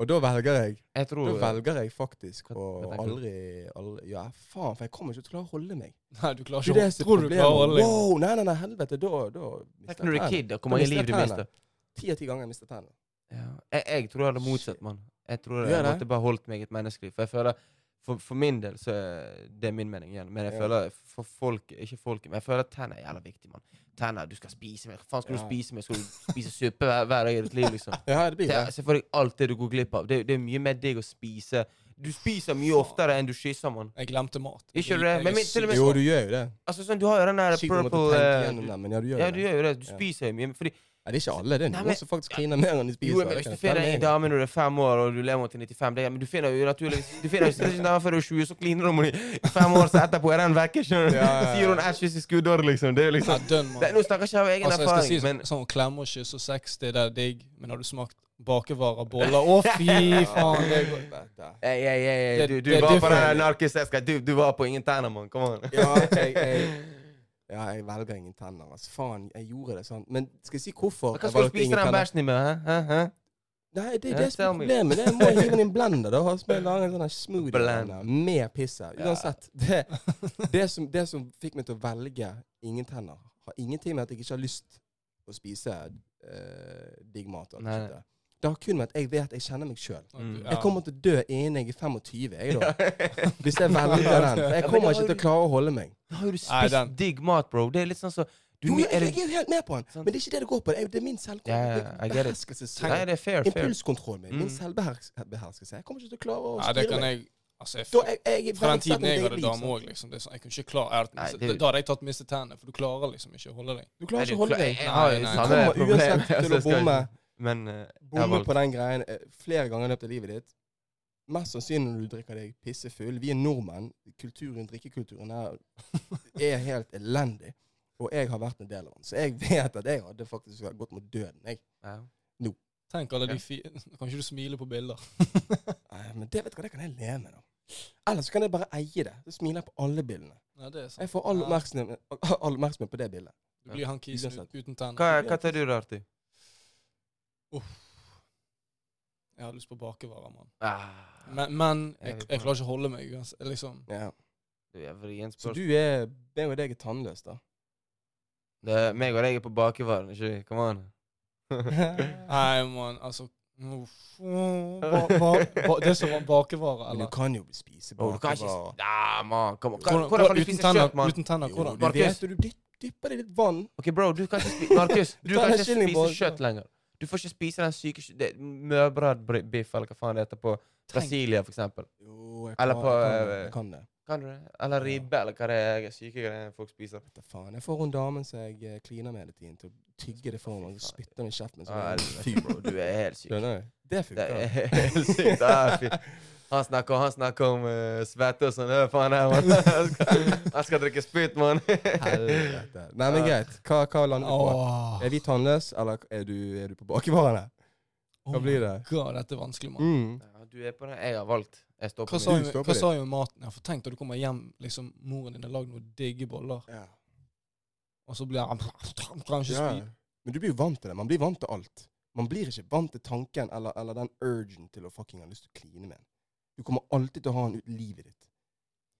[SPEAKER 2] Og da velger jeg
[SPEAKER 3] Jeg
[SPEAKER 2] da
[SPEAKER 3] tror
[SPEAKER 2] velger jeg faktisk
[SPEAKER 3] Hva-
[SPEAKER 2] å
[SPEAKER 3] hva tenker du?
[SPEAKER 2] aldri, aldri Ja, faen, for jeg kommer ikke til å klare å holde meg.
[SPEAKER 1] Nei, du klarer
[SPEAKER 2] Det er
[SPEAKER 1] ikke
[SPEAKER 2] det
[SPEAKER 1] å-
[SPEAKER 2] som er
[SPEAKER 1] Tror du klarer å holde
[SPEAKER 2] problemet.
[SPEAKER 1] deg?
[SPEAKER 2] Wow, nei, nei, nei, helvete. Da, da
[SPEAKER 3] Tenk når du er kid, da. Hvor mange
[SPEAKER 2] mister
[SPEAKER 3] liv du
[SPEAKER 2] tennene.
[SPEAKER 3] mister.
[SPEAKER 2] Ti av ti ganger jeg mister tennene.
[SPEAKER 3] Ja. Jeg, jeg tror jeg hadde motsatt,
[SPEAKER 2] Shit.
[SPEAKER 3] mann. Jeg tror
[SPEAKER 2] Du
[SPEAKER 3] jeg
[SPEAKER 2] gjør det?
[SPEAKER 3] måtte bare holdt meg et menneskeliv. For jeg føler for, for min del så er det min mening igjen, men jeg
[SPEAKER 2] Ja.
[SPEAKER 3] føler for folk, ikke folk, men jeg føler at tenner er jævla viktig, mann. Tenner, du skal spise mer. Hva faen skal
[SPEAKER 2] Ja.
[SPEAKER 3] du spise mer? Skal du spise suppe hver, hver dag i ditt liv, liksom?
[SPEAKER 2] Ja, det blir
[SPEAKER 3] Det
[SPEAKER 2] det.
[SPEAKER 3] er, så får jeg alt det du går glipp av. Det, det er mye mer digg å spise. Du spiser mye oftere enn du kysser, mann.
[SPEAKER 1] Jeg glemte mat.
[SPEAKER 3] Ikke
[SPEAKER 1] Jeg-
[SPEAKER 3] det,
[SPEAKER 1] jeg er
[SPEAKER 3] men min- til og med-
[SPEAKER 1] syk.
[SPEAKER 2] Jo, du gjør jo det.
[SPEAKER 3] Altså sånn, Du har jo den der
[SPEAKER 2] Sykt å måtte
[SPEAKER 3] purple
[SPEAKER 2] tenke
[SPEAKER 3] eh,
[SPEAKER 2] gjennom det, men ja, du gjør
[SPEAKER 3] Ja,
[SPEAKER 2] jo
[SPEAKER 3] du
[SPEAKER 2] det.
[SPEAKER 3] gjør jo det. Du
[SPEAKER 2] Ja.
[SPEAKER 3] spiser jo mye. men Fordi
[SPEAKER 2] Nei, det er ikke alle. Det er
[SPEAKER 3] Nei,
[SPEAKER 2] noen
[SPEAKER 3] men-
[SPEAKER 2] som faktisk kliner mer enn de
[SPEAKER 3] Jo,
[SPEAKER 2] spiser.
[SPEAKER 3] men
[SPEAKER 2] Jeg
[SPEAKER 3] hvis du
[SPEAKER 2] kan
[SPEAKER 3] finner
[SPEAKER 2] stemme
[SPEAKER 3] en
[SPEAKER 2] en gang.
[SPEAKER 3] dame når du er fem år, og du lever til 95 det, er- Men du finner jo naturligvis Du finner jo sikkert ikke en dame før du er 20, så kliner du med henne i fem år, så etterpå er den vekke. skjønner du?
[SPEAKER 2] Ja, ja, ja.
[SPEAKER 3] Så gir hun æsj i skuddår, liksom. Det er jo liksom
[SPEAKER 1] Nei, dønn, mann.
[SPEAKER 3] det, Nå snakker ikke jeg av egen
[SPEAKER 1] Altså, jeg skal
[SPEAKER 3] erfaring,
[SPEAKER 1] si
[SPEAKER 3] men
[SPEAKER 1] sånn, sånn å klemme og kysse og sex, det der er digg, men har du smakt bakevarer, boller Å, fy faen! Det er godt.
[SPEAKER 2] Helvete.
[SPEAKER 3] Ei, ei, ei, ei,
[SPEAKER 1] Det-
[SPEAKER 3] du, du
[SPEAKER 1] det er
[SPEAKER 3] var på
[SPEAKER 1] different.
[SPEAKER 3] den narkiseska. Du, du var på ingen tenner, mann. Kom an.
[SPEAKER 2] Ja, jeg, jeg, ja, jeg velger ingen tenner. Altså, faen, jeg gjorde det sånn. Men skal jeg si hvorfor?
[SPEAKER 3] Hva
[SPEAKER 2] jeg
[SPEAKER 3] skal du
[SPEAKER 2] valgte
[SPEAKER 3] spise
[SPEAKER 2] ingen
[SPEAKER 3] den
[SPEAKER 2] tenner?
[SPEAKER 3] bæsjen din med? hæ? Hæ? Hæ?
[SPEAKER 2] Nei, det er
[SPEAKER 3] Ja,
[SPEAKER 2] det som
[SPEAKER 3] tell
[SPEAKER 2] er
[SPEAKER 3] me.
[SPEAKER 2] problemet. Det er- jeg må hive den i en blender. Da har jeg laget en sånn her smoothie
[SPEAKER 3] Blend.
[SPEAKER 2] blender med pisset.
[SPEAKER 1] Ja.
[SPEAKER 2] Uansett. Det, det, som, det som fikk meg til å velge ingen tenner, har ingenting med at jeg ikke har lyst å spise eh, digg mat. og alt
[SPEAKER 3] Nei,
[SPEAKER 2] sånt der. Det har kun med at jeg vet jeg kjenner meg sjøl.
[SPEAKER 3] Mm.
[SPEAKER 2] Jeg kommer til å dø innen jeg er 25, jeg, da.
[SPEAKER 3] Ja.
[SPEAKER 2] Hvis jeg velger den. For jeg
[SPEAKER 3] det
[SPEAKER 2] kommer
[SPEAKER 3] har
[SPEAKER 2] ikke
[SPEAKER 3] du-
[SPEAKER 2] til å klare å holde meg.
[SPEAKER 3] Da har jo du
[SPEAKER 1] Nei,
[SPEAKER 3] spist
[SPEAKER 1] den-
[SPEAKER 3] digg mat, bro. Det er litt sånn så du,
[SPEAKER 2] Jo, jeg,
[SPEAKER 3] er
[SPEAKER 2] jeg,
[SPEAKER 3] det,
[SPEAKER 2] er jo helt med på den,
[SPEAKER 3] Sant.
[SPEAKER 2] men det er ikke det det går på. Det er, det er min
[SPEAKER 3] Ja, ja, ja, I
[SPEAKER 2] selvkontroll.
[SPEAKER 3] get it.
[SPEAKER 2] Beherskelsestrening.
[SPEAKER 3] Nei, det er fair, fair.
[SPEAKER 2] Impulskontrollen min. Min
[SPEAKER 3] Mm.
[SPEAKER 2] selvbeherskelse. Jeg kommer ikke til å klare å
[SPEAKER 1] Nei, det
[SPEAKER 2] styre
[SPEAKER 1] kan
[SPEAKER 2] meg.
[SPEAKER 1] jeg Altså, jeg,
[SPEAKER 2] Da, jeg, jeg,
[SPEAKER 1] fra den tiden jeg hadde dame
[SPEAKER 2] damer
[SPEAKER 1] òg, liksom. Det er sånn, jeg kunne ikke klare jeg,
[SPEAKER 3] Nei,
[SPEAKER 1] hadde-
[SPEAKER 3] det-
[SPEAKER 1] Da hadde jeg tatt miste tennene, for du klarer liksom ikke å holde deg.
[SPEAKER 2] Du
[SPEAKER 3] Nei,
[SPEAKER 2] klarer
[SPEAKER 3] du
[SPEAKER 2] ikke å holde
[SPEAKER 3] klar- jeg-
[SPEAKER 2] deg.
[SPEAKER 3] jeg
[SPEAKER 1] Nei,
[SPEAKER 3] har jo
[SPEAKER 1] nei.
[SPEAKER 2] Du
[SPEAKER 1] jeg
[SPEAKER 3] samme
[SPEAKER 2] kommer
[SPEAKER 3] problem,
[SPEAKER 2] uansett
[SPEAKER 3] altså,
[SPEAKER 2] til å
[SPEAKER 3] jeg skal-
[SPEAKER 2] bomme,
[SPEAKER 3] Men eh, jeg har
[SPEAKER 2] bomme
[SPEAKER 3] valgt-
[SPEAKER 2] på den greien eh, flere ganger i løpet av livet ditt. Mest sannsynlig når du drikker deg pissefull. Vi er nordmenn. Kulturen, drikkekulturen er, er helt elendig. Og jeg har vært en del av den. Så jeg vet at jeg hadde faktisk gått mot døden. Jeg.
[SPEAKER 3] Ja.
[SPEAKER 1] Tenk alle
[SPEAKER 3] Ja.
[SPEAKER 1] de fi... Kan ikke du smile på bilder?
[SPEAKER 2] Nei, Men det vet du hva, det kan jeg leve med. da. Ellers så kan jeg bare eie det. Så smiler jeg på alle bildene.
[SPEAKER 1] Ja, det er sant.
[SPEAKER 2] Jeg får all
[SPEAKER 1] Ja.
[SPEAKER 2] oppmerksomhet, all oppmerksomhet på det bildet.
[SPEAKER 1] Du blir han kisen
[SPEAKER 2] Uansett.
[SPEAKER 1] ut- uten tenner.
[SPEAKER 3] Hva, hva tar du da, Arti?
[SPEAKER 1] Jeg har lyst på bakevarer, mann.
[SPEAKER 3] Ah,
[SPEAKER 1] Men, men jeg,
[SPEAKER 3] Jeg-
[SPEAKER 1] jeg klarer ikke å holde meg. uansett, Liksom.
[SPEAKER 2] Ja.
[SPEAKER 3] du er vrien
[SPEAKER 2] Så
[SPEAKER 3] spørsmål.
[SPEAKER 2] du er meg og deg er tannløs, da.
[SPEAKER 3] Det er meg og deg er på bakevaren, ikke vi? Kom an.
[SPEAKER 1] Nei, mann, altså uff. Ba, ba, ba, det som var bakevare,
[SPEAKER 2] Men du
[SPEAKER 1] eller?
[SPEAKER 2] kan jo spise
[SPEAKER 3] Bro, du kan ikke
[SPEAKER 2] bakover.
[SPEAKER 3] Nei, mann. Kom an.
[SPEAKER 1] Hvordan-
[SPEAKER 3] Hvordan, hvordan kan du
[SPEAKER 1] uten
[SPEAKER 3] spise
[SPEAKER 1] tenner-
[SPEAKER 3] kjøtt, mann?
[SPEAKER 1] Uten tenner,
[SPEAKER 2] Jo,
[SPEAKER 1] hvordan?
[SPEAKER 2] du
[SPEAKER 3] Markus.
[SPEAKER 2] vet det. Du dyp- dypper det i litt vann.
[SPEAKER 3] Ok, bro, du kan ikke spise Markus, du
[SPEAKER 2] Ta
[SPEAKER 3] kan
[SPEAKER 2] den
[SPEAKER 3] ikke
[SPEAKER 2] chilien,
[SPEAKER 3] spise
[SPEAKER 2] bro.
[SPEAKER 3] kjøtt lenger. Du får ikke spise den syke kjø- det- mørbrødbiff, eller hva faen det heter, på Brasilia, for eksempel.
[SPEAKER 2] Jo, jeg
[SPEAKER 3] Eller
[SPEAKER 2] kan,
[SPEAKER 3] på,
[SPEAKER 2] jeg kan, det,
[SPEAKER 3] eh,
[SPEAKER 2] jeg kan det.
[SPEAKER 3] Kan du det? Eller ribbe, eller hva det er syke greiene folk spiser.
[SPEAKER 2] Vet da faen. Jeg får hun damen som jeg eh, kliner med hele tiden, til å tygge det for meg.
[SPEAKER 3] Fy
[SPEAKER 2] og
[SPEAKER 3] faen.
[SPEAKER 2] Spytte den i kjeften. så
[SPEAKER 3] Ah,
[SPEAKER 2] jeg-
[SPEAKER 3] helvete, bro, du er helt syk.
[SPEAKER 2] Skjønner du? Det
[SPEAKER 3] Det
[SPEAKER 2] funker.
[SPEAKER 3] er helt sykt. Ah, fy. han, snakker, han snakker om eh, svette og sånn. Hva faen er det, mann? Han skal- Han skal drikke spytt, mann.
[SPEAKER 2] Helvete. Nei, men greit. Hva, hva lander du på?
[SPEAKER 1] Åh.
[SPEAKER 2] Er vi tannløse, eller er du, er du på bakevarene?
[SPEAKER 1] Oh
[SPEAKER 2] Hva
[SPEAKER 1] my
[SPEAKER 2] blir det?
[SPEAKER 1] God, dette er vanskelig, mann.
[SPEAKER 2] Mm.
[SPEAKER 3] Ja, du er på den jeg har valgt. Jeg står på
[SPEAKER 1] Hva sa
[SPEAKER 2] Du
[SPEAKER 1] jo-
[SPEAKER 2] står på
[SPEAKER 1] hva
[SPEAKER 2] det.
[SPEAKER 1] sa jo om maten? Jeg for tenk når du kommer hjem, liksom, moren din har lagd noen digge boller,
[SPEAKER 2] Ja.
[SPEAKER 1] og så blir han Kan ikke
[SPEAKER 2] Ja.
[SPEAKER 1] spise.
[SPEAKER 2] Men du blir jo vant til det. Man blir vant til alt. Man blir ikke vant til tanken eller, eller den urgen til å fucking ha lyst til å kline med en. Du kommer alltid til å ha den ut livet ditt.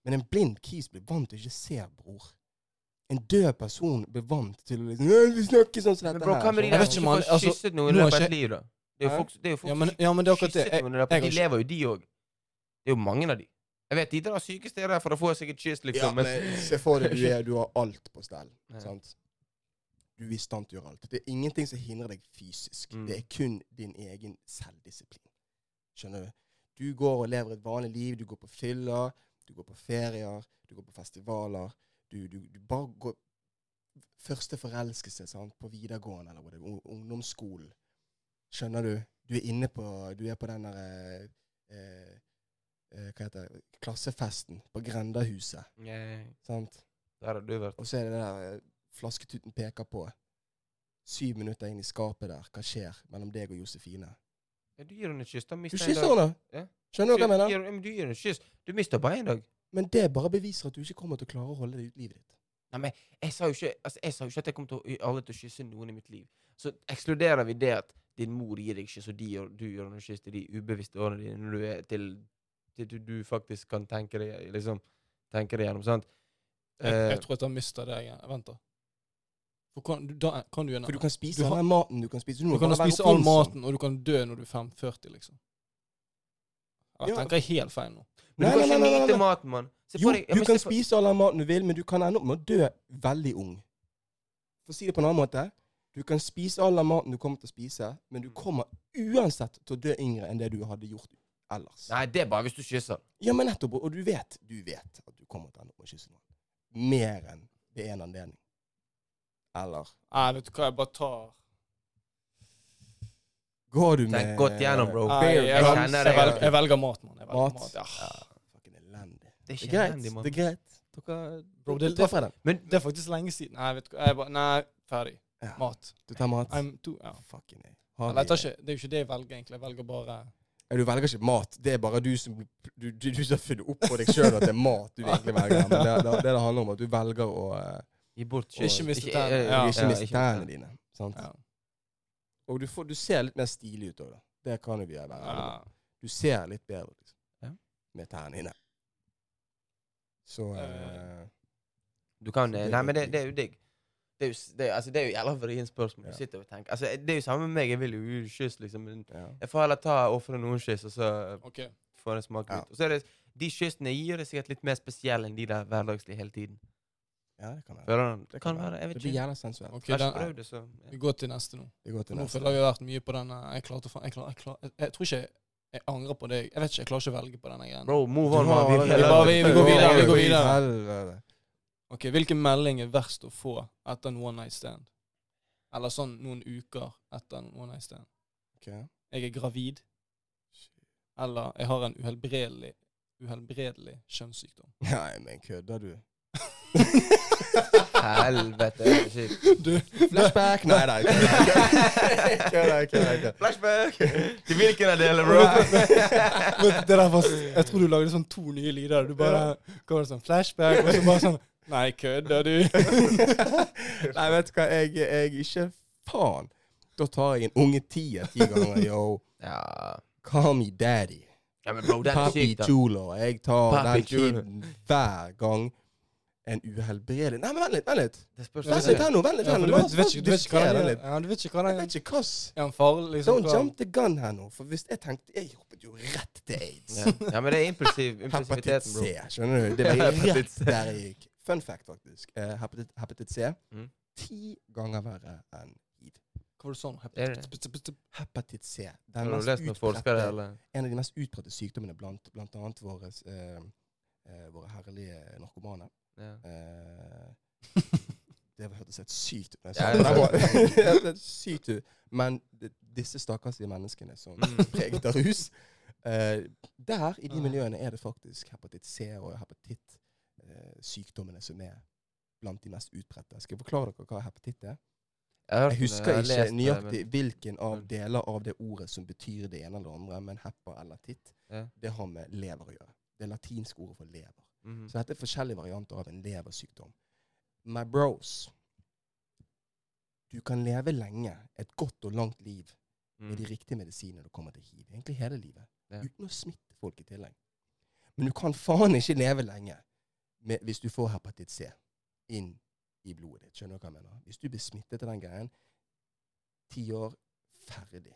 [SPEAKER 2] Men en blind kis blir vant til å ikke se bror. En død person blir vant til å liksom «Nei, Vi snakker sånn som
[SPEAKER 3] Men
[SPEAKER 2] dette
[SPEAKER 3] bro, hva med de
[SPEAKER 1] Jeg
[SPEAKER 3] der
[SPEAKER 1] vet ikke,
[SPEAKER 3] som
[SPEAKER 1] mann.
[SPEAKER 3] ikke får
[SPEAKER 1] Altså,
[SPEAKER 3] kysset noen i
[SPEAKER 1] nå er
[SPEAKER 3] løpet av
[SPEAKER 1] ikke-
[SPEAKER 3] et liv, da? Det er jo
[SPEAKER 2] Hæ?
[SPEAKER 3] folk, det er jo folk
[SPEAKER 1] Ja
[SPEAKER 3] som
[SPEAKER 1] men,
[SPEAKER 3] ikke
[SPEAKER 1] ja, men det er akkurat det.
[SPEAKER 3] kysset
[SPEAKER 1] Jeg,
[SPEAKER 3] noen i løpet av
[SPEAKER 1] har
[SPEAKER 3] De
[SPEAKER 1] ikke-
[SPEAKER 3] lever jo, de òg. Det er jo mange av de. Jeg vet, de drar syke steder for å få seg et kyss, liksom.
[SPEAKER 2] Ja, men se for deg du, er, du har alt på stell.
[SPEAKER 3] Ja.
[SPEAKER 2] Sant? Du er i stand til å gjøre alt. Det er ingenting som hindrer deg fysisk.
[SPEAKER 3] Mm.
[SPEAKER 2] Det er kun din egen selvdisiplin. Skjønner du? Du går og lever et vanlig liv. Du går på fylla, du går på ferier, du går på festivaler. Du, du, du bare går Første forelskelse sant? på videregående eller hva det er, ung- ungdomsskolen. Skjønner du? Du er inne på Du er på den der eh, eh, eh, Hva heter det? Klassefesten på Grendahuset.
[SPEAKER 3] Ja, ja, ja.
[SPEAKER 2] Sant?
[SPEAKER 3] Der har du vært.
[SPEAKER 2] Og så er det det der eh, flasketuten peker på. Syv minutter inn i skapet der. Hva skjer mellom deg og Josefine?
[SPEAKER 3] Ja, du gir henne et kyss, da
[SPEAKER 2] Du
[SPEAKER 3] mister en
[SPEAKER 2] kysser
[SPEAKER 3] dag.
[SPEAKER 2] henne!
[SPEAKER 3] Ja.
[SPEAKER 2] Skjønner du hva jeg mener?
[SPEAKER 3] Gir- ja, men Du gir henne et kyss. Du mister bare en dag.
[SPEAKER 2] Men det bare beviser at du ikke kommer til å klare å holde det ut livet ditt.
[SPEAKER 3] Nei, men jeg sa jo ikke, altså, jeg sa jo ikke at jeg kom til å, aldri til å kysse noen i mitt liv. Så ekskluderer vi det at din mor gir deg kyss, og de gjør, du gjør noe kyss til de ubevisste årene dine når du er til, til du, du faktisk kan tenke deg liksom, tenke deg gjennom. sant?
[SPEAKER 1] Jeg,
[SPEAKER 3] Eh,
[SPEAKER 1] jeg tror at han mister det jeg venter. For kan, du, da kan du gjøre
[SPEAKER 2] For du
[SPEAKER 1] noe.
[SPEAKER 2] kan spise
[SPEAKER 1] Du har-
[SPEAKER 2] den maten du kan spise.
[SPEAKER 1] Du
[SPEAKER 2] må
[SPEAKER 1] kan
[SPEAKER 2] bare være
[SPEAKER 1] spise all
[SPEAKER 2] oppfinnsom.
[SPEAKER 1] maten, og du kan dø når du er 540, liksom. Jeg
[SPEAKER 2] Ja.
[SPEAKER 1] tenker jeg helt feil nå.
[SPEAKER 3] Men
[SPEAKER 2] Nei,
[SPEAKER 3] du
[SPEAKER 2] nei,
[SPEAKER 3] kan ikke
[SPEAKER 2] nei, nei,
[SPEAKER 3] nyte
[SPEAKER 2] nei.
[SPEAKER 3] maten, mann. Se
[SPEAKER 2] Jo,
[SPEAKER 3] på deg- ja,
[SPEAKER 2] du
[SPEAKER 3] men
[SPEAKER 2] kan
[SPEAKER 3] se på-
[SPEAKER 2] spise all den maten du vil, men du kan ende opp med å dø veldig ung. For å si det på en annen måte. Du kan spise all den maten du kommer til å spise, men du kommer uansett til å dø yngre enn det du hadde gjort ellers.
[SPEAKER 3] Nei, det er bare hvis du kysser.
[SPEAKER 2] Ja, men nettopp. Og du vet du vet at du kommer til å ende opp med å kysse noen. Mer enn ved én anledning. Eller
[SPEAKER 1] Nei, vet du hva, jeg bare tar
[SPEAKER 2] går du med
[SPEAKER 3] Tenk godt gjennom, bro.
[SPEAKER 1] Nei,
[SPEAKER 2] Bear
[SPEAKER 1] jeg,
[SPEAKER 3] jeg
[SPEAKER 1] velger-
[SPEAKER 3] kjenner
[SPEAKER 1] jeg,
[SPEAKER 3] det.
[SPEAKER 1] velger, jeg velger mat, mann. Jeg velger
[SPEAKER 2] Mat.
[SPEAKER 1] mat. Ja.
[SPEAKER 2] Ja, fucking elendig.
[SPEAKER 3] Det
[SPEAKER 2] Det
[SPEAKER 3] er
[SPEAKER 2] er
[SPEAKER 3] ikke
[SPEAKER 2] greit.
[SPEAKER 3] nødvendig,
[SPEAKER 2] Det
[SPEAKER 3] mann.
[SPEAKER 2] er greit. Dere
[SPEAKER 1] Bro,
[SPEAKER 2] Du
[SPEAKER 1] det,
[SPEAKER 2] tar
[SPEAKER 1] det,
[SPEAKER 2] fredag.
[SPEAKER 3] Men
[SPEAKER 1] det er faktisk lenge siden. Nei, vet du hva, jeg bare Nei, ferdig.
[SPEAKER 2] Ja.
[SPEAKER 1] Mat.
[SPEAKER 2] Du tar mat.
[SPEAKER 1] I'm too, ja.
[SPEAKER 2] Fucking nei.
[SPEAKER 1] Eller, jeg tar ikke, det er jo ikke det jeg velger, egentlig. Jeg velger bare
[SPEAKER 2] Ja, Du velger ikke mat. Det er bare du som Du, du, du som har funnet opp på deg sjøl at det er mat du egentlig velger. Men det, det, det det handler om, at du velger å eh,
[SPEAKER 3] Gi bort
[SPEAKER 1] Ikke
[SPEAKER 3] kjøs.
[SPEAKER 1] miste
[SPEAKER 3] eh,
[SPEAKER 1] tennene.
[SPEAKER 3] eh,
[SPEAKER 1] Ja.
[SPEAKER 2] Du
[SPEAKER 1] Du
[SPEAKER 2] ikke miste
[SPEAKER 3] miste
[SPEAKER 2] tennene dine. Sant?
[SPEAKER 1] ja.
[SPEAKER 2] Og du, får, du ser litt mer stilig ut òg, da. Det kan jo vi være ærlige
[SPEAKER 1] Ja.
[SPEAKER 2] på. Du ser litt bedre ut liksom.
[SPEAKER 3] Ja.
[SPEAKER 2] med tennene dine. Så eh,
[SPEAKER 3] Du kan,
[SPEAKER 2] Så det
[SPEAKER 3] eh, nei,
[SPEAKER 2] er
[SPEAKER 3] men det,
[SPEAKER 2] digg.
[SPEAKER 3] det er jo digg. Det er jo, s- det er, altså, det er jo jævla vrient spørsmål.
[SPEAKER 2] Ja.
[SPEAKER 3] Du sitter og tenker altså, Det er jo samme med meg. Jeg vil jo kyss, liksom. Men
[SPEAKER 2] ja.
[SPEAKER 3] jeg får heller ta og ofre noen kyss, og så
[SPEAKER 1] OK.
[SPEAKER 3] får jeg smake
[SPEAKER 2] Ja.
[SPEAKER 3] litt. Og så er det De kyssene jeg gir, er sikkert litt mer spesielle enn de der hverdagslige hele tiden.
[SPEAKER 2] ja, det kan være.
[SPEAKER 3] Føler du?
[SPEAKER 2] Det
[SPEAKER 3] Det kan være. Jeg
[SPEAKER 2] Det
[SPEAKER 3] vet
[SPEAKER 2] blir
[SPEAKER 3] ikke.
[SPEAKER 2] jævla sensuelt.
[SPEAKER 1] ok,
[SPEAKER 3] Jeg har
[SPEAKER 1] den,
[SPEAKER 3] ikke prøvd det, så
[SPEAKER 1] vi går til neste nå.
[SPEAKER 2] Vi går til
[SPEAKER 1] Nå
[SPEAKER 2] neste.
[SPEAKER 1] føler jeg vi har vært mye på den eh, Jeg klarte faen jeg, klar, jeg, klar, jeg, jeg tror ikke jeg angrer på det. Jeg vet ikke, jeg klarer ikke å velge på denne greien.
[SPEAKER 3] Bro, move
[SPEAKER 2] Du
[SPEAKER 3] on.
[SPEAKER 2] har
[SPEAKER 3] man.
[SPEAKER 2] allerede-
[SPEAKER 1] vi- vi bare- vi går videre, vi går
[SPEAKER 2] Oi,
[SPEAKER 1] videre.
[SPEAKER 2] helvete.
[SPEAKER 1] Ok, Hvilken melding er verst å få etter en one night stand? Eller sånn noen uker etter en one night stand.
[SPEAKER 2] Ok.
[SPEAKER 1] Jeg er gravid. Eller jeg har en uhelbredelig uhelbredelig kjønnssykdom.
[SPEAKER 2] Nei, men kødder du?
[SPEAKER 3] Helvete, det er shit.
[SPEAKER 1] Du,
[SPEAKER 2] Flashback! Nei, nei. kødder. Kødder, kødder, kødder.
[SPEAKER 3] Flashback! Til hvilken av
[SPEAKER 1] Men
[SPEAKER 3] delene, bro?
[SPEAKER 1] det der var, s- jeg tror du lagde sånn to nye lyder. Du bare ga det sånn flashback, og så bare sånn Nei, kødder du?
[SPEAKER 2] Nei, vet du hva, jeg, jeg ikke faen. Da tar jeg en unge tier ti ganger. Yo,
[SPEAKER 3] Ja.
[SPEAKER 2] call me daddy.
[SPEAKER 3] ja, men bro, den er
[SPEAKER 2] Papi
[SPEAKER 3] syk, da.
[SPEAKER 2] Chulo. Jeg tar
[SPEAKER 3] Papi
[SPEAKER 2] den
[SPEAKER 3] Chulo.
[SPEAKER 2] kiden hver gang en uhelbredelig Nei, men vent litt, vent litt.
[SPEAKER 3] Det spørs
[SPEAKER 1] Ja,
[SPEAKER 2] Vent
[SPEAKER 1] men
[SPEAKER 2] litt her nå, vent litt
[SPEAKER 1] Ja,
[SPEAKER 2] her
[SPEAKER 1] for
[SPEAKER 2] nå.
[SPEAKER 1] du,
[SPEAKER 2] La
[SPEAKER 1] vet,
[SPEAKER 2] oss
[SPEAKER 1] du, vet,
[SPEAKER 2] faktisk
[SPEAKER 1] ikke- sånn, du vet ikke hva
[SPEAKER 2] diskutere
[SPEAKER 1] den
[SPEAKER 2] litt.
[SPEAKER 1] ja, du vet ikke hva
[SPEAKER 2] Jeg
[SPEAKER 1] den
[SPEAKER 2] vet ikke hva
[SPEAKER 1] Er han farlig? Liksom,
[SPEAKER 2] Don't
[SPEAKER 1] hva-
[SPEAKER 2] jump the gun her nå. For hvis jeg tenkte Jeg hoppet jo rett til aids.
[SPEAKER 3] Ja. ja, men det er impulsiv,
[SPEAKER 2] Hepatitt
[SPEAKER 3] impulsiviteten, bro.
[SPEAKER 2] C, skjønner du? Det var
[SPEAKER 3] Hepatitt
[SPEAKER 2] rett
[SPEAKER 3] C.
[SPEAKER 2] der jeg gikk. Fun fact, faktisk. Eh, hepatitt, hepatitt C
[SPEAKER 3] Mm.
[SPEAKER 2] ti ganger verre enn hiv.
[SPEAKER 1] Hva var det sånn?
[SPEAKER 3] Er det?
[SPEAKER 2] Hepatitt C den
[SPEAKER 3] Har du
[SPEAKER 2] mest
[SPEAKER 3] lest noen forskere,
[SPEAKER 2] utbredte-
[SPEAKER 3] eller?
[SPEAKER 2] en av de mest utbredte sykdommene blant, blant annet våre, eh, eh, våre herlige narkomane.
[SPEAKER 3] Ja.
[SPEAKER 2] Eh, det var- hørtes helt sykt ut. når jeg
[SPEAKER 3] Ja,
[SPEAKER 2] sa
[SPEAKER 3] det
[SPEAKER 2] det.
[SPEAKER 3] var-
[SPEAKER 2] Det hørtes helt sykt ut. Men d- disse stakkarslige menneskene som
[SPEAKER 3] Mm.
[SPEAKER 2] preget av rus. Eh, der, i de
[SPEAKER 1] Ah.
[SPEAKER 2] miljøene, er det faktisk hepatitt C og hepatitt eh, sykdommene som er blant de mest utbredte. Skal jeg forklare dere hva hepatitt er?
[SPEAKER 3] Jeg, Mm. har
[SPEAKER 2] Jeg
[SPEAKER 3] hørt om det,
[SPEAKER 2] husker
[SPEAKER 3] har
[SPEAKER 2] ikke
[SPEAKER 3] lest om det,
[SPEAKER 2] nøyaktig hvilken av
[SPEAKER 3] men-
[SPEAKER 2] deler av det ordet som betyr det ene eller det andre, men hepa eller titt,
[SPEAKER 3] Ja.
[SPEAKER 2] det har med lever å gjøre. Det latinske ordet for lever.
[SPEAKER 3] men- Mhm.
[SPEAKER 2] Så dette er forskjellige varianter av en leversykdom. My bros, du kan leve lenge, et godt og langt liv, med de
[SPEAKER 3] Mm.
[SPEAKER 2] riktige medisinene når det kommer til hiv. Egentlig hele livet.
[SPEAKER 3] Ja.
[SPEAKER 2] Uten å smitte folk i tillegg. Men du kan faen ikke leve lenge med, hvis du får hepatitt C inn i blodet ditt. Skjønner du hva jeg mener? Hvis du blir smittet av den greien, ti år, ferdig.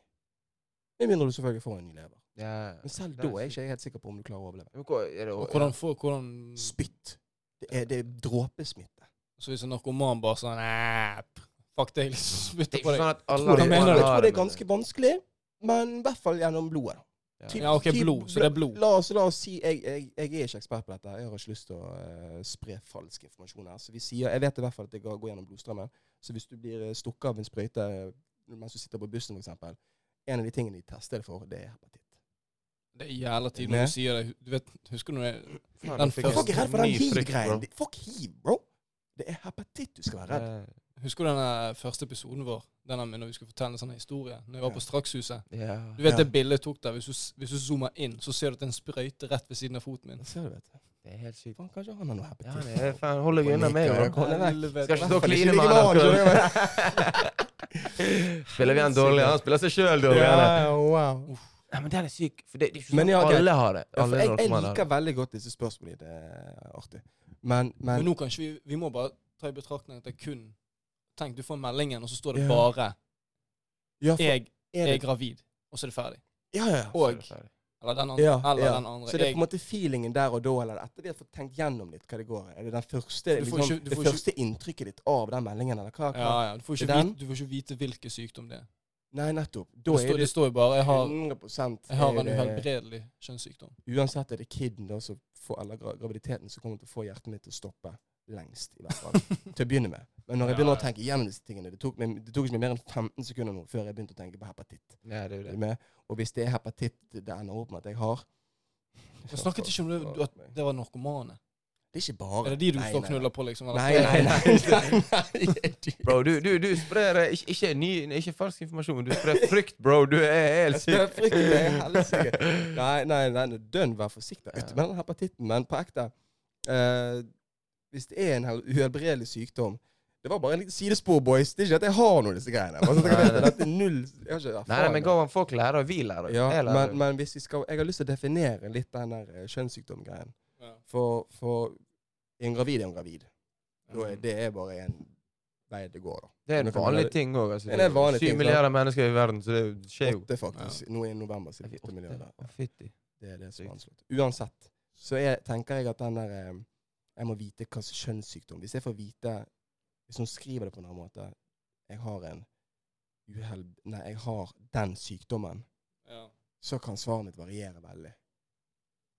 [SPEAKER 2] Med mindre du selvfølgelig får en ny lever.
[SPEAKER 3] Ja, ja.
[SPEAKER 2] Men selv
[SPEAKER 3] Det
[SPEAKER 2] da
[SPEAKER 3] er
[SPEAKER 2] er jeg
[SPEAKER 3] sykt. Mm.
[SPEAKER 2] ikke helt sikker på om du klarer å overleve.
[SPEAKER 3] Men hvor- er det
[SPEAKER 1] Og
[SPEAKER 3] å-
[SPEAKER 1] hvordan får hvordan,
[SPEAKER 2] Spytt. Det er, det er dråpesmitte.
[SPEAKER 1] Så hvis en narkoman bare sånn "Æ, pff, Fuck deg, liksom.
[SPEAKER 3] Det er
[SPEAKER 1] Spytter på
[SPEAKER 3] ikke
[SPEAKER 1] deg.
[SPEAKER 3] sånn at alle
[SPEAKER 1] Hva
[SPEAKER 2] Jeg
[SPEAKER 1] mener du?
[SPEAKER 2] tror, jeg
[SPEAKER 3] har
[SPEAKER 2] tror det er
[SPEAKER 3] men-
[SPEAKER 2] ganske vanskelig, men i hvert fall gjennom blodet.
[SPEAKER 3] Ja.
[SPEAKER 2] Typ-
[SPEAKER 1] Ja, OK,
[SPEAKER 2] typ
[SPEAKER 1] blod. Så det er blod.
[SPEAKER 2] La oss, la oss si jeg, jeg, jeg er ikke ekspert på dette. Jeg har ikke lyst til å eh, spre falsk informasjon her. Så vi sier, Jeg vet i hvert fall at det går går gjennom blodstrømmen. Så hvis du blir eh, stukket av en sprøyte eh, mens du sitter på bussen, f.eks., en av de tingene de tester det for, det er hepatitt.
[SPEAKER 1] Det er jævla tid når
[SPEAKER 2] Nei.
[SPEAKER 1] du sier det. Du vet, husker du når jeg
[SPEAKER 3] Faen,
[SPEAKER 1] Den
[SPEAKER 3] nå
[SPEAKER 1] første-
[SPEAKER 3] fikk jeg
[SPEAKER 2] Folk er redd for
[SPEAKER 3] ny
[SPEAKER 2] den
[SPEAKER 3] frykt, bro.
[SPEAKER 2] hiv-greien. Det- Fuck hiv, bro! Det er hepatitt du skal være redd
[SPEAKER 1] Husker du den første episoden vår? Den med når vi skulle fortelle en sånn historie? Når jeg var på Strakshuset.
[SPEAKER 3] Ja. Ja.
[SPEAKER 1] Du vet
[SPEAKER 2] Ja.
[SPEAKER 1] det bildet jeg tok der? Hvis du, s- hvis du zoomer inn, så ser du at det er en sprøyte rett ved siden av foten min.
[SPEAKER 2] for. Ser du, vet du.
[SPEAKER 3] Det er helt sykt.
[SPEAKER 2] Faen, kanskje han har noe happy
[SPEAKER 3] Ja,
[SPEAKER 2] tips.
[SPEAKER 3] det er, faen, hold deg unna meg. bro. Skal ikke stå
[SPEAKER 2] Skal ikke
[SPEAKER 3] og kline
[SPEAKER 2] ligge
[SPEAKER 3] med
[SPEAKER 2] med
[SPEAKER 3] han.
[SPEAKER 2] han, skjønner du?
[SPEAKER 3] da. Spiller vi han dårlig? Han spiller seg sjøl dårlig.
[SPEAKER 2] Ja,
[SPEAKER 3] han er.
[SPEAKER 2] ja, wow.
[SPEAKER 3] Nei, men den er syk. For det, det er ikke
[SPEAKER 2] Men
[SPEAKER 3] sånn
[SPEAKER 2] ja, greit.
[SPEAKER 3] alle har det.
[SPEAKER 2] Ja, for
[SPEAKER 3] Alle
[SPEAKER 2] jeg, jeg
[SPEAKER 3] narkomane har det.
[SPEAKER 2] liker veldig godt disse spørsmålene. Det er artig. Men,
[SPEAKER 1] Men
[SPEAKER 2] men
[SPEAKER 1] nå kanskje vi, vi må bare ta i betraktning at det er kun Tenk, du får meldingen, og så står det
[SPEAKER 2] Ja.
[SPEAKER 1] bare
[SPEAKER 2] ja, for,
[SPEAKER 1] 'Jeg
[SPEAKER 2] er
[SPEAKER 1] er
[SPEAKER 2] det,
[SPEAKER 1] gravid', og så er det ferdig.
[SPEAKER 2] ja, ja.
[SPEAKER 1] Og- Eller den andre.
[SPEAKER 2] Ja,
[SPEAKER 1] eller
[SPEAKER 2] ja.
[SPEAKER 1] den andre.
[SPEAKER 2] Så det er
[SPEAKER 1] Jeg-
[SPEAKER 2] på en måte feelingen der og da, eller etter de har fått tenkt gjennom litt hva det går i? Er det den første,
[SPEAKER 1] Du får
[SPEAKER 2] liksom,
[SPEAKER 1] ikke- du
[SPEAKER 2] det
[SPEAKER 1] får ikke-
[SPEAKER 2] første inntrykket ditt av den meldingen, eller hva? hva?
[SPEAKER 1] ja, ja. Du, får ikke
[SPEAKER 2] Det er den?
[SPEAKER 1] vite, du får ikke vite hvilken sykdom det er.
[SPEAKER 2] Nei, nettopp.
[SPEAKER 1] Det,
[SPEAKER 2] Da
[SPEAKER 1] står,
[SPEAKER 2] er
[SPEAKER 1] det
[SPEAKER 2] det
[SPEAKER 1] står jo bare jeg har,
[SPEAKER 2] 100
[SPEAKER 1] jeg har
[SPEAKER 2] er
[SPEAKER 1] en
[SPEAKER 2] det-
[SPEAKER 1] uhelbredelig kjønnssykdom.
[SPEAKER 2] Uansett er det kiden da, som får, eller gra- graviditeten som kommer til å få hjertet mitt til å stoppe lengst, i hvert fall. til å begynne med. Men når jeg
[SPEAKER 1] Ja,
[SPEAKER 2] begynner å
[SPEAKER 1] ja.
[SPEAKER 2] tenke igjennom disse tingene, det tok, meg, det tok ikke meg mer enn 15 sekunder nå før jeg begynte å tenke på hepatitt.
[SPEAKER 3] Ja, det er
[SPEAKER 2] Er
[SPEAKER 3] jo
[SPEAKER 2] du
[SPEAKER 3] det.
[SPEAKER 2] med? Og hvis det er hepatitt det ender opp med at jeg har
[SPEAKER 1] Jeg snakket ikke om det, du- at det var narkomane.
[SPEAKER 2] Det er ikke bare
[SPEAKER 1] Er det de du
[SPEAKER 2] Nei,
[SPEAKER 1] står og
[SPEAKER 2] nei,
[SPEAKER 1] knuller på, liksom? eller?
[SPEAKER 2] Nei, nei, nei. nei, nei,
[SPEAKER 3] Bro, du, du, du sprer eh, ikke, ikke, ny, ikke falsk informasjon, du sprer frykt, bro. Du er helt syk.
[SPEAKER 2] Jeg sprer frykt, det er helsike. Nei, nei, nei, nei, dønn, vær forsiktig
[SPEAKER 3] Ja.
[SPEAKER 2] vet du, med den hepatitten. Men på ekte eh, Hvis det er en hel- uhelbredelig sykdom Det var bare en liten sidespor, boys. Det er ikke at jeg har noe av disse greiene. Bare så dere
[SPEAKER 3] Nei,
[SPEAKER 2] vet det,
[SPEAKER 3] nei.
[SPEAKER 2] dette er null Jeg har ikke erfaring.
[SPEAKER 3] Nei, nei, men Gavan, folk lærer, og vi lærer.
[SPEAKER 2] ja,
[SPEAKER 3] jeg lærer.
[SPEAKER 2] men, men hvis vi skal Jeg har lyst til å definere litt den der eh, kjønnssykdomgreien.
[SPEAKER 1] Ja.
[SPEAKER 2] For, for en gravid er en gravid. Da er-
[SPEAKER 3] Mm.
[SPEAKER 2] Det er bare en vei det går, da.
[SPEAKER 3] det er
[SPEAKER 2] men
[SPEAKER 3] en
[SPEAKER 2] kan
[SPEAKER 3] vanlig
[SPEAKER 2] lære-
[SPEAKER 3] ting òg. Altså,
[SPEAKER 2] Det er en vanlig ting,
[SPEAKER 3] Syv
[SPEAKER 2] sant?
[SPEAKER 3] milliarder mennesker i verden, så det skjer jo.
[SPEAKER 2] Åtte, faktisk. Nå i november så er det åtte milliarder.
[SPEAKER 3] Å, fytti.
[SPEAKER 2] Det er det som
[SPEAKER 3] Sykt.
[SPEAKER 2] er anslått. Uansett så jeg, tenker jeg at den der eh, Jeg må vite hva slags kjønnssykdom Hvis jeg får vite Hvis hun skriver det på en annen måte Jeg har en uheld... Nei, jeg har den sykdommen.
[SPEAKER 1] Ja.
[SPEAKER 2] Så kan svaret mitt variere veldig.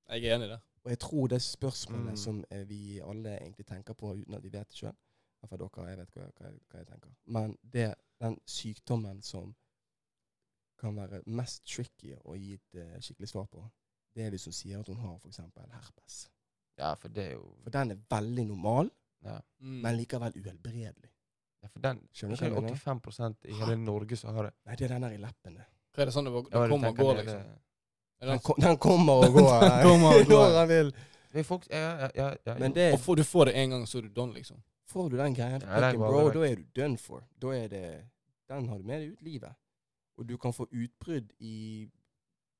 [SPEAKER 1] Jeg er enig i det.
[SPEAKER 2] Og jeg tror det spørsmålet
[SPEAKER 3] Mm.
[SPEAKER 2] som eh, vi alle egentlig tenker på uten at vi vet det sjøl Iallfall dere, jeg vet hva, hva, jeg- hva jeg tenker. Men det den sykdommen som kan være mest tricky å gi et eh, skikkelig svar på, det er hvis hun sier at hun har f.eks. herpes.
[SPEAKER 3] Ja, for det er jo
[SPEAKER 2] For den er veldig normal,
[SPEAKER 3] Ja,
[SPEAKER 1] Mm.
[SPEAKER 2] men likevel uhelbredelig.
[SPEAKER 3] ja for den
[SPEAKER 2] Skjønner du
[SPEAKER 3] Det
[SPEAKER 2] hva jeg
[SPEAKER 3] er
[SPEAKER 2] mener?
[SPEAKER 3] 85 i hele Norge som har det.
[SPEAKER 2] Nei, det er den der i leppene.
[SPEAKER 1] Hva er det sånn det, bare-
[SPEAKER 3] Ja,
[SPEAKER 1] det
[SPEAKER 3] du
[SPEAKER 1] kommer og
[SPEAKER 3] tenker
[SPEAKER 1] går,
[SPEAKER 3] det er
[SPEAKER 1] liksom?
[SPEAKER 3] det-
[SPEAKER 1] Er det
[SPEAKER 2] Den,
[SPEAKER 1] en-
[SPEAKER 2] ko den kommer og går.
[SPEAKER 1] Den kommer og går.
[SPEAKER 2] Når han vil.
[SPEAKER 3] Det er folk, ja, ja, ja, ja,
[SPEAKER 2] Men det,
[SPEAKER 1] Og får, du får det en gang, så er du done, liksom.
[SPEAKER 2] får du den greien,
[SPEAKER 3] Ja, den
[SPEAKER 2] fucking
[SPEAKER 3] går
[SPEAKER 2] bro,
[SPEAKER 3] over.
[SPEAKER 2] da er du done for. Da er det Den har du med deg ut livet. Og du kan få utbrudd i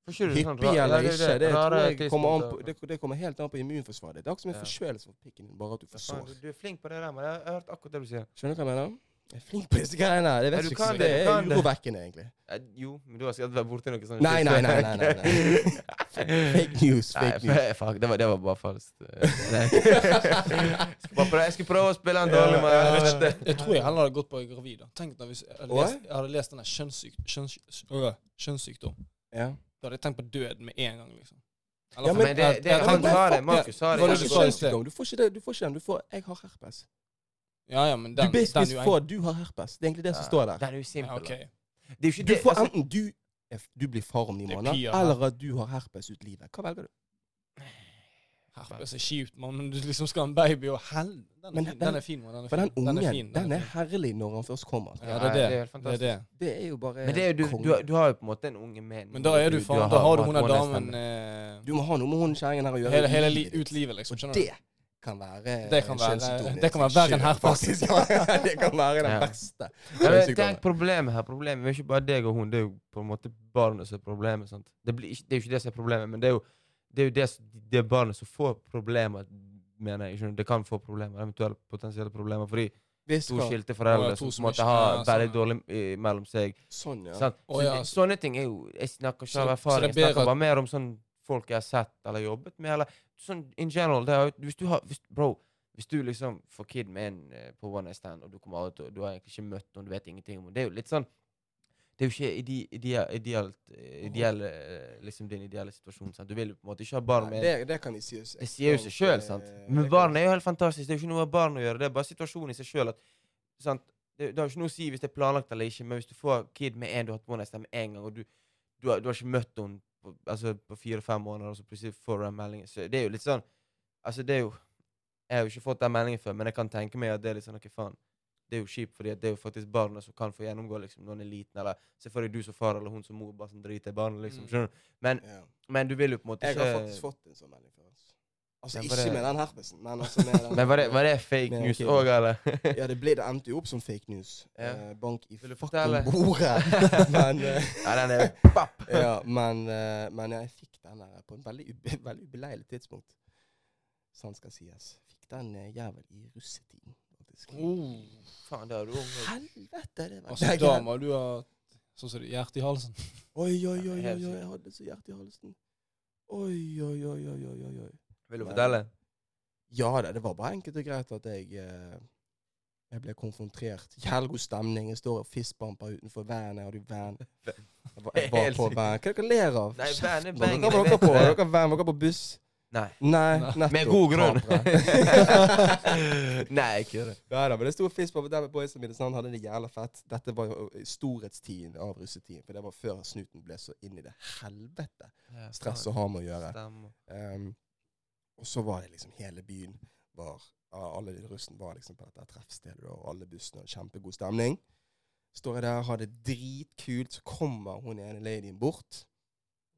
[SPEAKER 3] sånn
[SPEAKER 2] hyppig eller ikke. Det, tror jeg kommer an på, det, det kommer helt an på immunforsvaret ditt. Det er akkurat som en
[SPEAKER 3] Ja.
[SPEAKER 2] forkjølelse for pikken din, bare at du får sår.
[SPEAKER 3] Du er flink på det der, men jeg har hørt akkurat det du sier.
[SPEAKER 2] Skjønner du hva jeg mener? Jeg er flink på disse greiene. her. Jeg
[SPEAKER 3] Ja,
[SPEAKER 2] vet
[SPEAKER 3] du
[SPEAKER 2] ikke,
[SPEAKER 3] kan
[SPEAKER 2] så
[SPEAKER 3] det,
[SPEAKER 2] det
[SPEAKER 3] du kan
[SPEAKER 2] er
[SPEAKER 3] det.
[SPEAKER 2] urovekkende, egentlig.
[SPEAKER 3] Eh, Jo, men du har sikkert vært borti noe sånt.
[SPEAKER 2] Nei, nei, nei, nei, nei, Fake news, fake news.
[SPEAKER 3] Nei, fuck, det var, det var bare falskt. Eh, nei. Skal bare prøve- Jeg skulle prøve å spille en dårlig, men jeg vet det.
[SPEAKER 1] Jeg tror jeg heller hadde gått på gravid. da. Tenk da, hvis jeg hadde
[SPEAKER 2] Oi.
[SPEAKER 1] lest, jeg hadde lest den der kjønnssyk, kjønns, øh, kjønnssykdom,
[SPEAKER 2] Ja.
[SPEAKER 1] da hadde jeg tenkt på død med en gang, liksom.
[SPEAKER 2] Ja,
[SPEAKER 1] for-
[SPEAKER 2] men
[SPEAKER 3] Men det,
[SPEAKER 1] jeg-
[SPEAKER 3] det,
[SPEAKER 1] jeg-
[SPEAKER 3] han
[SPEAKER 2] men
[SPEAKER 3] sa
[SPEAKER 2] fuck
[SPEAKER 3] det, Markus sa
[SPEAKER 1] det
[SPEAKER 3] det.
[SPEAKER 1] var det du
[SPEAKER 2] Du får ikke sånn
[SPEAKER 3] Markus
[SPEAKER 1] sa
[SPEAKER 3] sa det.
[SPEAKER 1] i sted.
[SPEAKER 2] kjønnssykdom. Du får ikke det. Du får ikke den. Du får 'jeg har herpes'.
[SPEAKER 1] ja, ja, men
[SPEAKER 2] Du
[SPEAKER 1] den,
[SPEAKER 2] basic
[SPEAKER 1] den er jo
[SPEAKER 2] får 'du har herpes'. Det er egentlig det som
[SPEAKER 3] Ja,
[SPEAKER 2] står der.
[SPEAKER 3] Den er jo
[SPEAKER 1] Ja,
[SPEAKER 3] simpel.
[SPEAKER 1] ok.
[SPEAKER 3] da. Det er jo ikke
[SPEAKER 2] Du
[SPEAKER 3] det.
[SPEAKER 2] får
[SPEAKER 3] altså,
[SPEAKER 2] enten du, er f- du blir far om ni
[SPEAKER 1] Det er
[SPEAKER 2] måneder,
[SPEAKER 1] pier,
[SPEAKER 2] eller at du har herpes ut livet. Hva velger du?
[SPEAKER 1] Herpes er kjipt, mann, men du liksom skal ha en baby, og hell, den
[SPEAKER 2] Men
[SPEAKER 1] er fin,
[SPEAKER 2] den-
[SPEAKER 1] den er fin, mann, den er
[SPEAKER 2] For den
[SPEAKER 1] fin.
[SPEAKER 2] ungen, den er,
[SPEAKER 1] fin, den er fin.
[SPEAKER 2] herlig når han først kommer.
[SPEAKER 1] Ja, det er
[SPEAKER 3] Ja,
[SPEAKER 1] det.
[SPEAKER 3] det er helt
[SPEAKER 1] Det er
[SPEAKER 3] fantastisk.
[SPEAKER 1] det.
[SPEAKER 2] Det er jo bare
[SPEAKER 3] men det er jo, du,
[SPEAKER 2] konge.
[SPEAKER 3] du, har- du har jo på en måte en unge med en-
[SPEAKER 1] Men da er du faen, da har du hun der damen
[SPEAKER 3] stemme.
[SPEAKER 1] eh,
[SPEAKER 2] Du må ha noe med hun kjerringen her å gjøre.
[SPEAKER 1] hele,
[SPEAKER 2] i
[SPEAKER 1] hele li,
[SPEAKER 2] livet ditt.
[SPEAKER 1] ut livet, liksom.
[SPEAKER 2] Og
[SPEAKER 1] Skjønner du?
[SPEAKER 2] det kan være
[SPEAKER 1] Det kan
[SPEAKER 2] en
[SPEAKER 1] være-
[SPEAKER 2] kjønnssykdom i
[SPEAKER 1] det kan være
[SPEAKER 2] seg
[SPEAKER 1] verre enn
[SPEAKER 2] selv,
[SPEAKER 1] herpes.
[SPEAKER 2] faktisk. Ja, det kan være den
[SPEAKER 3] Ja.
[SPEAKER 2] verste.
[SPEAKER 3] Ja, men
[SPEAKER 2] Sinnssykt
[SPEAKER 3] tenk
[SPEAKER 2] gammel.
[SPEAKER 3] problemet her. Problemet er jo ikke bare deg og hun, det er jo på en måte barnet som er problemet. Sant? Det, blir ikke, det er jo ikke det som er problemet, men det er jo det, er jo det, s- det barnet som får problemer, mener jeg. skjønner du? Det kan få problemer, eventuelle potensielle problemer, fordi
[SPEAKER 2] Hvis
[SPEAKER 3] to
[SPEAKER 2] hva-
[SPEAKER 3] skilte
[SPEAKER 1] Å,
[SPEAKER 3] foreldre
[SPEAKER 1] ja,
[SPEAKER 3] som
[SPEAKER 1] to
[SPEAKER 3] på
[SPEAKER 1] som
[SPEAKER 3] en måte
[SPEAKER 1] ikke-
[SPEAKER 3] har
[SPEAKER 1] ja,
[SPEAKER 3] veldig
[SPEAKER 1] sånn, ja.
[SPEAKER 3] dårlig eh, mellom seg.
[SPEAKER 2] Sånn, ja.
[SPEAKER 3] Sant?
[SPEAKER 1] Å,
[SPEAKER 3] Så
[SPEAKER 1] ja,
[SPEAKER 3] det-
[SPEAKER 1] så-
[SPEAKER 3] Sånne ting er jo Jeg snakker
[SPEAKER 1] Så
[SPEAKER 3] ikke
[SPEAKER 1] det-
[SPEAKER 3] av
[SPEAKER 1] så
[SPEAKER 3] erfaring,
[SPEAKER 1] det
[SPEAKER 3] jeg
[SPEAKER 1] er bedre
[SPEAKER 3] snakker
[SPEAKER 1] at-
[SPEAKER 3] bare mer om sånn folk jeg har sett eller jobbet med, eller sånn in general. Det er, jo- hvis du har hvis, Bro, hvis du liksom får kid med en eh, på one night stand, og du kommer ut, og du har egentlig ikke møtt noen, du vet ingenting om henne, det er jo litt sånn det er jo ikke ide, idea, ideelt, eh, ideell, eh, liksom din ideelle situasjon. Sant? Du vil jo på en måte ikke ha barn med en
[SPEAKER 2] Det, det kan vi si oss.
[SPEAKER 3] det sier jo seg sjøl, sant? Men barn er jo helt fantastisk. Det er jo ikke noe med barn å gjøre. Det er bare situasjonen i seg sjøl. Det, det har jo ikke noe å si hvis det er planlagt eller ikke, men hvis du får kid med en du har hatt one night stand med en gang, og du, du, har, du har ikke møtt henne på, altså, på fire-fem måneder, og så plutselig får du den meldingen Så det er jo litt sånn Altså, det er jo Jeg har jo ikke fått den meldingen før, men jeg kan tenke meg at det er litt sånn OK, faen. Det er jo kjipt, fordi at det er jo faktisk barna som kan få gjennomgå liksom, når en er liten, eller se for deg du som far eller hun som mor bare sånn driter i barnet, liksom.
[SPEAKER 1] Mm.
[SPEAKER 3] Skjønner du? Men,
[SPEAKER 2] Ja.
[SPEAKER 3] men du vil jo på en måte
[SPEAKER 2] Jeg har faktisk fått en sånn melding før. altså. Altså,
[SPEAKER 3] Men var
[SPEAKER 2] ikke
[SPEAKER 3] det-
[SPEAKER 2] med den herpesen, men altså med den
[SPEAKER 3] Men var det, var det fake
[SPEAKER 2] Men,
[SPEAKER 3] news
[SPEAKER 2] ok.
[SPEAKER 3] òg, eller?
[SPEAKER 2] Ja, det ble det endte jo opp som fake news.
[SPEAKER 3] Ja.
[SPEAKER 2] Eh, bank i
[SPEAKER 3] Vil du
[SPEAKER 2] fucking
[SPEAKER 3] fortelle?
[SPEAKER 2] bordet! men, eh,
[SPEAKER 3] ja, den er papp.
[SPEAKER 2] ja, men, eh, men jeg fikk den der på en veldig, ube, veldig ubeleilig tidspunkt. Sant skal sies. Fikk den eh, jævel i russetiden, faktisk.
[SPEAKER 3] Faen, Oh, det har du omgått.
[SPEAKER 2] Helvete! det var
[SPEAKER 1] Oh, Altså, da må du ha sånn som det, hjerte i halsen.
[SPEAKER 2] Oi, oi, oi, oi, oi,
[SPEAKER 3] Helt sikkert.
[SPEAKER 2] jeg hadde så hjertet i halsen. Oi, oi, oi, oi, oi, oi, oi.
[SPEAKER 3] Vil du
[SPEAKER 2] Nei.
[SPEAKER 3] fortelle?
[SPEAKER 2] Ja da, det var bare enkelt og greit at jeg eh, Jeg ble konfrontert. Jævlig god stemning. Jeg står og fistbamper utenfor van. Jeg hadde jo van. Jeg var, jeg var
[SPEAKER 3] Helt
[SPEAKER 2] på
[SPEAKER 3] sykt.
[SPEAKER 2] van. Hva er det dere ler av?
[SPEAKER 3] Nei, van er
[SPEAKER 2] Kjeft,
[SPEAKER 3] bang,
[SPEAKER 2] Hva var dere
[SPEAKER 3] jeg vet
[SPEAKER 2] på?
[SPEAKER 3] det.
[SPEAKER 2] Dere var van, var dere på buss?
[SPEAKER 3] Nei.
[SPEAKER 2] Nei,
[SPEAKER 1] Nei.
[SPEAKER 2] nettopp.
[SPEAKER 3] Med god grunn.
[SPEAKER 2] Tapere.
[SPEAKER 3] Nei, jeg kødder.
[SPEAKER 2] Nei da, men det sto en fisk på der med boysa mine, så han hadde det jævla fett. Dette var jo i storhetstiden av russetiden, for det var før snuten ble så inn i det helvete stress å ha med å gjøre.
[SPEAKER 3] Stemmer.
[SPEAKER 2] Ehm, og så var det liksom hele byen var ja, Alle de russen var liksom på dette treffstedet, og alle bussene hadde kjempegod stemning. Står jeg der, har det dritkult, så kommer hun ene ladyen bort.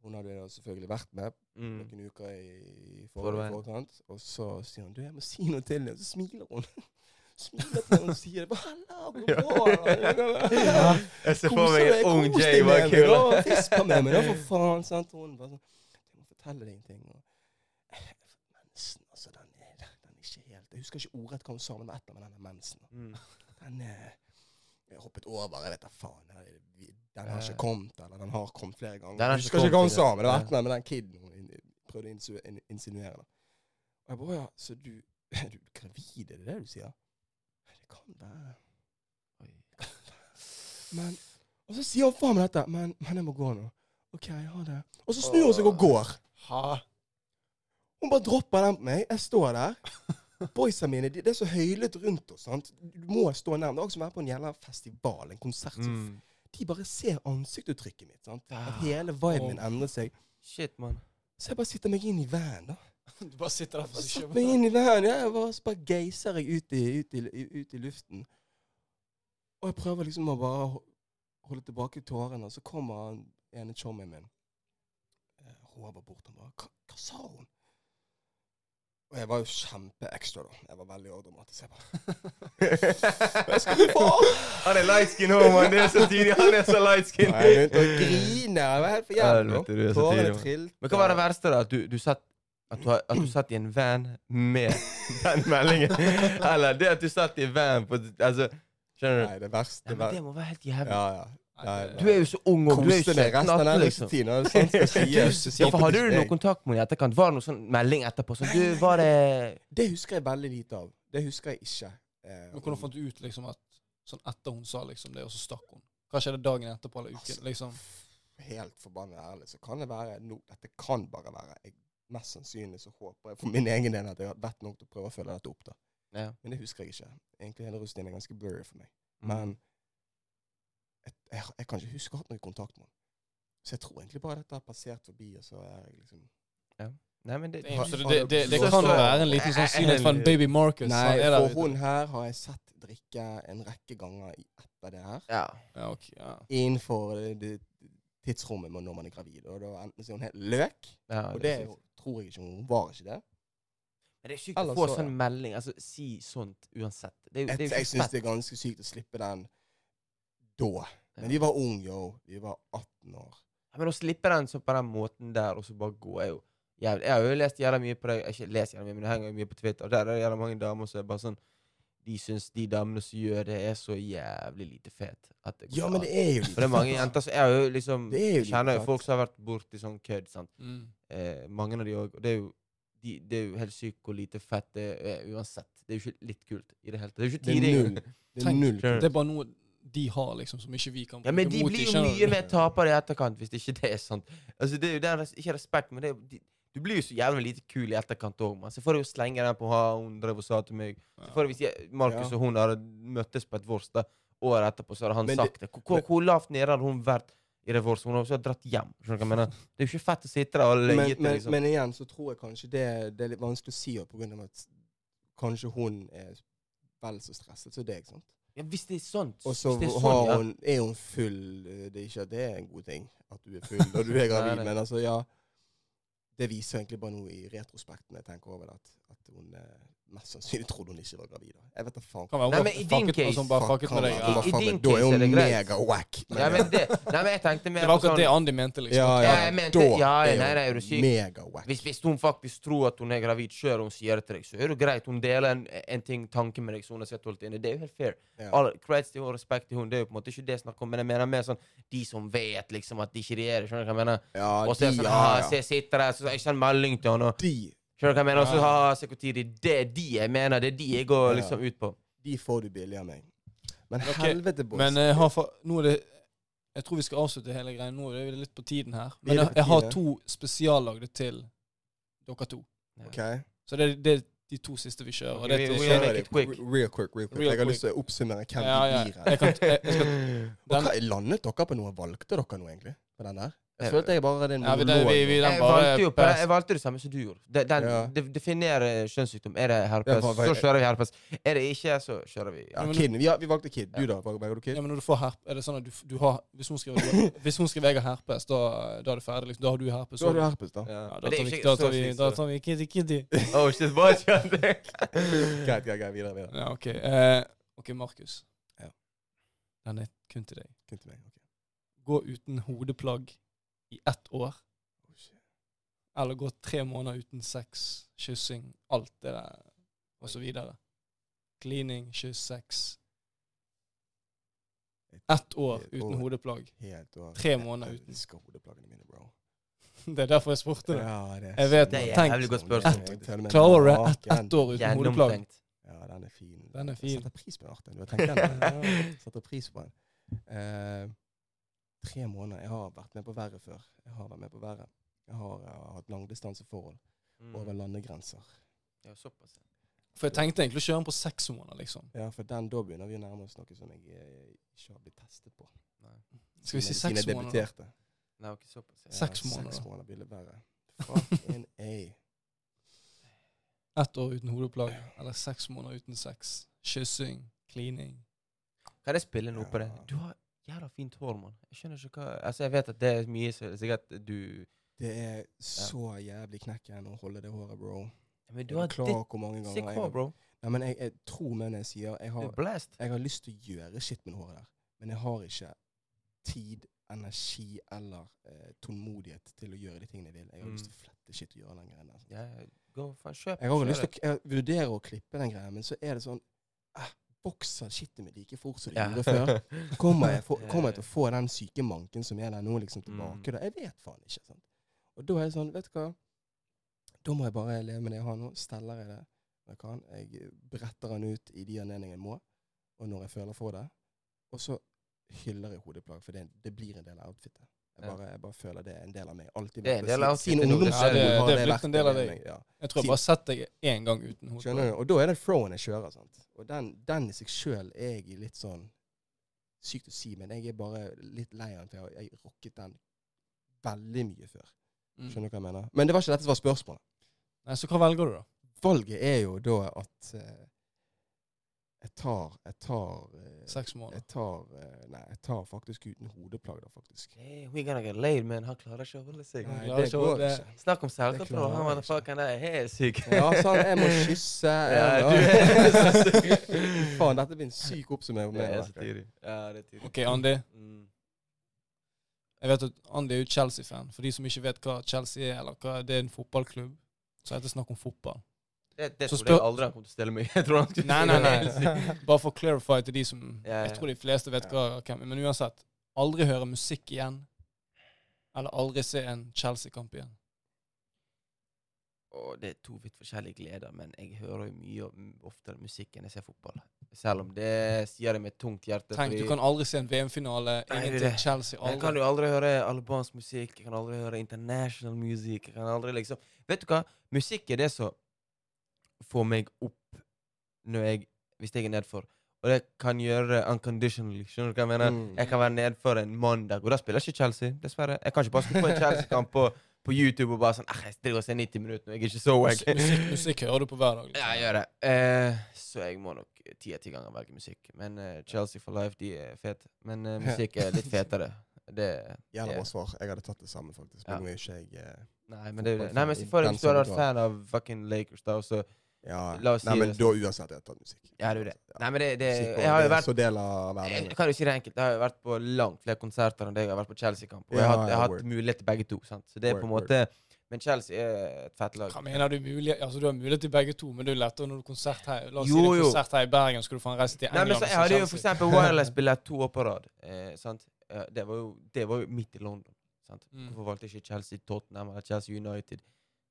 [SPEAKER 2] Hun hadde jeg da selvfølgelig vært med
[SPEAKER 3] Mm.
[SPEAKER 2] noen uker i for- i
[SPEAKER 3] Forveien.
[SPEAKER 2] forkant. Og så sier hun du, jeg må si noe til deg. Og så smiler hun. smiler til henne og sier det. Hallo, god morgen.
[SPEAKER 3] Jeg ser for
[SPEAKER 2] Kose
[SPEAKER 3] meg
[SPEAKER 2] deg,
[SPEAKER 3] en ung
[SPEAKER 2] kos deg
[SPEAKER 3] Jay var
[SPEAKER 2] med meg,
[SPEAKER 3] kul.
[SPEAKER 2] da. Fisk på meg, men da, for faen. Sant? Hun bare sånn Jeg må fortelle deg en ting. Og, mensen, altså, den er, den er ikke helt Jeg husker ikke ordrett hva hun sa, men det var et eller annet med denne mensen.
[SPEAKER 3] Mm.
[SPEAKER 2] Den er jeg hoppet over, jeg vet da faen. Den, er- vi- den har
[SPEAKER 3] Ja.
[SPEAKER 2] ikke kommet, eller den har kommet flere ganger.
[SPEAKER 3] Den har
[SPEAKER 2] Jeg
[SPEAKER 3] ikke
[SPEAKER 2] husker ikke hva hun
[SPEAKER 3] kommet,
[SPEAKER 2] sa, men det var
[SPEAKER 3] ja.
[SPEAKER 2] et eller annet med den kiden hun in- prøvde å insu- in- insinuere. Da. Og jeg bare, «Å ja, så du, er du gravid, er det det du sier? «Nei, Det kan være. Men, og så sier hun faen meg dette, men, men jeg må gå nå. Ok, ha det. Og så snur hun seg og går. Hun bare dropper den på meg. Jeg står der. Boysa mine, de, det er så høylytt rundt oss. sant? Du må stå nærmere. Det er også som å være på en jævla festival, en konsert. som
[SPEAKER 3] Mm.
[SPEAKER 2] de bare ser ansiktuttrykket mitt. sant?
[SPEAKER 3] Ah.
[SPEAKER 2] At hele viben min endrer seg.
[SPEAKER 3] Shit, mann.
[SPEAKER 2] Så jeg bare sitter meg inn i van, da.
[SPEAKER 1] Du bare sitter der for
[SPEAKER 2] Jeg
[SPEAKER 1] seg
[SPEAKER 2] satt meg inn i van, ja, og så bare geiser jeg ut i, ut, i, ut i luften. Og jeg prøver liksom å bare ho- holde tilbake tårene, og så kommer han ene chommien min. Eh, Håvard bort og bare hva, 'Hva sa hun?' Og jeg var jo kjempeekstra, da. Jeg var veldig overdramatisk. Jeg bare
[SPEAKER 3] Han
[SPEAKER 2] skal du få?
[SPEAKER 3] er light skin òg, mann. Det er så tidlig. Han er så light skin.
[SPEAKER 2] Og jeg begynte å grine. Jeg var helt for jævlig.
[SPEAKER 3] Helvete, du er så tidlig,
[SPEAKER 2] Tårene
[SPEAKER 3] mann.
[SPEAKER 2] trilte.
[SPEAKER 3] Men hva var det verste, da? At du, du satt at du, har- at du satt i en van med den meldingen? Eller det at du satt i van på Altså, skjønner du?
[SPEAKER 2] Nei, det verste
[SPEAKER 3] Nei, men det må være helt jævlig.
[SPEAKER 2] Ja, ja. Nei,
[SPEAKER 3] Du er jo så ung, og du er
[SPEAKER 2] Koste
[SPEAKER 3] jo
[SPEAKER 2] meg
[SPEAKER 3] 17
[SPEAKER 2] resten av
[SPEAKER 3] 18,
[SPEAKER 2] den
[SPEAKER 3] liksom.
[SPEAKER 2] russetiden. og sånt sånn skal sies.
[SPEAKER 3] Ja, for Hadde du noe
[SPEAKER 2] eh,
[SPEAKER 3] kontakt med henne i etterkant? Var det noe sånn melding etterpå? Sånn, du, var det
[SPEAKER 2] Det husker jeg veldig lite av. Det husker jeg ikke. Eh,
[SPEAKER 1] Men hvordan fant du ut liksom at sånn etter hun sa liksom det, og så stakk hun? Hva skjedde dagen etterpå eller uken?
[SPEAKER 2] Altså,
[SPEAKER 1] Liksom.
[SPEAKER 2] Helt forbannet ærlig, så kan det være no, Dette kan bare være jeg, Mest sannsynlig så håper jeg for min egen del at jeg har bedt nok til å prøve å følge dette opp. da.
[SPEAKER 3] ja. Mm.
[SPEAKER 2] Men det husker jeg ikke. Egentlig hele russetiden er ganske blurry for meg. Men jeg, jeg, jeg kan ikke huske å ha hatt noe kontakt med henne. Så jeg tror egentlig bare dette har passert forbi, og så er jeg liksom
[SPEAKER 3] Nei, men det,
[SPEAKER 1] Så det, det, det, det
[SPEAKER 3] Så-
[SPEAKER 1] kan
[SPEAKER 3] så-
[SPEAKER 1] jo være en liten sannsynlighet for en baby Marcus.
[SPEAKER 2] Eh, Nei,
[SPEAKER 1] han er der
[SPEAKER 2] for
[SPEAKER 1] ute.
[SPEAKER 2] hun her har jeg sett drikke en rekke ganger i- etter det her.
[SPEAKER 3] Ja.
[SPEAKER 1] Ja, ok, ja.
[SPEAKER 2] innenfor det, det tidsrommet med når man er gravid. Og da enten så er hun helt løk,
[SPEAKER 3] ja
[SPEAKER 2] og
[SPEAKER 3] det
[SPEAKER 2] det
[SPEAKER 3] er
[SPEAKER 2] er
[SPEAKER 3] sykt.
[SPEAKER 2] jo- tror jeg ikke hun var ikke det.
[SPEAKER 3] Men det er sykt å
[SPEAKER 2] Ellers
[SPEAKER 3] få
[SPEAKER 2] så-
[SPEAKER 3] sånn melding. Altså, si sånt uansett. Det er jo,
[SPEAKER 2] Jeg,
[SPEAKER 3] det
[SPEAKER 2] jeg
[SPEAKER 3] er jo ikke
[SPEAKER 2] syns
[SPEAKER 3] fett.
[SPEAKER 2] det er ganske sykt å slippe den da. Men
[SPEAKER 3] Ja.
[SPEAKER 2] vi var unge, yo. Vi var 18 år.
[SPEAKER 3] Men å slippe den sånn på den måten der, og så bare gå, er jo jævlig. Jeg har jo lest jævla mye på deg. Ikke lest jævla mye, men jeg henger jo mye på Twitter. Og der er det jævla mange damer som er bare sånn De syns de damene som gjør det, er så jævlig lite fet. At det går
[SPEAKER 2] Ja, men det
[SPEAKER 3] an.
[SPEAKER 2] er jo
[SPEAKER 3] For det er mange jenter som Jeg har jo liksom
[SPEAKER 2] Det er jo
[SPEAKER 3] jeg kjenner
[SPEAKER 2] lite
[SPEAKER 3] jo folk som har vært borti sånn kødd, sant.
[SPEAKER 1] Mm.
[SPEAKER 3] Eh, mange av de òg. Og det er jo de, det er jo helt sykt hvor lite fett det er eh, uansett. Det er jo ikke litt kult i det hele tatt. Det er jo ikke
[SPEAKER 2] Det er
[SPEAKER 3] tidlig.
[SPEAKER 2] null. Det er
[SPEAKER 1] Tenk.
[SPEAKER 2] null.
[SPEAKER 3] Sure.
[SPEAKER 1] Det er bare noe de har, liksom, som ikke vi kan
[SPEAKER 3] Ja, men de
[SPEAKER 1] mot
[SPEAKER 3] blir jo
[SPEAKER 1] skjønner du?
[SPEAKER 3] mye mer tapere i etterkant hvis det ikke det er sant. Altså, det er jo den, res- ikke respekt, men det er, jo- de, du blir jo så jævlig lite kul i etterkant òg, mann. Så får jeg jo slenge den på ha, hun drev og sa til meg. Så får jeg, hvis jeg, Markus
[SPEAKER 2] Ja.
[SPEAKER 3] og hun hadde møttes på et vors da, året etterpå, så hadde han
[SPEAKER 2] Men det-
[SPEAKER 3] sagt det. Hvor, hvor, hvor lavt nede hadde hun vært i det vorset? Hun hadde også dratt hjem. Skjønner du hva jeg mener? Det er jo ikke fett å sitte der og
[SPEAKER 2] Men,
[SPEAKER 3] løye til,
[SPEAKER 2] men,
[SPEAKER 3] liksom.
[SPEAKER 2] men igjen så tror jeg kanskje det, det er litt vanskelig å si på grunn av at kanskje hun er vel så stresset som deg. sant?
[SPEAKER 3] ja, hvis det er sant,
[SPEAKER 2] Og så
[SPEAKER 3] hvis det er sånn,
[SPEAKER 2] har
[SPEAKER 3] ja.
[SPEAKER 2] hun, er hun eh, full. Det er ikke at det er en god ting at du er full når du er
[SPEAKER 3] Nei,
[SPEAKER 2] gravid,
[SPEAKER 3] nei.
[SPEAKER 2] men altså, ja. det viser egentlig bare noe i retrospekten jeg tenker over det, at, at hun eh, mest sannsynlig trodde hun ikke var gravid. da. Jeg vet da faen.
[SPEAKER 1] Kan være hun
[SPEAKER 3] Nei,
[SPEAKER 1] bare
[SPEAKER 3] men i din
[SPEAKER 1] fucket, og
[SPEAKER 3] case-
[SPEAKER 1] sånn bare fucket med
[SPEAKER 2] Faen,
[SPEAKER 1] deg.
[SPEAKER 2] hun
[SPEAKER 1] Ja.
[SPEAKER 2] var
[SPEAKER 3] I- i
[SPEAKER 2] faen
[SPEAKER 3] din
[SPEAKER 2] meg- Da er
[SPEAKER 3] case er
[SPEAKER 2] hun
[SPEAKER 3] det greit.
[SPEAKER 2] mega-wack.
[SPEAKER 3] Nei, men det, nei, men jeg tenkte
[SPEAKER 1] Det
[SPEAKER 3] mer
[SPEAKER 1] var
[SPEAKER 3] på
[SPEAKER 1] akkurat
[SPEAKER 3] sånn
[SPEAKER 1] det Andi mente, liksom.
[SPEAKER 2] Ja,
[SPEAKER 3] Ja, jeg mente- ja, ja, nei, nei, er du syk?
[SPEAKER 2] Mega-wack.
[SPEAKER 3] hvis, hvis hun faktisk tror at hun er gravid sjøl, og hun sier det til deg, så er det greit. Hun deler en, en ting, tanke med deg som hun har sett holdt inne. Det er jo helt fair.
[SPEAKER 2] Ja.
[SPEAKER 3] All creds til hun, respekt til hun. Det er jo på en måte ikke det jeg snakker om, men jeg mener mer sånn de som vet liksom at de ikke regjerer. Skjønner du hva jeg mener?
[SPEAKER 2] Ja,
[SPEAKER 3] Og så
[SPEAKER 2] de,
[SPEAKER 3] er det sånn,
[SPEAKER 2] ja,
[SPEAKER 3] ah,
[SPEAKER 2] ja.
[SPEAKER 3] se, sitter der, så jeg sender melding til han, og
[SPEAKER 2] De,
[SPEAKER 3] skjønner du hva jeg mener? Og så,
[SPEAKER 1] Ja.
[SPEAKER 3] ah, se hvor tid de Det er de jeg mener, det er de jeg går
[SPEAKER 2] Ja.
[SPEAKER 3] liksom ut på.
[SPEAKER 2] de får du billig av meg. Men
[SPEAKER 1] Ok,
[SPEAKER 2] helvete, boys.
[SPEAKER 1] Men eh, jeg har fa- nå er det Jeg tror vi skal avslutte hele greia nå. Det er litt på tiden her. Men
[SPEAKER 2] litt
[SPEAKER 1] jeg,
[SPEAKER 2] på
[SPEAKER 1] jeg har
[SPEAKER 2] tide.
[SPEAKER 1] to spesiallagde til dere to.
[SPEAKER 2] Ok,
[SPEAKER 1] Så det, er- det er de to siste vi kjører.
[SPEAKER 3] Ok,
[SPEAKER 1] Og det er
[SPEAKER 3] vi-
[SPEAKER 1] til-
[SPEAKER 3] vi-
[SPEAKER 2] kjører
[SPEAKER 3] make
[SPEAKER 2] det.
[SPEAKER 3] it quick.
[SPEAKER 2] Real quick, real quick.
[SPEAKER 1] Real
[SPEAKER 2] Jeg har
[SPEAKER 1] quick.
[SPEAKER 2] lyst til å oppsummere hvem
[SPEAKER 1] Ja, ja.
[SPEAKER 2] vi blir her.
[SPEAKER 1] Jeg kan, jeg, jeg skal,
[SPEAKER 2] Og
[SPEAKER 1] den,
[SPEAKER 2] hva, landet dere på noe? Valgte dere noe, egentlig? På den der? Jeg
[SPEAKER 3] Jeg-
[SPEAKER 2] følte jeg bare hadde en
[SPEAKER 1] ja, vi, den,
[SPEAKER 2] monolog.
[SPEAKER 1] vi, vi, den
[SPEAKER 3] Jeg
[SPEAKER 1] bare
[SPEAKER 3] valgte, jo, på- jeg valgte det samme som du gjorde. De, den,
[SPEAKER 2] Ja.
[SPEAKER 3] de- definere kjønnssykdom. Er det
[SPEAKER 2] Ja,
[SPEAKER 3] herpes,
[SPEAKER 2] hva- hva-
[SPEAKER 3] så kjører vi herpes. Er det ikke, så kjører vi
[SPEAKER 2] Ja,
[SPEAKER 1] men-
[SPEAKER 2] kid. Vi, ja, vi valgte Kid. Du, da? Valg- Velger du Kid?
[SPEAKER 1] Ja, men når du får herpes, er det sånn at du, f- du har Hvis hun skriver, hvis hun skriver 'jeg har herpes', da, da er det ferdig? Liksom. Da har du herpes.
[SPEAKER 2] Så har du
[SPEAKER 1] også.
[SPEAKER 2] herpes, da.
[SPEAKER 1] Ja, da
[SPEAKER 3] Men det
[SPEAKER 1] tar
[SPEAKER 3] er
[SPEAKER 1] vi,
[SPEAKER 3] ikke
[SPEAKER 1] da
[SPEAKER 3] så
[SPEAKER 1] tar vi,
[SPEAKER 3] sykt,
[SPEAKER 1] da
[SPEAKER 3] så-
[SPEAKER 1] tar vi kitty, kitty.
[SPEAKER 3] Oh shit, hva skjedde?
[SPEAKER 2] Greit, greit, greit. Videre. videre.
[SPEAKER 1] Ja, OK. Eh, ok, Markus.
[SPEAKER 2] Ja.
[SPEAKER 1] Den er kun til deg.
[SPEAKER 2] Kun til meg. ok.
[SPEAKER 1] Gå uten hodeplagg i ett år,
[SPEAKER 2] Oh, shit.
[SPEAKER 1] eller gå tre måneder uten sex, kyssing, alt det der, og så videre. Cleaning, kyss, sex. Ett år
[SPEAKER 2] Ett
[SPEAKER 1] uten
[SPEAKER 2] år.
[SPEAKER 1] hodeplagg.
[SPEAKER 2] Helt og
[SPEAKER 1] Tre måneder uten.
[SPEAKER 2] Jeg elsker hodeplaggene mine, bro.
[SPEAKER 1] Det er derfor jeg spurte deg.
[SPEAKER 2] Ja, det er
[SPEAKER 1] Jeg vet
[SPEAKER 2] så-
[SPEAKER 1] det.
[SPEAKER 3] Det er
[SPEAKER 1] Tenk-
[SPEAKER 3] jævlig godt
[SPEAKER 2] Jeg
[SPEAKER 3] spørsmål.
[SPEAKER 2] teller meg
[SPEAKER 1] Klarer du ett
[SPEAKER 2] tilbake.
[SPEAKER 1] ett år uten hodeplagg?
[SPEAKER 3] Gjennomtenkt.
[SPEAKER 2] Ja, den er fin.
[SPEAKER 1] Den er
[SPEAKER 2] Jeg
[SPEAKER 1] fin.
[SPEAKER 2] setter pris på den, Arten. Du har tenkt den. Jeg setter pris på den. Eh, tre måneder. Jeg har vært med på verre før. Jeg har vært med på verre. Jeg har, jeg har hatt langdistanseforhold
[SPEAKER 3] Mm.
[SPEAKER 1] Mm.
[SPEAKER 2] over landegrenser.
[SPEAKER 3] Ja, såpass.
[SPEAKER 1] For jeg tenkte egentlig å kjøre den på seks måneder, liksom.
[SPEAKER 2] Ja, for den da begynner vi å nærme oss noe som jeg eh, ikke har blitt testet på.
[SPEAKER 1] Skal vi si
[SPEAKER 2] Siden jeg
[SPEAKER 1] seks måneder?
[SPEAKER 2] debuterte.
[SPEAKER 3] Nei, ok, såpass. Ja.
[SPEAKER 1] Sek- Seks måneder.
[SPEAKER 2] Seks måneder blir det verre. Fuck in A.
[SPEAKER 1] Ett år uten hodeplagg, eller seks måneder uten sex. Kyssing, cleaning.
[SPEAKER 3] Kan jeg spille noe på det?
[SPEAKER 2] Ja.
[SPEAKER 3] Du har jævla fint hår, mann. Jeg skjønner ikke hva Altså, jeg vet at det er mye så sikkert du
[SPEAKER 2] Det er så jævlig knekken å holde det håret, bro.
[SPEAKER 3] Men du
[SPEAKER 2] Er
[SPEAKER 3] har
[SPEAKER 2] du klar
[SPEAKER 3] ditt
[SPEAKER 2] hvor mange ganger
[SPEAKER 3] sick
[SPEAKER 2] jeg
[SPEAKER 3] hår,
[SPEAKER 2] har-
[SPEAKER 3] bro.
[SPEAKER 2] Nei, men jeg, jeg tror meg når jeg sier jeg
[SPEAKER 3] Du
[SPEAKER 2] har,
[SPEAKER 3] er blast.
[SPEAKER 2] jeg har lyst til å gjøre shit med det håret der, men jeg har ikke tid, energi eller eh, tålmodighet til å gjøre de tingene jeg vil. Jeg har
[SPEAKER 3] Mm.
[SPEAKER 2] lyst til å flette shit og gjøre den greia der. sånn.
[SPEAKER 3] Ja, gå, faen, kjøp.
[SPEAKER 2] Jeg har jo
[SPEAKER 3] kjør
[SPEAKER 2] lyst
[SPEAKER 3] det.
[SPEAKER 2] til å jeg vurderer å klippe den greia, men så er det sånn eh, Bokser shitet mitt like fort som det
[SPEAKER 3] Ja.
[SPEAKER 2] gjorde før. Kommer jeg, få,
[SPEAKER 3] Ja, ja,
[SPEAKER 2] kommer jeg til
[SPEAKER 3] ja.
[SPEAKER 2] å få den syke manken som er der nå, liksom tilbake?
[SPEAKER 3] Mm.
[SPEAKER 2] Da? Jeg vet faen ikke. sant? Og da er jeg sånn, vet du hva Da må jeg bare leve med det jeg har nå. Steller jeg det når jeg kan. Jeg bretter den ut i de anledningene jeg må, og når jeg føler for det. Og så hyller jeg hodeplagg, for det, det blir en del av outfitet. Jeg
[SPEAKER 3] Ja.
[SPEAKER 2] bare, jeg bare føler det er en del av meg. Alltid
[SPEAKER 3] Det er en
[SPEAKER 2] vært
[SPEAKER 3] del
[SPEAKER 2] si-
[SPEAKER 3] av
[SPEAKER 2] siden
[SPEAKER 3] outfitet nå, det-
[SPEAKER 2] ungdomsskolen
[SPEAKER 1] Ja, det-
[SPEAKER 2] har
[SPEAKER 1] det er blitt en
[SPEAKER 2] vært
[SPEAKER 1] del av
[SPEAKER 2] med
[SPEAKER 1] deg.
[SPEAKER 2] meg, Ja.
[SPEAKER 1] Jeg tror jeg bare setter deg én gang uten
[SPEAKER 2] Skjønner
[SPEAKER 1] hodeplagg.
[SPEAKER 2] du? Og da er det throwen jeg kjører. sant? Og den, den i seg sjøl er jeg litt sånn Sykt å si, men jeg er bare litt lei av den, for jeg, har- jeg rocket den veldig mye før.
[SPEAKER 1] Mm.
[SPEAKER 2] Skjønner du hva jeg mener? Men det var ikke dette som var spørsmålet.
[SPEAKER 1] Nei, så hva velger du, da?
[SPEAKER 2] Valget er jo da at eh, jeg tar Jeg tar eh,
[SPEAKER 1] Seks måneder.
[SPEAKER 2] Jeg tar eh, Nei, jeg tar faktisk uten hodeplagg, da, faktisk.
[SPEAKER 3] Hey, we gonna get laid, man. Han klarer ikke å holde seg.
[SPEAKER 1] Nei,
[SPEAKER 2] Nei,
[SPEAKER 1] det er
[SPEAKER 2] det
[SPEAKER 1] ikke-
[SPEAKER 2] går
[SPEAKER 1] det-
[SPEAKER 2] ikke.
[SPEAKER 3] Snakk om
[SPEAKER 2] Det
[SPEAKER 3] selvkontroll.
[SPEAKER 2] klarer
[SPEAKER 3] Han
[SPEAKER 2] jeg
[SPEAKER 3] motherfuckeren der er helt syk.
[SPEAKER 2] Ja, sånn, jeg må kysse
[SPEAKER 3] Ja,
[SPEAKER 2] jeg må-
[SPEAKER 3] du er så syk.
[SPEAKER 2] Faen, dette blir en syk oppsummering.
[SPEAKER 3] Det er
[SPEAKER 2] av
[SPEAKER 3] så
[SPEAKER 2] meg.
[SPEAKER 3] tidlig. Ja, det er tidlig.
[SPEAKER 1] OK, Andi.
[SPEAKER 3] Mm.
[SPEAKER 1] Jeg vet at Andy er jo Chelsea-fan. For de som ikke vet hva Chelsea er, eller hva det er en fotballklubb, så er det snakk om fotball.
[SPEAKER 3] Det, det
[SPEAKER 1] Så
[SPEAKER 3] tror jeg
[SPEAKER 1] spør-
[SPEAKER 3] aldri han kommer til å stille meg. Jeg tror han skulle
[SPEAKER 1] Nei,
[SPEAKER 3] stille
[SPEAKER 1] nei,
[SPEAKER 3] meg helt
[SPEAKER 1] nei. Bare for å clarify til de som
[SPEAKER 3] Ja, ja.
[SPEAKER 1] Jeg tror de fleste vet hva hvem er. Men uansett, aldri høre musikk igjen. Eller aldri se en Chelsea-kamp igjen.
[SPEAKER 3] Og det er to vidt forskjellige gleder, men jeg hører jo mye og m- oftere musikk enn jeg ser fotball. Selv om det sier jeg med et tungt hjerte.
[SPEAKER 1] Tenk, du kan aldri se en VM-finale.
[SPEAKER 3] Nei, det er
[SPEAKER 1] Ingenting
[SPEAKER 3] det.
[SPEAKER 1] Chelsea.
[SPEAKER 3] jeg kan
[SPEAKER 1] Aldri.
[SPEAKER 3] jo aldri høre albansk musikk, jeg kan aldri høre international musikk. jeg kan aldri liksom... Vet du hva? Musikk er det som får meg opp når jeg, hvis jeg er nedfor. Og det kan gjøre det unconditionally. Skjønner du hva jeg mener?
[SPEAKER 2] Mm.
[SPEAKER 3] Jeg kan være nedfor en mandag, og da spiller ikke Chelsea, dessverre. Jeg kan ikke bare skru på en Chelsea-kamp på, på YouTube og bare sånn "Ah, Jeg driver og ser 90 minutter, og jeg er ikke så wack.
[SPEAKER 1] Musikk, musikk hører du på hver dag.
[SPEAKER 3] Ja,
[SPEAKER 1] Liksom.
[SPEAKER 3] jeg gjør det. Eh, så jeg må nok ti av ti ganger velge musikk. Men eh, Chelsea for life, de er fete. Men eh, musikk er litt fetere. Det,
[SPEAKER 2] Jævla
[SPEAKER 3] det
[SPEAKER 2] bra svar. Jeg hadde tatt det samme, faktisk.
[SPEAKER 3] Ja.
[SPEAKER 2] Men nå er ikke jeg eh,
[SPEAKER 3] Nei, men det er jo det.
[SPEAKER 2] Fotballfan,
[SPEAKER 3] Nei, men se for deg
[SPEAKER 2] den
[SPEAKER 3] hvis du
[SPEAKER 2] som
[SPEAKER 3] hadde vært
[SPEAKER 2] du
[SPEAKER 3] fan av fucking Lakers, da, og så
[SPEAKER 2] Ja,
[SPEAKER 3] La oss
[SPEAKER 2] Nei,
[SPEAKER 3] si
[SPEAKER 2] men
[SPEAKER 3] det sånn.
[SPEAKER 2] da uansett jeg tar musikk.
[SPEAKER 3] Ja, det er jo det.
[SPEAKER 2] Ja.
[SPEAKER 3] Nei, men det, det
[SPEAKER 2] Musikk og-
[SPEAKER 3] Jeg har jo
[SPEAKER 2] det er
[SPEAKER 3] vært
[SPEAKER 2] Så del av
[SPEAKER 3] jeg jeg
[SPEAKER 2] hverdagen. liksom.
[SPEAKER 3] kan jo si det enkelt. Jeg har jo vært på langt flere konserter enn deg. Jeg har vært på Chelsea-kamp. Og jeg
[SPEAKER 2] Ja,
[SPEAKER 3] har, hatt-
[SPEAKER 2] ja,
[SPEAKER 3] jeg har hatt
[SPEAKER 2] word.
[SPEAKER 3] mulighet til begge to. sant? Så det er på en
[SPEAKER 2] Word,
[SPEAKER 3] måte Men Chelsea er et fett lag.
[SPEAKER 1] Hva mener du mulig? Altså, du har mulighet til begge to, men det er jo lettere når du har konsert her. La oss si
[SPEAKER 3] Jo,
[SPEAKER 1] det er
[SPEAKER 3] jo.
[SPEAKER 1] konsert her i Bergen, skal du faen reise til
[SPEAKER 3] Nei,
[SPEAKER 1] England.
[SPEAKER 3] men
[SPEAKER 1] og
[SPEAKER 3] så Jeg
[SPEAKER 1] se
[SPEAKER 3] hadde jo for
[SPEAKER 1] Chelsea.
[SPEAKER 3] eksempel Wireless-billett to år på rad. Eh, sant? Eh, Det var jo, det var jo midt i London. sant?
[SPEAKER 1] Mm.
[SPEAKER 3] Hvorfor valgte jeg ikke Chelsea Tottenham eller Chelsea United?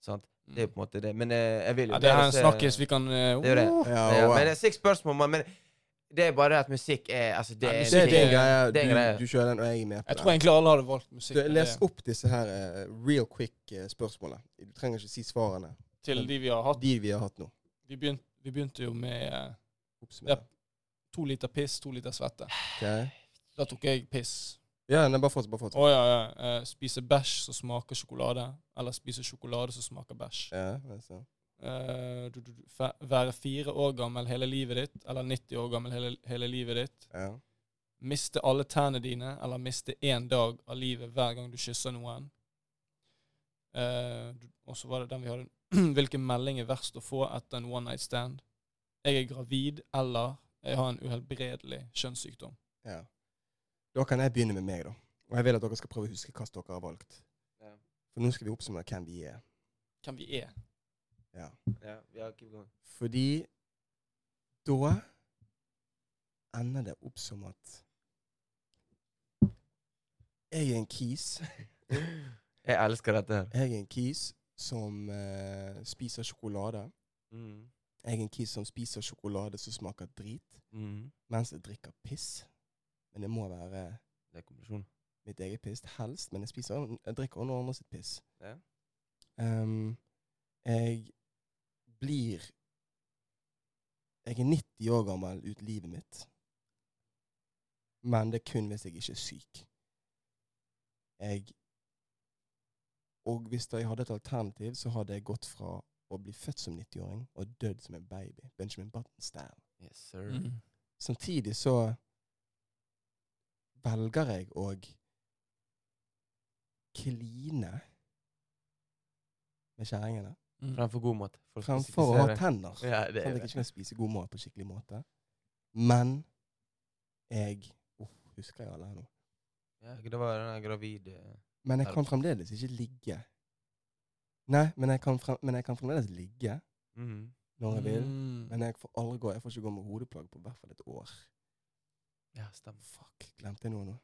[SPEAKER 3] sant?
[SPEAKER 1] Mm.
[SPEAKER 3] Det er på en måte det. Men eh, jeg vil jo
[SPEAKER 1] ja, det her er en
[SPEAKER 3] se-
[SPEAKER 1] snakkis vi kan eh,
[SPEAKER 3] Det er jo det.
[SPEAKER 2] Ja,
[SPEAKER 3] Ja,
[SPEAKER 2] wow.
[SPEAKER 3] men det er seks spørsmål, man. Men det er bare det at musikk er altså det,
[SPEAKER 1] Ja,
[SPEAKER 3] er-
[SPEAKER 1] musikk
[SPEAKER 2] Det er din
[SPEAKER 1] det-
[SPEAKER 2] greie.
[SPEAKER 3] det er greie.
[SPEAKER 2] Du, du kjører den, og jeg er med
[SPEAKER 1] Jeg
[SPEAKER 2] på
[SPEAKER 1] tror
[SPEAKER 2] den.
[SPEAKER 1] egentlig alle hadde valgt musikk
[SPEAKER 2] Du,
[SPEAKER 1] men
[SPEAKER 2] les
[SPEAKER 1] det-
[SPEAKER 2] opp disse her eh, real quick-spørsmålene. Du trenger ikke si svarene.
[SPEAKER 1] til de vi har hatt.
[SPEAKER 2] De vi har hatt nå.
[SPEAKER 1] Vi begynte, vi begynte jo med eh,
[SPEAKER 2] Oppsummere.
[SPEAKER 1] to liter piss, to liter svette.
[SPEAKER 2] Ok.
[SPEAKER 1] Da tok jeg piss.
[SPEAKER 2] Ja, nei, bare fortsett. Bare fortsett.
[SPEAKER 1] Å ja, ja. Eh, spise bæsj som smaker sjokolade, eller spise sjokolade som smaker bæsj.
[SPEAKER 2] Ja, det er så.
[SPEAKER 1] Eh, du, du, du, fe- være fire år gammel hele livet ditt, eller 90 år gammel hele, hele livet ditt.
[SPEAKER 2] ja.
[SPEAKER 1] Miste alle tennene dine, eller miste én dag av livet hver gang du kysser noen. Eh, du- og så var det den vi hadde. Hvilken melding er verst å få etter en one night stand? Jeg er gravid, eller jeg har en uhelbredelig kjønnssykdom.
[SPEAKER 2] Ja. Da kan jeg begynne med meg, da. Og jeg vil at dere skal prøve å huske hva dere har valgt.
[SPEAKER 3] Ja.
[SPEAKER 2] For nå skal vi oppsummere hvem vi er.
[SPEAKER 1] Hvem vi er.
[SPEAKER 2] Ja.
[SPEAKER 3] Ja, ja, keep going.
[SPEAKER 2] Fordi da ender det opp som at jeg er en kis.
[SPEAKER 3] Jeg elsker dette her.
[SPEAKER 2] Jeg er en kis som eh, spiser sjokolade.
[SPEAKER 3] Mm.
[SPEAKER 2] Jeg er en kis som spiser sjokolade som smaker drit,
[SPEAKER 3] Mm.
[SPEAKER 2] mens jeg drikker piss. Men det må være
[SPEAKER 3] Det er konklusjonen.
[SPEAKER 2] mitt eget piss, helst. Men jeg, spiser, jeg drikker også noen andre sitt piss.
[SPEAKER 3] Ja.
[SPEAKER 2] Ehm, jeg blir Jeg er 90 år gammel ut livet mitt. Men det er kun hvis jeg ikke er syk. Jeg Og hvis da jeg hadde et alternativ, så hadde jeg gått fra å bli født som 90-åring og dødd som en baby. Benjamin Button-style.
[SPEAKER 3] Yes, sir.
[SPEAKER 1] Mm.
[SPEAKER 2] Samtidig så velger jeg å kline med kjerringene
[SPEAKER 1] Mm.
[SPEAKER 3] Fremfor god mat. Folk skal
[SPEAKER 2] fremfor å ha
[SPEAKER 3] spesifisere.
[SPEAKER 2] tenner. Sånn
[SPEAKER 3] Ja, det er
[SPEAKER 2] at jeg
[SPEAKER 3] det.
[SPEAKER 2] ikke kan spise god mat på skikkelig måte. Men jeg Uff, husker jeg alle her nå?
[SPEAKER 3] Ja, det var den der gravide
[SPEAKER 2] Men jeg kan fremdeles ikke ligge. Nei, men jeg kan, frem, men jeg kan fremdeles ligge
[SPEAKER 3] mm.
[SPEAKER 2] når jeg vil.
[SPEAKER 1] Mm.
[SPEAKER 2] Men jeg får aldri gå, jeg får ikke gå med hodeplagg på i hvert fall et år.
[SPEAKER 3] Ja, stemmer.
[SPEAKER 2] Fuck, glemte jeg noe nå?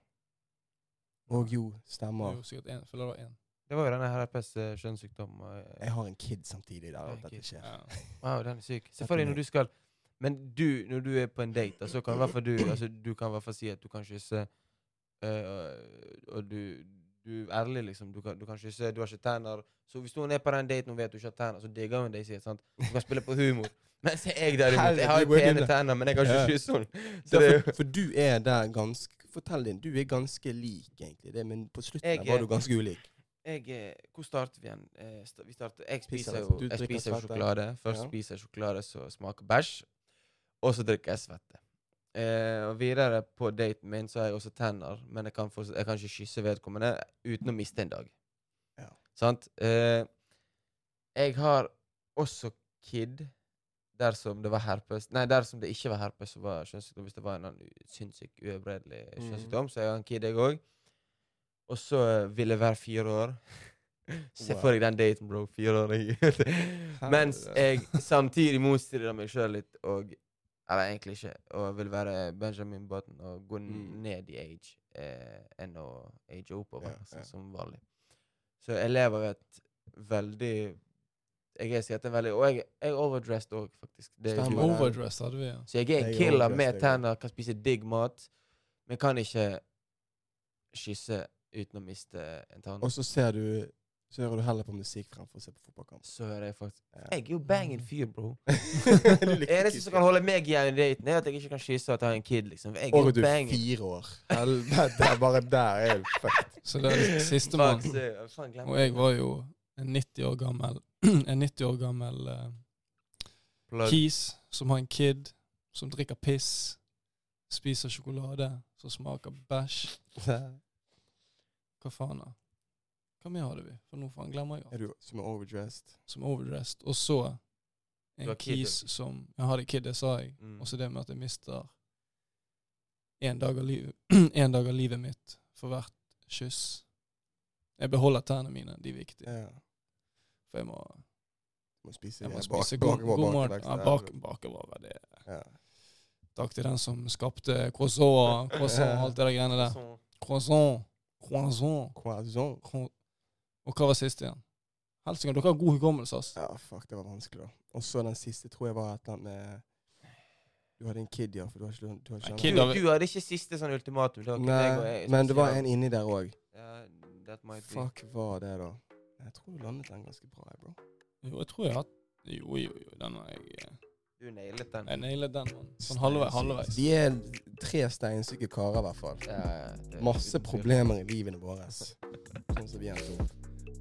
[SPEAKER 2] Og jo,
[SPEAKER 1] Det er
[SPEAKER 2] stemmer.
[SPEAKER 1] jo sikkert en, føler det var en.
[SPEAKER 3] Det var jo denne herpes eh, kjønnssykdom. eh,
[SPEAKER 2] Jeg har en kid samtidig der
[SPEAKER 3] Ja,
[SPEAKER 2] at dette
[SPEAKER 3] kid.
[SPEAKER 2] skjer.
[SPEAKER 1] Ja.
[SPEAKER 3] Wow, den er syk. Se
[SPEAKER 2] Dette
[SPEAKER 3] for deg
[SPEAKER 2] er
[SPEAKER 3] når du skal Men du, når du er på en date, da, så kan i hvert fall du altså, Du kan i hvert fall si at du kan kysse eh, Og du Du er ærlig, liksom. Du kan, du kan kysse, du har ikke tenner. Så hvis hun er på den daten og vet du ikke har tenner, så digger hun deg sikkert. sant? Du kan spille på humor. Mens jeg derimot, jeg har jo
[SPEAKER 2] Herregud, hvor er du
[SPEAKER 3] pene
[SPEAKER 2] da?
[SPEAKER 3] tenner, men jeg kan
[SPEAKER 2] Ja.
[SPEAKER 3] ikke kysse henne. Så
[SPEAKER 2] Ja,
[SPEAKER 3] det er
[SPEAKER 2] for,
[SPEAKER 3] jo
[SPEAKER 2] for du er der ganske Fortell din. Du er ganske lik, egentlig. Det, men på slutten
[SPEAKER 3] Jeg
[SPEAKER 2] der
[SPEAKER 3] er-
[SPEAKER 2] var du ganske ulik.
[SPEAKER 3] jeg, eh, Hvor starter vi igjen? Eh, sta- vi starter, jeg
[SPEAKER 2] Spiser
[SPEAKER 3] spiser
[SPEAKER 2] det.
[SPEAKER 3] jo
[SPEAKER 2] Du
[SPEAKER 3] jeg
[SPEAKER 2] drikker
[SPEAKER 3] spiser jo
[SPEAKER 2] svette.
[SPEAKER 3] sjokolade. Først
[SPEAKER 2] Ja.
[SPEAKER 3] spiser jeg sjokolade som smaker bæsj, og så drikker jeg svette. Eh, og videre på daten min så har jeg også tenner, men jeg kan, fortsatt- jeg kan ikke kysse vedkommende uten å miste en dag.
[SPEAKER 2] Ja.
[SPEAKER 3] Sant? Eh, jeg har også kid dersom det var herpes Nei, dersom det ikke var herpes, så var kjønnssykdom hvis det var en annen u- sinnssyk, uhelbredelig
[SPEAKER 2] Mhm.
[SPEAKER 3] kjønnssykdom. Så jeg har en kid, jeg òg. Og så eh, vil jeg være fire år. Se
[SPEAKER 2] Wow.
[SPEAKER 3] for deg den daten, bro. Fire år. jeg- Mens jeg samtidig motstrider meg sjøl litt, og Eller egentlig ikke. Og vil være eh, Benjamin Button og gå n-
[SPEAKER 2] Mm.
[SPEAKER 3] ned i age eh, enn å age oppover,
[SPEAKER 2] Ja,
[SPEAKER 3] altså,
[SPEAKER 2] ja.
[SPEAKER 3] som vanlig. Så jeg lever et veldig Jeg er sikkert en veldig Og jeg jeg er overdressed òg, faktisk. Det er
[SPEAKER 2] Stemmer.
[SPEAKER 3] jo-
[SPEAKER 1] Overdressed hadde vi, ja.
[SPEAKER 3] så jeg er
[SPEAKER 2] Jeg
[SPEAKER 3] en
[SPEAKER 2] er
[SPEAKER 3] killer
[SPEAKER 2] overdressed,
[SPEAKER 3] med
[SPEAKER 2] jeg
[SPEAKER 3] tenner, kan spise digg mat, men kan ikke kysse uten å miste en tann.
[SPEAKER 2] Og så ser du Så hører du heller på musikk fremfor å se på fotballkamp.
[SPEAKER 3] Så hører jeg faktisk
[SPEAKER 2] Ja.
[SPEAKER 3] Jeg er jo banging fyr, bro.
[SPEAKER 2] Du likte
[SPEAKER 3] Det eneste som kan holde meg igjen i daten, er at jeg ikke kan kysse og at jeg har en kid. liksom. Jeg er
[SPEAKER 2] Og
[SPEAKER 3] jo
[SPEAKER 2] liksom. du er
[SPEAKER 3] banging.
[SPEAKER 2] fire år. Helvete, bare der er du fucked.
[SPEAKER 1] Så det er sistemann.
[SPEAKER 3] Fuck, se, jeg faen glemmer
[SPEAKER 1] Og jeg var jo en 90 år gammel En 90 år gammel eh,
[SPEAKER 3] Plug.
[SPEAKER 1] kis som har en kid som drikker piss, spiser sjokolade som smaker bæsj. Hva faen da? Hva mer hadde vi? For nå faen glemmer jeg alt.
[SPEAKER 2] Er du som er overdressed?
[SPEAKER 1] Som overdressed. Og så
[SPEAKER 3] Du
[SPEAKER 1] en
[SPEAKER 3] har kid,
[SPEAKER 1] kis som Jeg hadde kid, det sa jeg.
[SPEAKER 3] Mm.
[SPEAKER 1] Og så det med at jeg mister en dag, av liv, en dag av livet mitt for hvert kyss. Jeg beholder tennene mine, de er viktige.
[SPEAKER 2] Ja.
[SPEAKER 1] For jeg må,
[SPEAKER 2] Må spise,
[SPEAKER 1] jeg må
[SPEAKER 2] bak-
[SPEAKER 1] spise
[SPEAKER 2] bak-
[SPEAKER 1] god,
[SPEAKER 2] bak-
[SPEAKER 1] god mat.
[SPEAKER 2] bakervekst.
[SPEAKER 1] Ja, bak, bakover, det er
[SPEAKER 2] Ja.
[SPEAKER 1] Takk til den som skapte croissant, croissant alt det der greiene der.
[SPEAKER 3] Sånn.
[SPEAKER 1] Croissant, croissant,
[SPEAKER 2] Croissant.
[SPEAKER 1] cro- Og hva var siste igjen? Helsike, dere har god hukommelse, ass.
[SPEAKER 2] Ja, fuck, det var vanskelig, da. Og så den siste tror jeg var et eller annet med Du hadde en kid, ja, for du har ikke du har ikke
[SPEAKER 1] En
[SPEAKER 2] den-
[SPEAKER 1] kid,
[SPEAKER 3] Du,
[SPEAKER 1] da-
[SPEAKER 3] du hadde ikke siste sånn ultimatum. Det var kun jeg og
[SPEAKER 2] Nei,
[SPEAKER 3] jeg
[SPEAKER 2] men det var
[SPEAKER 3] spesielt.
[SPEAKER 2] en inni der òg.
[SPEAKER 3] Ja, that might be.
[SPEAKER 2] Fuck var det, da. Jeg tror du landet den ganske bra, jeg, bro.
[SPEAKER 1] Jo, jeg tror jeg har hatt Jo, jo, jo, den har jeg eh,
[SPEAKER 3] Du nailet den.
[SPEAKER 1] Jeg nailet den, mann. Sånn halvveis. halvveis.
[SPEAKER 2] Vi er tre steinsyke karer, i hvert fall.
[SPEAKER 3] Ja, ja, det-
[SPEAKER 2] Masse
[SPEAKER 3] uten tvil.
[SPEAKER 2] problemer i livene våre. Sånn som vi er to.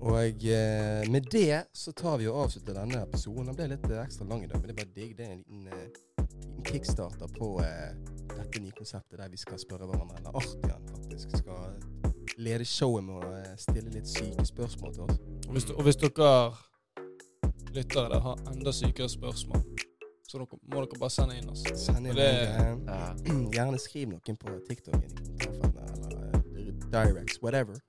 [SPEAKER 2] Og eh, med det så tar vi og avslutter denne episoden. Den ble litt eh, ekstra lang i dag, men det er bare digg. Det er en liten, eh, liten kickstarter på eh, dette nye konseptet der vi skal spørre hverandre, eller Artian faktisk skal lede showet med å eh, stille litt syke spørsmål til oss.
[SPEAKER 1] Og hvis, og hvis dere lyttere der har enda sykere spørsmål, så dere, må dere bare sende inn oss.
[SPEAKER 2] Send inn
[SPEAKER 1] Og det-
[SPEAKER 2] en, eh,
[SPEAKER 3] Ja.
[SPEAKER 2] Gjerne skriv noen på TikTok inn i kommentarfeltene, eller eh, directs, whatever.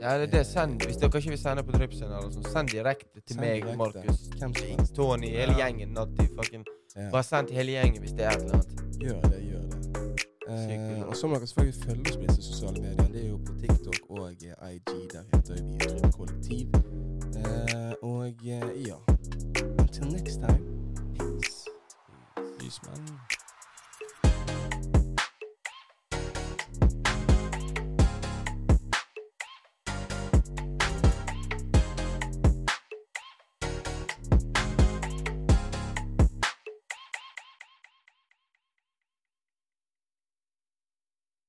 [SPEAKER 3] Ja, det er det. Send. Hvis dere ikke vil sende på Dripsen, eller sånn, send direkte til
[SPEAKER 2] Send
[SPEAKER 3] meg,
[SPEAKER 2] direkte.
[SPEAKER 3] Markus,
[SPEAKER 2] Hvem som helst.
[SPEAKER 3] Tony, hele
[SPEAKER 2] Ja.
[SPEAKER 3] gjengen. Natti, fucking.
[SPEAKER 2] Ja.
[SPEAKER 3] Bare send til hele gjengen hvis det er et eller annet.
[SPEAKER 2] Gjør det, gjør det. Eh,
[SPEAKER 3] Sykt.
[SPEAKER 2] og så må dere selvfølgelig følge oss på disse sosiale mediene. Det er jo på TikTok og eh, IG. Der heter vi Utrygg kollektiv. Eh, og eh, ja Until next time. Peace.
[SPEAKER 1] Lysmenn.